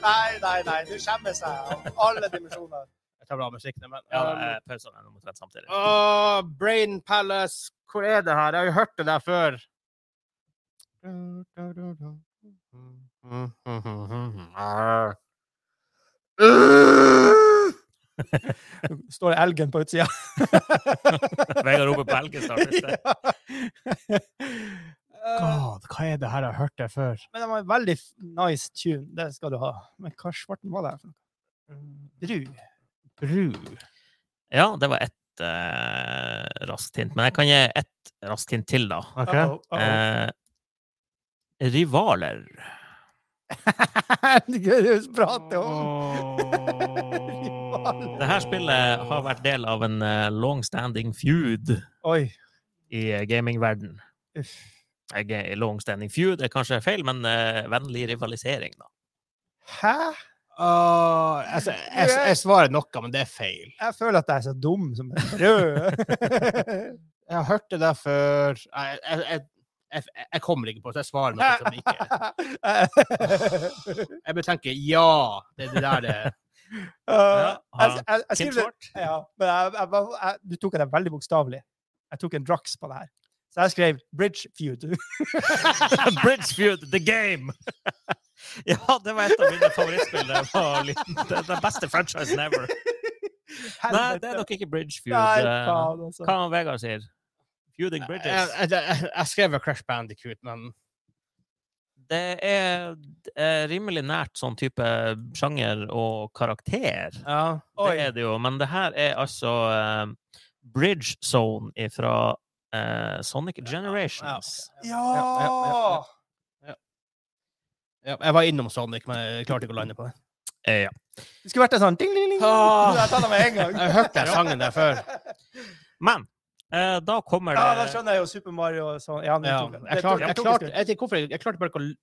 Speaker 3: Nei, nei, nei. Nå skjemmes jeg av alle dimensjoner.
Speaker 1: Jag tar bra musik nu, men...
Speaker 2: Ja,
Speaker 1: Ehm,
Speaker 2: eh, pausene er omtrent samtidig.
Speaker 1: Åh, Brain Palace, hvor er det her? Jeg har jo hørt det der før.
Speaker 3: Står det elgen på utsida?
Speaker 2: Vegard roper på Elgestad.
Speaker 3: Ja.
Speaker 1: God, hva er det her jeg har hørt det før?
Speaker 3: Eh, Men det var en veldig f- nice tune. Det skal du ha. Men hva svarten var det her for noe? Bru.
Speaker 1: Bru.
Speaker 2: Ja, det var ett eh, raskt hint. Men jeg kan gi ett raskt hint til, da.
Speaker 1: Ok.
Speaker 3: Uh-oh, uh-oh.
Speaker 2: Eh, rivaler.
Speaker 3: Du prater om
Speaker 2: Det her spillet har vært del av en eh, long-standing feud
Speaker 3: Oi.
Speaker 2: i eh, gamingverden.
Speaker 3: Uff.
Speaker 2: Jeg er i Long-standing feud er kanskje feil, men eh, vennlig rivalisering, da.
Speaker 3: Hæ?
Speaker 1: Åh, altså, jeg, jeg svarer noe, men det er feil.
Speaker 3: Jeg føler at jeg er så dum som en rød.
Speaker 1: Jeg har hørt det der før. Jeg, jeg, jeg, jeg, jeg kommer ikke på det, så jeg svarer noe som det ikke er. Jeg bare tenker ja, det er det der det er.
Speaker 3: Uh, jeg,
Speaker 2: ha-
Speaker 3: jeg, jeg
Speaker 2: Hint
Speaker 3: skriver det
Speaker 2: svart.
Speaker 3: ja, men jeg, jeg, var- jeg, Du tok det veldig bokstavelig. Jeg tok en drax på det her. Så jeg skrev 'Bridge Feud'.
Speaker 2: Bridge feud, the game! ja, det var et av mine favorittspill da jeg var liten. Det er Den beste franchisen ever. Nei, det er nok ikke bridge feud.
Speaker 3: Nei,
Speaker 2: eh,
Speaker 3: faen, altså.
Speaker 2: Hva han Vegard sier? Feuding
Speaker 1: Jeg,
Speaker 2: bridges.
Speaker 1: jeg, jeg, jeg skrev jo Crash Bandicoot, men
Speaker 2: Det er eh, rimelig nært sånn type sjanger og karakter.
Speaker 3: Oi.
Speaker 2: Det er det jo, men det her er altså eh, Bridge Zone fra Sonic Generations.
Speaker 3: Ja!
Speaker 1: Ja, ja, ja, ja. Ja, jeg var innom Sonic, men jeg klarte ikke å lande på det.
Speaker 2: Eh, ja.
Speaker 3: Det skulle vært en sånn ding, ding, ding.
Speaker 1: Ah.
Speaker 3: Jeg tar det med en gang.
Speaker 1: Jeg hørte den sangen der før.
Speaker 2: Men eh, da kommer
Speaker 3: Ja, da
Speaker 2: det
Speaker 3: skjønner jeg jo Super Mario og sånn. Ja, men
Speaker 1: Ja,
Speaker 3: det tok-
Speaker 1: jeg,
Speaker 3: det
Speaker 1: klarte,
Speaker 3: tok-
Speaker 1: jeg,
Speaker 3: det tok en
Speaker 1: klarte,
Speaker 3: stund.
Speaker 1: jeg, vet ikke hvorfor, jeg klarte bare ikke å l-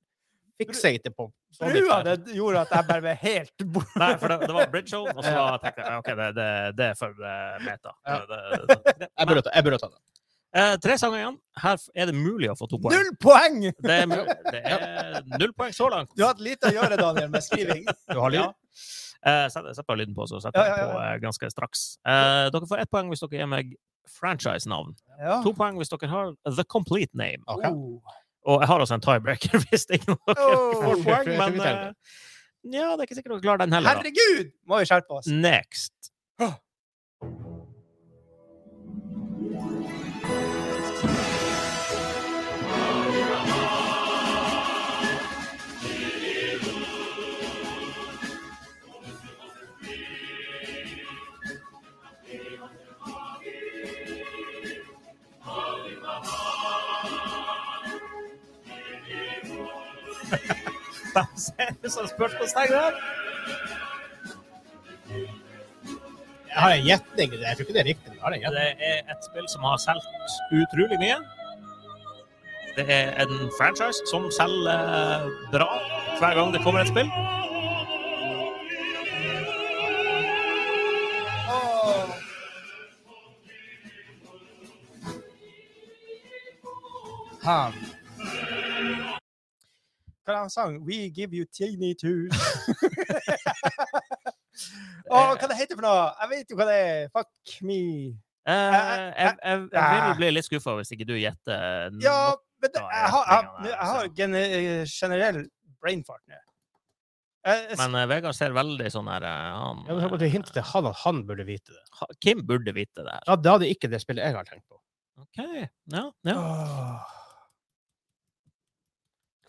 Speaker 1: fixate på Sonic.
Speaker 3: Brua
Speaker 1: der.
Speaker 3: det gjorde at jeg bare ble helt borte.
Speaker 2: Nei, for det, det var Bridge Zone, og så
Speaker 1: Ja.
Speaker 2: tenkte jeg ok, det, det, det er for eh, meta.
Speaker 1: Ja.
Speaker 2: Det, det, det, det.
Speaker 1: Jeg burde ta- jeg burde ta den.
Speaker 2: Eh, tre sanger igjen. Her er det mulig å få to poeng.
Speaker 3: Null poeng!
Speaker 2: Det er, mul- det er null poeng så langt.
Speaker 3: Du har hatt lite å gjøre, Daniel, med skriving.
Speaker 1: Du har lyd?
Speaker 2: Eh, Sett sett bare lyden på, så setter
Speaker 3: Ja, ja,
Speaker 2: jeg
Speaker 3: ja,
Speaker 2: den på eh, ganske straks. Eh, dere får ett poeng hvis dere gir meg franchise-navn.
Speaker 3: Ja.
Speaker 2: To poeng hvis dere har The Complete Name.
Speaker 1: Ok.
Speaker 3: Oh.
Speaker 2: Og jeg har også en tiebreaker hvis ingen av dere
Speaker 3: Oh,
Speaker 2: får
Speaker 1: jeg tror- jeg
Speaker 2: poeng,
Speaker 1: tror vi
Speaker 2: men
Speaker 1: trenger
Speaker 2: eh, ja, det er ikke sikkert dere klarer den heller. Da.
Speaker 3: Herregud! Må vi skjerpe oss.
Speaker 2: Next.
Speaker 3: Åh.
Speaker 2: De ser ut som spørsmålstegn der.
Speaker 1: Jeg har en gjetning. Jeg tror ikke det er riktig. men Jeg har en gjetning.
Speaker 2: Det er et spill som har solgt utrolig mye. Det er en franchise som selger eh, bra hver gang det kommer et spill.
Speaker 3: Ham. Hva er det han sang? We give you teeny toes. Åh, hva det heter for noe? Jeg vet jo hva det er. Fuck me.
Speaker 2: Eh, jeg, jeg, jeg vil bli litt skuffa hvis ikke du gjetter. nå.
Speaker 3: eh, Ja, men det,
Speaker 2: Nå er
Speaker 3: jeg har, jeg,
Speaker 2: retningen der,
Speaker 3: jeg har
Speaker 2: altså.
Speaker 3: gene- generell brain fart nå. Jeg- jeg-
Speaker 2: Men eh, Vegard ser veldig sånn her eh, han, eh,
Speaker 1: Jeg må bare hinte til han at han burde vite det.
Speaker 2: ha- Kim burde vite det her.
Speaker 1: Ja, det hadde ikke det spillet jeg har tenkt på.
Speaker 2: OK. Ja,
Speaker 3: Ah,
Speaker 2: ja.
Speaker 3: Åh.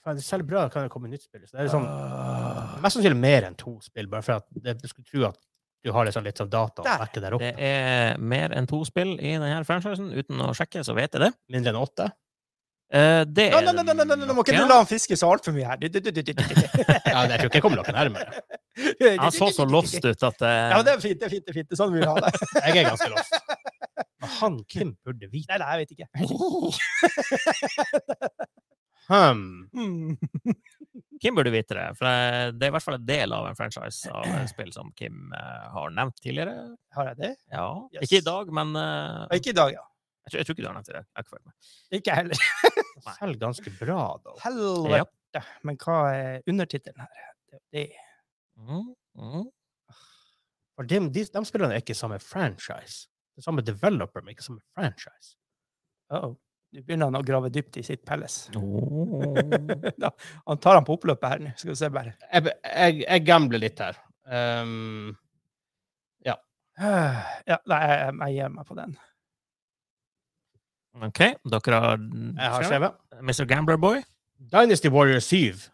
Speaker 1: For selv bra kan det komme nytt spill. Så det er sånn, mest sannsynlig mer enn to spill, bare for at det- du skulle tro at du har liksom litt sånn data å
Speaker 3: Der.
Speaker 1: trekke der opp.
Speaker 2: Det er mer enn to spill i denne franchisen. Uten å sjekke, så vet jeg det.
Speaker 1: Mindre enn åtte.
Speaker 2: Eh, det
Speaker 3: Nei,
Speaker 2: er
Speaker 3: nei, nei, nei, nei, nei, nå må ikke du
Speaker 2: nok, ja.
Speaker 3: la han fiske så altfor mye her. Du, du, du, du, du, du, du.
Speaker 1: Ja, jeg tror ikke jeg kommer noe nærmere.
Speaker 2: Han så så lost ut at eh,
Speaker 3: Ja, men det er fint, det er fint, det er fint. Det er sånn vi vil ha det.
Speaker 1: Jeg er ganske lost. Men han Kim burde vite.
Speaker 3: Nei, nei, jeg vet ikke.
Speaker 1: Hmm.
Speaker 3: Hmm.
Speaker 2: Kim burde vite det. For eh, det er i hvert fall en del av en franchise av et spill som Kim eh, har nevnt tidligere.
Speaker 3: Har jeg det?
Speaker 2: Ja.
Speaker 3: Yes.
Speaker 2: Ikke i dag, men eh,
Speaker 3: Ja, Ikke i dag, ja.
Speaker 2: jeg, tror, jeg tror ikke du har nevnt det. i dag. Jeg har ikke følt meg.
Speaker 3: Ikke jeg heller.
Speaker 1: Selv ganske bra, da.
Speaker 3: Helvete. Men hva er undertittelen her? Det er
Speaker 2: Mm, mm.
Speaker 1: For de, de, de spillerne er ikke samme franchise. Det er samme developer, men ikke samme franchise.
Speaker 3: Oh. Nå begynner han å grave dypt i sitt pelles.
Speaker 1: Mm.
Speaker 2: Oh.
Speaker 3: Da, han tar han på oppløpet her nå. Skal vi se bare.
Speaker 1: Jeg, be- jeg, jeg gambler litt her. Ehm,
Speaker 3: Ja, nei, jeg, jeg gir meg på den.
Speaker 2: OK, dere har
Speaker 1: jeg har skrevet.
Speaker 2: Mr. Gambler Boy?
Speaker 1: Dynasty Warrior 7.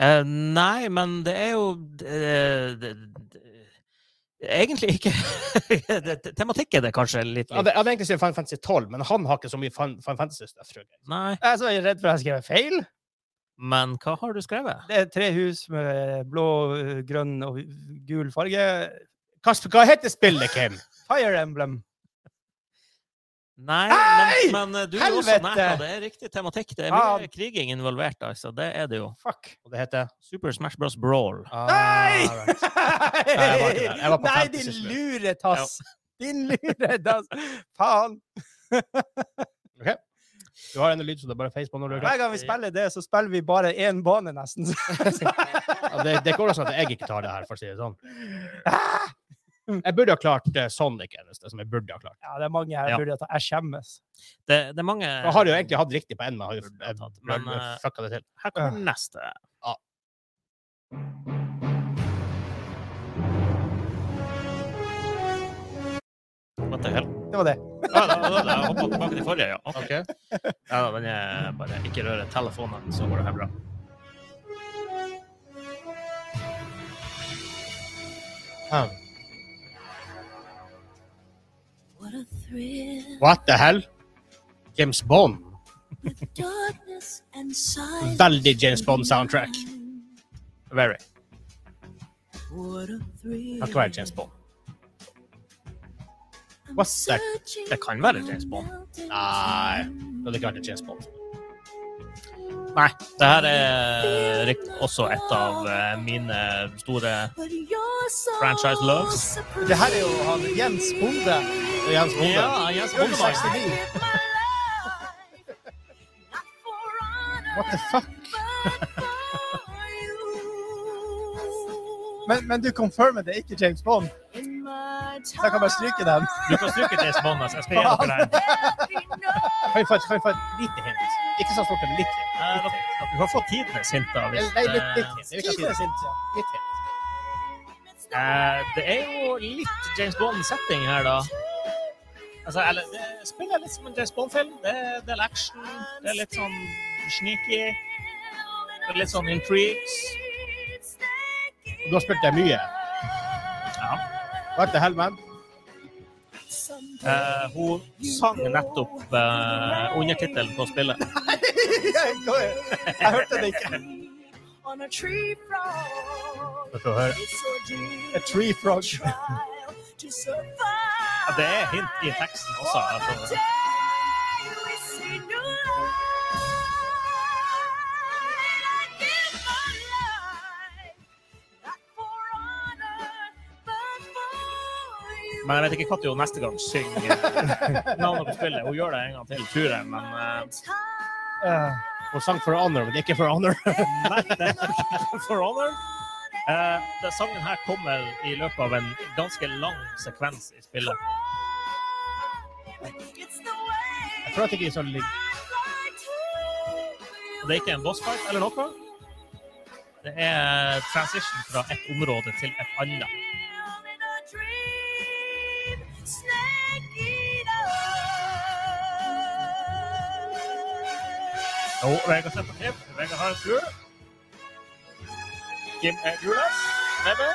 Speaker 2: Eh, nei, men det er jo eh, det, det, Egentlig ikke. det, det- tematikken er det kanskje litt
Speaker 1: Jeg hadde, jeg hadde egentlig skrevet Final Fantasy 12, men han har ikke så mye Final Fantasy-stuff, tror jeg.
Speaker 2: Nei,
Speaker 3: Jeg er så redd for at jeg skrev feil.
Speaker 2: men hva har du skrevet?
Speaker 3: Det er tre hus med blå, grønn og gul farge.
Speaker 1: Hva, sp- hva heter spillet, Kim?
Speaker 3: Fire Emblem.
Speaker 2: Nei,
Speaker 3: Nei!
Speaker 2: men, men du er også
Speaker 3: Helvete!
Speaker 2: nært. Det er riktig tematikk. Det er
Speaker 3: Ah.
Speaker 2: mye kriging involvert, altså. Det er det jo.
Speaker 3: Fuck.
Speaker 1: Og det heter
Speaker 2: Super Smash Bros. Brawl.
Speaker 3: Nei!
Speaker 1: Ah, right. jeg var ikke der. Jeg var på
Speaker 3: Nei,
Speaker 1: fantasy
Speaker 3: din
Speaker 1: sist uke.
Speaker 3: luretass! Din luretass! Faen!
Speaker 1: Du har en lyd, så det er bare face på når du er
Speaker 3: Hver
Speaker 1: klar.
Speaker 3: gang vi spiller det, så spiller vi bare én bane, nesten.
Speaker 1: Ja, det, det går altså at jeg ikke tar det her, for å si det sånn. Ah! Jeg burde ha klart eh, Sonic, er det eneste som jeg burde ha klart.
Speaker 3: Ja, det er mange her
Speaker 2: Ja.
Speaker 3: jeg burde ta. Jeg skjemmes.
Speaker 2: Det, det er mange
Speaker 1: Jeg har jo egentlig hatt riktig på en, men jeg
Speaker 2: Burde ha
Speaker 1: har jo
Speaker 2: tatt,
Speaker 1: jeg
Speaker 2: men,
Speaker 1: Eh. burde
Speaker 2: eh,
Speaker 1: fucka det til.
Speaker 2: Her kommer den neste.
Speaker 1: Ja.
Speaker 2: What the hell?
Speaker 3: Det var det.
Speaker 2: Ja, da, da, da, jeg hoppa tilbake til forrige, ja. Ok. ja da, den er bare Ikke røre telefonen, så går det her bra.
Speaker 1: Ah,
Speaker 5: What a thrill
Speaker 1: What the hell? James Bond.
Speaker 5: with darkness and silence.
Speaker 1: Veldig James Bond soundtrack.
Speaker 2: Very.
Speaker 5: What a thrill.
Speaker 1: Kan ikke være James Bond.
Speaker 5: I'm
Speaker 1: What the-
Speaker 5: searching
Speaker 2: Det kan være
Speaker 5: for
Speaker 2: James Bond.
Speaker 5: mountains.
Speaker 1: Nei, det hadde ikke vært en James Bond.
Speaker 2: Nei, det her er rikt- også et av eh, mine store
Speaker 5: But you're so
Speaker 2: Franchise loves.
Speaker 5: supreme.
Speaker 3: Det her er jo han Jens Bonde.
Speaker 1: Det er Jens Bond.
Speaker 2: Ja, Jens
Speaker 5: I
Speaker 3: Bondemann.
Speaker 2: Bondemann.
Speaker 5: live my life, not for honor,
Speaker 1: What the fuck?
Speaker 5: but for you.
Speaker 3: Men, men du confirmer det er ikke James Bond?
Speaker 5: In my
Speaker 3: Så jeg kan bare stryke den.
Speaker 2: Du kan stryke James Bond, altså. Jeg skal gi dere den.
Speaker 1: Kan vi få et- kan vi få et lite hint? Ikke så stort, men litt hint.
Speaker 2: Eh, dere- Du kan få tidenes hint, da. Hvis,
Speaker 1: Nei, litt, litt hint. Jeg vil ikke si det.
Speaker 3: Tidligere sint, ja.
Speaker 1: Litt hint.
Speaker 2: Eh, det er jo litt James Bond-setting her, da. Altså, eller, det spiller litt som en James Bond-film. Det, er- det er action, det er litt sånn sneaky, det er litt sånn intrigues.
Speaker 1: Du har spilt deg mye.
Speaker 2: Ja.
Speaker 1: What the hell, man?
Speaker 2: Eh, hun sang nettopp eh, undertittelen på spillet.
Speaker 3: Jeg hørte det ikke.
Speaker 5: On a tree frog.
Speaker 1: Skal vi høre.
Speaker 5: It's
Speaker 3: A
Speaker 5: ordeal.
Speaker 3: tree frog.
Speaker 5: Trial to survive.
Speaker 2: Ja, Det er hint i teksten også.
Speaker 5: On a
Speaker 2: Altså.
Speaker 5: day we see new light. I give my life, not for honor, but for you.
Speaker 2: Men jeg vet ikke når hun neste gang synger eh, navnet på spillet. Hun gjør det en gang til, tror jeg, men eh,
Speaker 3: Eh,
Speaker 1: Hun sang For Honor, men ikke For Honor.
Speaker 2: Nei, det er For Honor. Eh, den sangen her kommer i løpet av en ganske lang sekvens i spillet.
Speaker 5: It's the way
Speaker 1: Jeg tror at det ikke er så lik.
Speaker 2: Og Det er ikke en bossfight eller noe. Det er transition fra et område til et annet. Jo, Vegard ser på klipp. Vegard har en skrue. Kim er gulas. Nebe.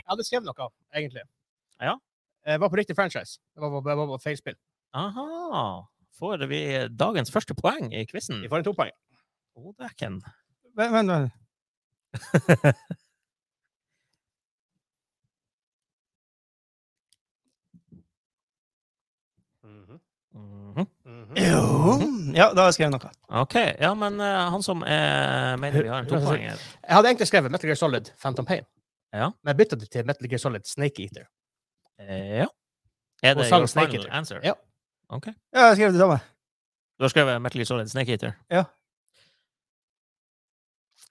Speaker 1: Jeg hadde skrevet noe, egentlig.
Speaker 2: Ja.
Speaker 1: Jeg var på riktig franchise. Det var, det var, det var feil spill.
Speaker 2: Aha. Får vi dagens første poeng i quizen?
Speaker 1: Vi får en topoeng.
Speaker 2: Å, dæken.
Speaker 3: Vent, vent, vent.
Speaker 2: Mhm.
Speaker 3: Jo. Ja, da har jeg skrevet noe.
Speaker 2: OK. Ja, men eh, han som eh, mener vi har en topoeng her
Speaker 1: Jeg hadde egentlig skrevet Metal Gear Solid Phantom Pain,
Speaker 2: Ja.
Speaker 1: men jeg bytta det til Metal Gear Solid Snake Eater.
Speaker 2: Eh, Ja. Er
Speaker 1: Og
Speaker 2: det
Speaker 1: sang
Speaker 2: your
Speaker 1: Snake
Speaker 2: final
Speaker 1: Eater.
Speaker 2: answer?
Speaker 1: Ja.
Speaker 2: OK.
Speaker 3: Ja, jeg har skrevet det samme.
Speaker 2: Du har skrevet Metal Gear Solid Snake Eater?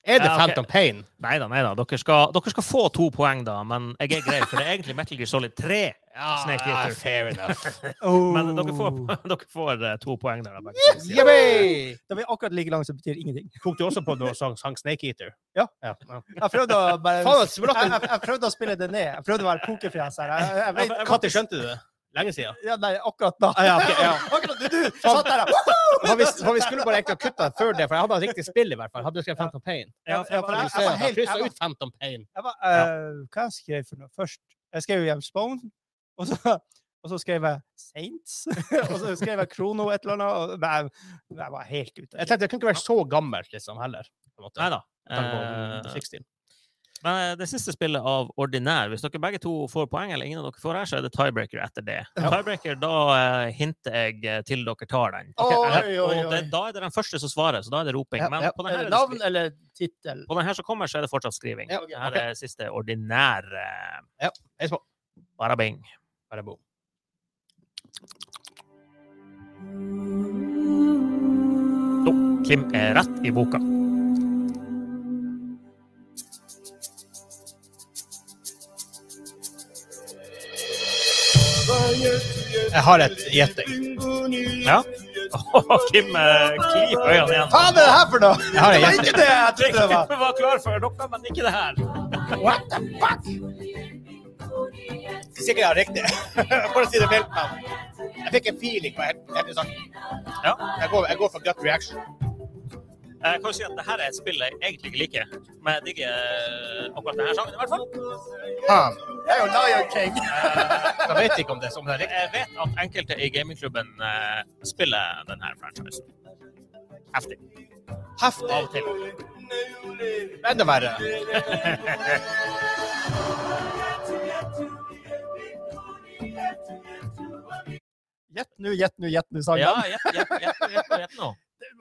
Speaker 1: Er det
Speaker 2: Ja, ok.
Speaker 1: Phantom Pain?
Speaker 2: Nei da, nei da. Dere skal, dere skal få to poeng, da. Men jeg er grei, for det er egentlig Metal Gear Solid 3. Snake Eater.
Speaker 1: fair enough.
Speaker 3: Oh.
Speaker 2: Men dere får, dere får eh, to poeng der. da, begge to sider.
Speaker 1: Yippee!
Speaker 3: Da er vi akkurat like langt, så betyr det ingenting.
Speaker 1: Tok du også på noe sang, sang Snake Eater?
Speaker 3: Ja.
Speaker 1: ja. ja.
Speaker 3: Jeg prøvde å, bare,
Speaker 1: Faen,
Speaker 3: jeg,
Speaker 1: det smaker-
Speaker 3: jeg, jeg prøvde å spille det ned. Jeg prøvde å være pokerfjes her. Jeg, jeg vet,
Speaker 1: Når skjønte du det? Lenge siden.
Speaker 3: ja, nei, akkurat da.
Speaker 1: Ah, ja, ok, ja.
Speaker 3: Akkurat du, du satt der og
Speaker 1: For vi, for vi skulle bare egentlig ha kutta før det, for jeg hadde et riktig spill i hvert fall. Hadde du skrevet Phantom Pain?
Speaker 2: Ja, for jeg
Speaker 3: Ja,
Speaker 2: bare-
Speaker 3: for jeg- var
Speaker 1: Jeg
Speaker 3: helt- jeg
Speaker 1: kryssa
Speaker 3: var-
Speaker 1: ut Phantom Pain.
Speaker 3: jeg var, eh, Hva jeg skrev jeg for noe først? Jeg skrev jo James Bone, og så, og så skrev jeg Saints, og så skrev jeg Krono et eller annet, og jeg, jeg var helt ute.
Speaker 1: Jeg tenkte det kunne ikke være så gammelt liksom, heller. På en måte.
Speaker 2: Nei da.
Speaker 1: Med tanke på, mm,
Speaker 2: Eh,
Speaker 1: 60.
Speaker 2: Men eh, det siste spillet av ordinær Hvis dere begge to får poeng, eller ingen av dere får her, så er det tiebreaker etter det. Tiebreaker, da eh, hinter jeg eh, til dere tar den.
Speaker 3: Oi,
Speaker 2: Eh,
Speaker 3: oi,
Speaker 2: Og det,
Speaker 3: oi.
Speaker 2: da er det den første som svarer, så da er det roping.
Speaker 1: Ja,
Speaker 2: Men
Speaker 1: ja.
Speaker 2: på den
Speaker 3: Er
Speaker 2: her,
Speaker 3: det
Speaker 2: er det skri-
Speaker 3: navn eller tittel?
Speaker 2: på den her som kommer, så er det fortsatt skriving.
Speaker 1: Ja, ok,
Speaker 2: Det her er siste ordinær eh,
Speaker 1: Ja, jeg så.
Speaker 2: Barabing.
Speaker 1: Bare bo.
Speaker 2: Kim er rett i boka.
Speaker 1: Jeg har et gjetting.
Speaker 2: Ja. Kim eh, klyper øynene igjen.
Speaker 3: Faen, det er det her for noe?
Speaker 1: Jeg har
Speaker 3: Det
Speaker 1: et
Speaker 3: var
Speaker 1: gjetting.
Speaker 3: ikke det jeg trodde det var.
Speaker 2: Kim var klar for noe, men ikke det her.
Speaker 1: Sikkert jeg har riktig. For å si det mildt. men Jeg fikk en feeling på hele hele saken.
Speaker 2: Ja.
Speaker 1: Jeg går, jeg går for gut reaction.
Speaker 2: Eh, Jeg kan jo si at det her er et spill jeg egentlig ikke liker, men jeg digger eh, akkurat denne sangen i hvert fall.
Speaker 1: Faen.
Speaker 3: Det er jo Lion King.
Speaker 1: Jeg vet ikke om det er som det er riktig.
Speaker 2: Jeg vet at enkelte i gamingklubben eh, spiller denne franchisen. Heftig. Av og
Speaker 1: Heftig.
Speaker 2: til.
Speaker 1: Enda verre.
Speaker 3: Gjett nå, gjett nå, gjett nå, sangen.
Speaker 2: Ja, gjett, gjett, gjett, gjett, gjett nå.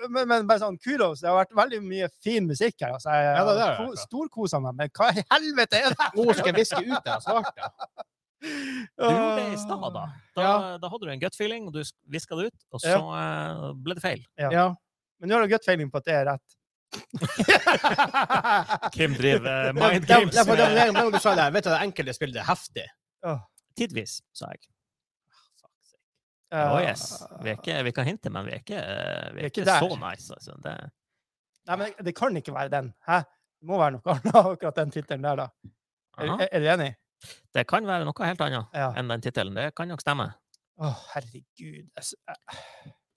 Speaker 3: men, men bare sånn, kudos. Det har vært veldig mye fin musikk her. Altså. Jeg
Speaker 1: Ja, det er det,
Speaker 3: har ko-
Speaker 1: altså.
Speaker 3: storkoset meg, men hva i helvete er det?
Speaker 1: Nå skal jeg viske ut det jeg svarte.
Speaker 2: Du gjorde det i stad, da. Da,
Speaker 3: Ja.
Speaker 2: da hadde du en gut feeling, og du viska det ut, og så
Speaker 3: Ja.
Speaker 2: eh, ble det feil.
Speaker 1: Ja.
Speaker 3: Men nå har du godt feiling på at det er rett.
Speaker 2: Kim driver
Speaker 1: Mind games. Derfor, derfor, derfor, derfor du sa det, jeg vet at det enkelte spill det er heftig.
Speaker 3: Åh,
Speaker 2: Tidvis, sa jeg. Ah,
Speaker 3: eh,
Speaker 2: Å, yes. Vi, er ikke, vi kan hinte, men vi er ikke, eh, vi er
Speaker 3: ikke
Speaker 2: ikke
Speaker 3: der.
Speaker 2: så nice. Altså. Det,
Speaker 3: Nei, men det kan ikke være den. Hæ? Det må være noe annet, akkurat den tittelen der, da. Er,
Speaker 2: Aha.
Speaker 3: er, er du enig?
Speaker 2: det kan være noe helt annet
Speaker 3: Ja.
Speaker 2: enn den tittelen. Det kan nok stemme.
Speaker 3: Å, herregud. Jeg s- jeg-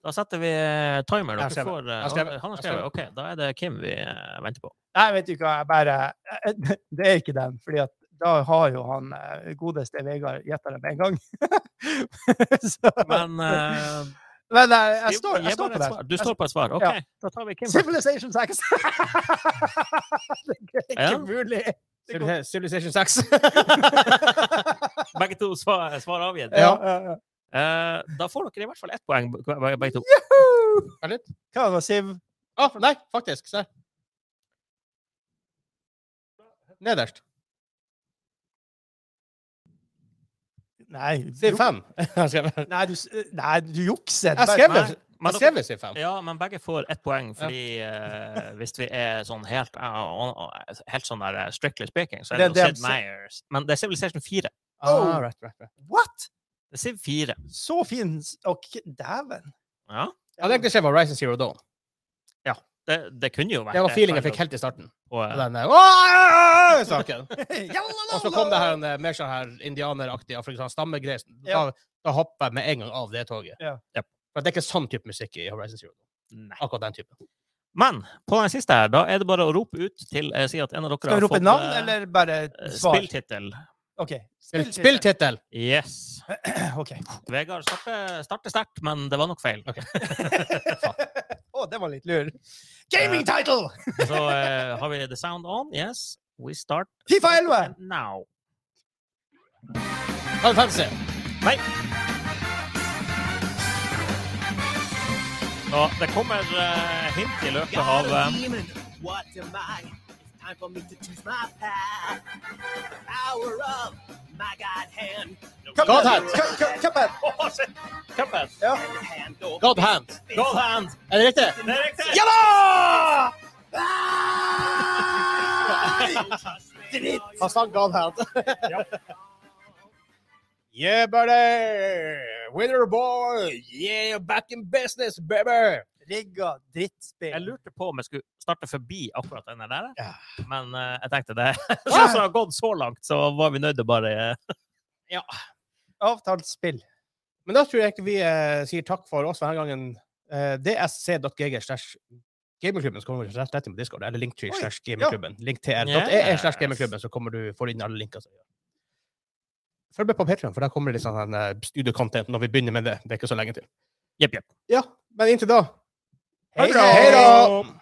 Speaker 2: Da setter vi eh, timer.
Speaker 1: Jeg har
Speaker 2: Dere
Speaker 1: skrevet.
Speaker 2: får, eh,
Speaker 1: Jeg har skrevet.
Speaker 2: han har
Speaker 1: Jeg
Speaker 2: skrevet.
Speaker 1: har
Speaker 2: OK, da er det Kim vi eh, venter på.
Speaker 3: Nei, vet du hva, jeg bare Det eh, er ikke den, fordi at da har jo han eh, godeste Vegard gjetta det med en gang. så, men
Speaker 2: Men eh,
Speaker 3: jeg, jeg står,
Speaker 2: gi
Speaker 3: jeg står på
Speaker 2: bare et
Speaker 3: det.
Speaker 2: svar. Du står på et svar? OK,
Speaker 3: Ja.
Speaker 2: da tar vi Kim. først.
Speaker 3: Civilization 6! det er ikke
Speaker 2: Ja.
Speaker 3: mulig! Det går-
Speaker 1: Civil- Civilization 6.
Speaker 2: Begge to svar, eh, svar avgitt.
Speaker 3: Ja, ja, ja.
Speaker 2: Eh, da får dere i hvert fall ett poeng, be- begge to.
Speaker 1: Vent litt.
Speaker 3: Hva var Siv?
Speaker 1: Å, nei, faktisk. Se. Nederst.
Speaker 3: Nei,
Speaker 1: Siv
Speaker 3: du-
Speaker 1: 5. Jeg har skrevet-
Speaker 3: Nei, du, s- eh, nei, du jukser.
Speaker 1: jeg har skrevet-
Speaker 2: Nei,
Speaker 1: jeg har
Speaker 2: men
Speaker 1: skrevet Siv 5.
Speaker 2: Ja, men begge får ett poeng, fordi eh, hvis vi er sånn helt eh, Helt sånn der eh, strictly speaking, så er det,
Speaker 3: Det er
Speaker 2: jo
Speaker 3: det
Speaker 2: Sid
Speaker 3: som-
Speaker 2: Meyers. Men det er Civilization 4.
Speaker 1: Ah, right, right, right.
Speaker 3: What?!
Speaker 2: Det er Civ 4.
Speaker 3: Så fin s- Ok, dæven.
Speaker 2: Ja.
Speaker 1: Jeg hadde egentlig skrevet Horizon Zero Dawn.
Speaker 2: Det, det kunne jo vært
Speaker 1: Det var
Speaker 2: et
Speaker 1: feeling jeg
Speaker 2: poeng
Speaker 1: fikk helt i starten.
Speaker 2: på, eh,
Speaker 1: Og den der, «Åh!» saken.
Speaker 3: Jalalala.
Speaker 1: Og så kom det her en, eh, mer sånn her indianeraktig afrikansk stammegreie. så Da,
Speaker 3: Ja.
Speaker 1: da hopper jeg med en gang av det toget.
Speaker 3: Ja.
Speaker 2: Japp.
Speaker 1: For det er ikke sånn type musikk i Horizon Zero. Dawn.
Speaker 2: Nei.
Speaker 1: Akkurat den typen.
Speaker 2: Men på den siste her, da er det bare å rope ut til eh, Si at en av dere
Speaker 3: Skal vi rope
Speaker 2: fått,
Speaker 3: navn,
Speaker 2: eh,
Speaker 3: eller bare
Speaker 2: eh,
Speaker 3: svar?
Speaker 2: Spilltittel.
Speaker 3: Ok.
Speaker 1: Spill- Spilltittel!
Speaker 2: Yes.
Speaker 3: Ok.
Speaker 2: Vegard starter starter sterkt, men det var nok feil.
Speaker 3: Å, det var litt lur. Gaming title!
Speaker 2: Så eh, har vi the sound on. Yes. We start
Speaker 3: Fifa 11!
Speaker 2: now.
Speaker 1: Final Fantasy!
Speaker 2: Nei. Så det kommer eh, hint i løpet av
Speaker 5: Got a
Speaker 2: eh,
Speaker 5: demon. What am I? It's time for me to choose my path. The power of my God hand. The
Speaker 1: God
Speaker 5: ruler
Speaker 1: hand.
Speaker 5: of
Speaker 3: Cup- cup- Cuphead!
Speaker 2: Åh, shit. Cuphead.
Speaker 3: Ja.
Speaker 5: the hand. Oh,
Speaker 1: God hand!
Speaker 2: Gold hand.
Speaker 1: Er det riktig?
Speaker 2: Det er riktig.
Speaker 1: Ja da! Han sang God hand. yeah, buddy! Winner boy! Yeah, back in business, baby!
Speaker 3: Rigga drittspill.
Speaker 2: Jeg lurte på om jeg skulle starte forbi akkurat den der,
Speaker 1: Ja.
Speaker 2: men eh, jeg tenkte det. Sånn som det har gått så langt, så var vi nødt til å bare eh,
Speaker 3: Avtalt spill.
Speaker 1: Men da tror jeg ikke vi eh, sier takk for oss for denne gangen. Eh, DSC.gg slash Gamerklubben så kommer du rett rett inn på Discord, eller linktree
Speaker 3: Oi,
Speaker 1: slash Gamerklubben. Linktr.ee
Speaker 2: Yes.
Speaker 1: E slash Gamerklubben, så kommer du, får du inn alle linker. som vi gjør. Følg med på Patreon, for der kommer det litt sånn en, eh, studiocontent når vi begynner med det. Det er ikke så lenge til.
Speaker 2: Jepp, jepp.
Speaker 1: Ja, men inntil da
Speaker 3: Hei
Speaker 1: Hei da!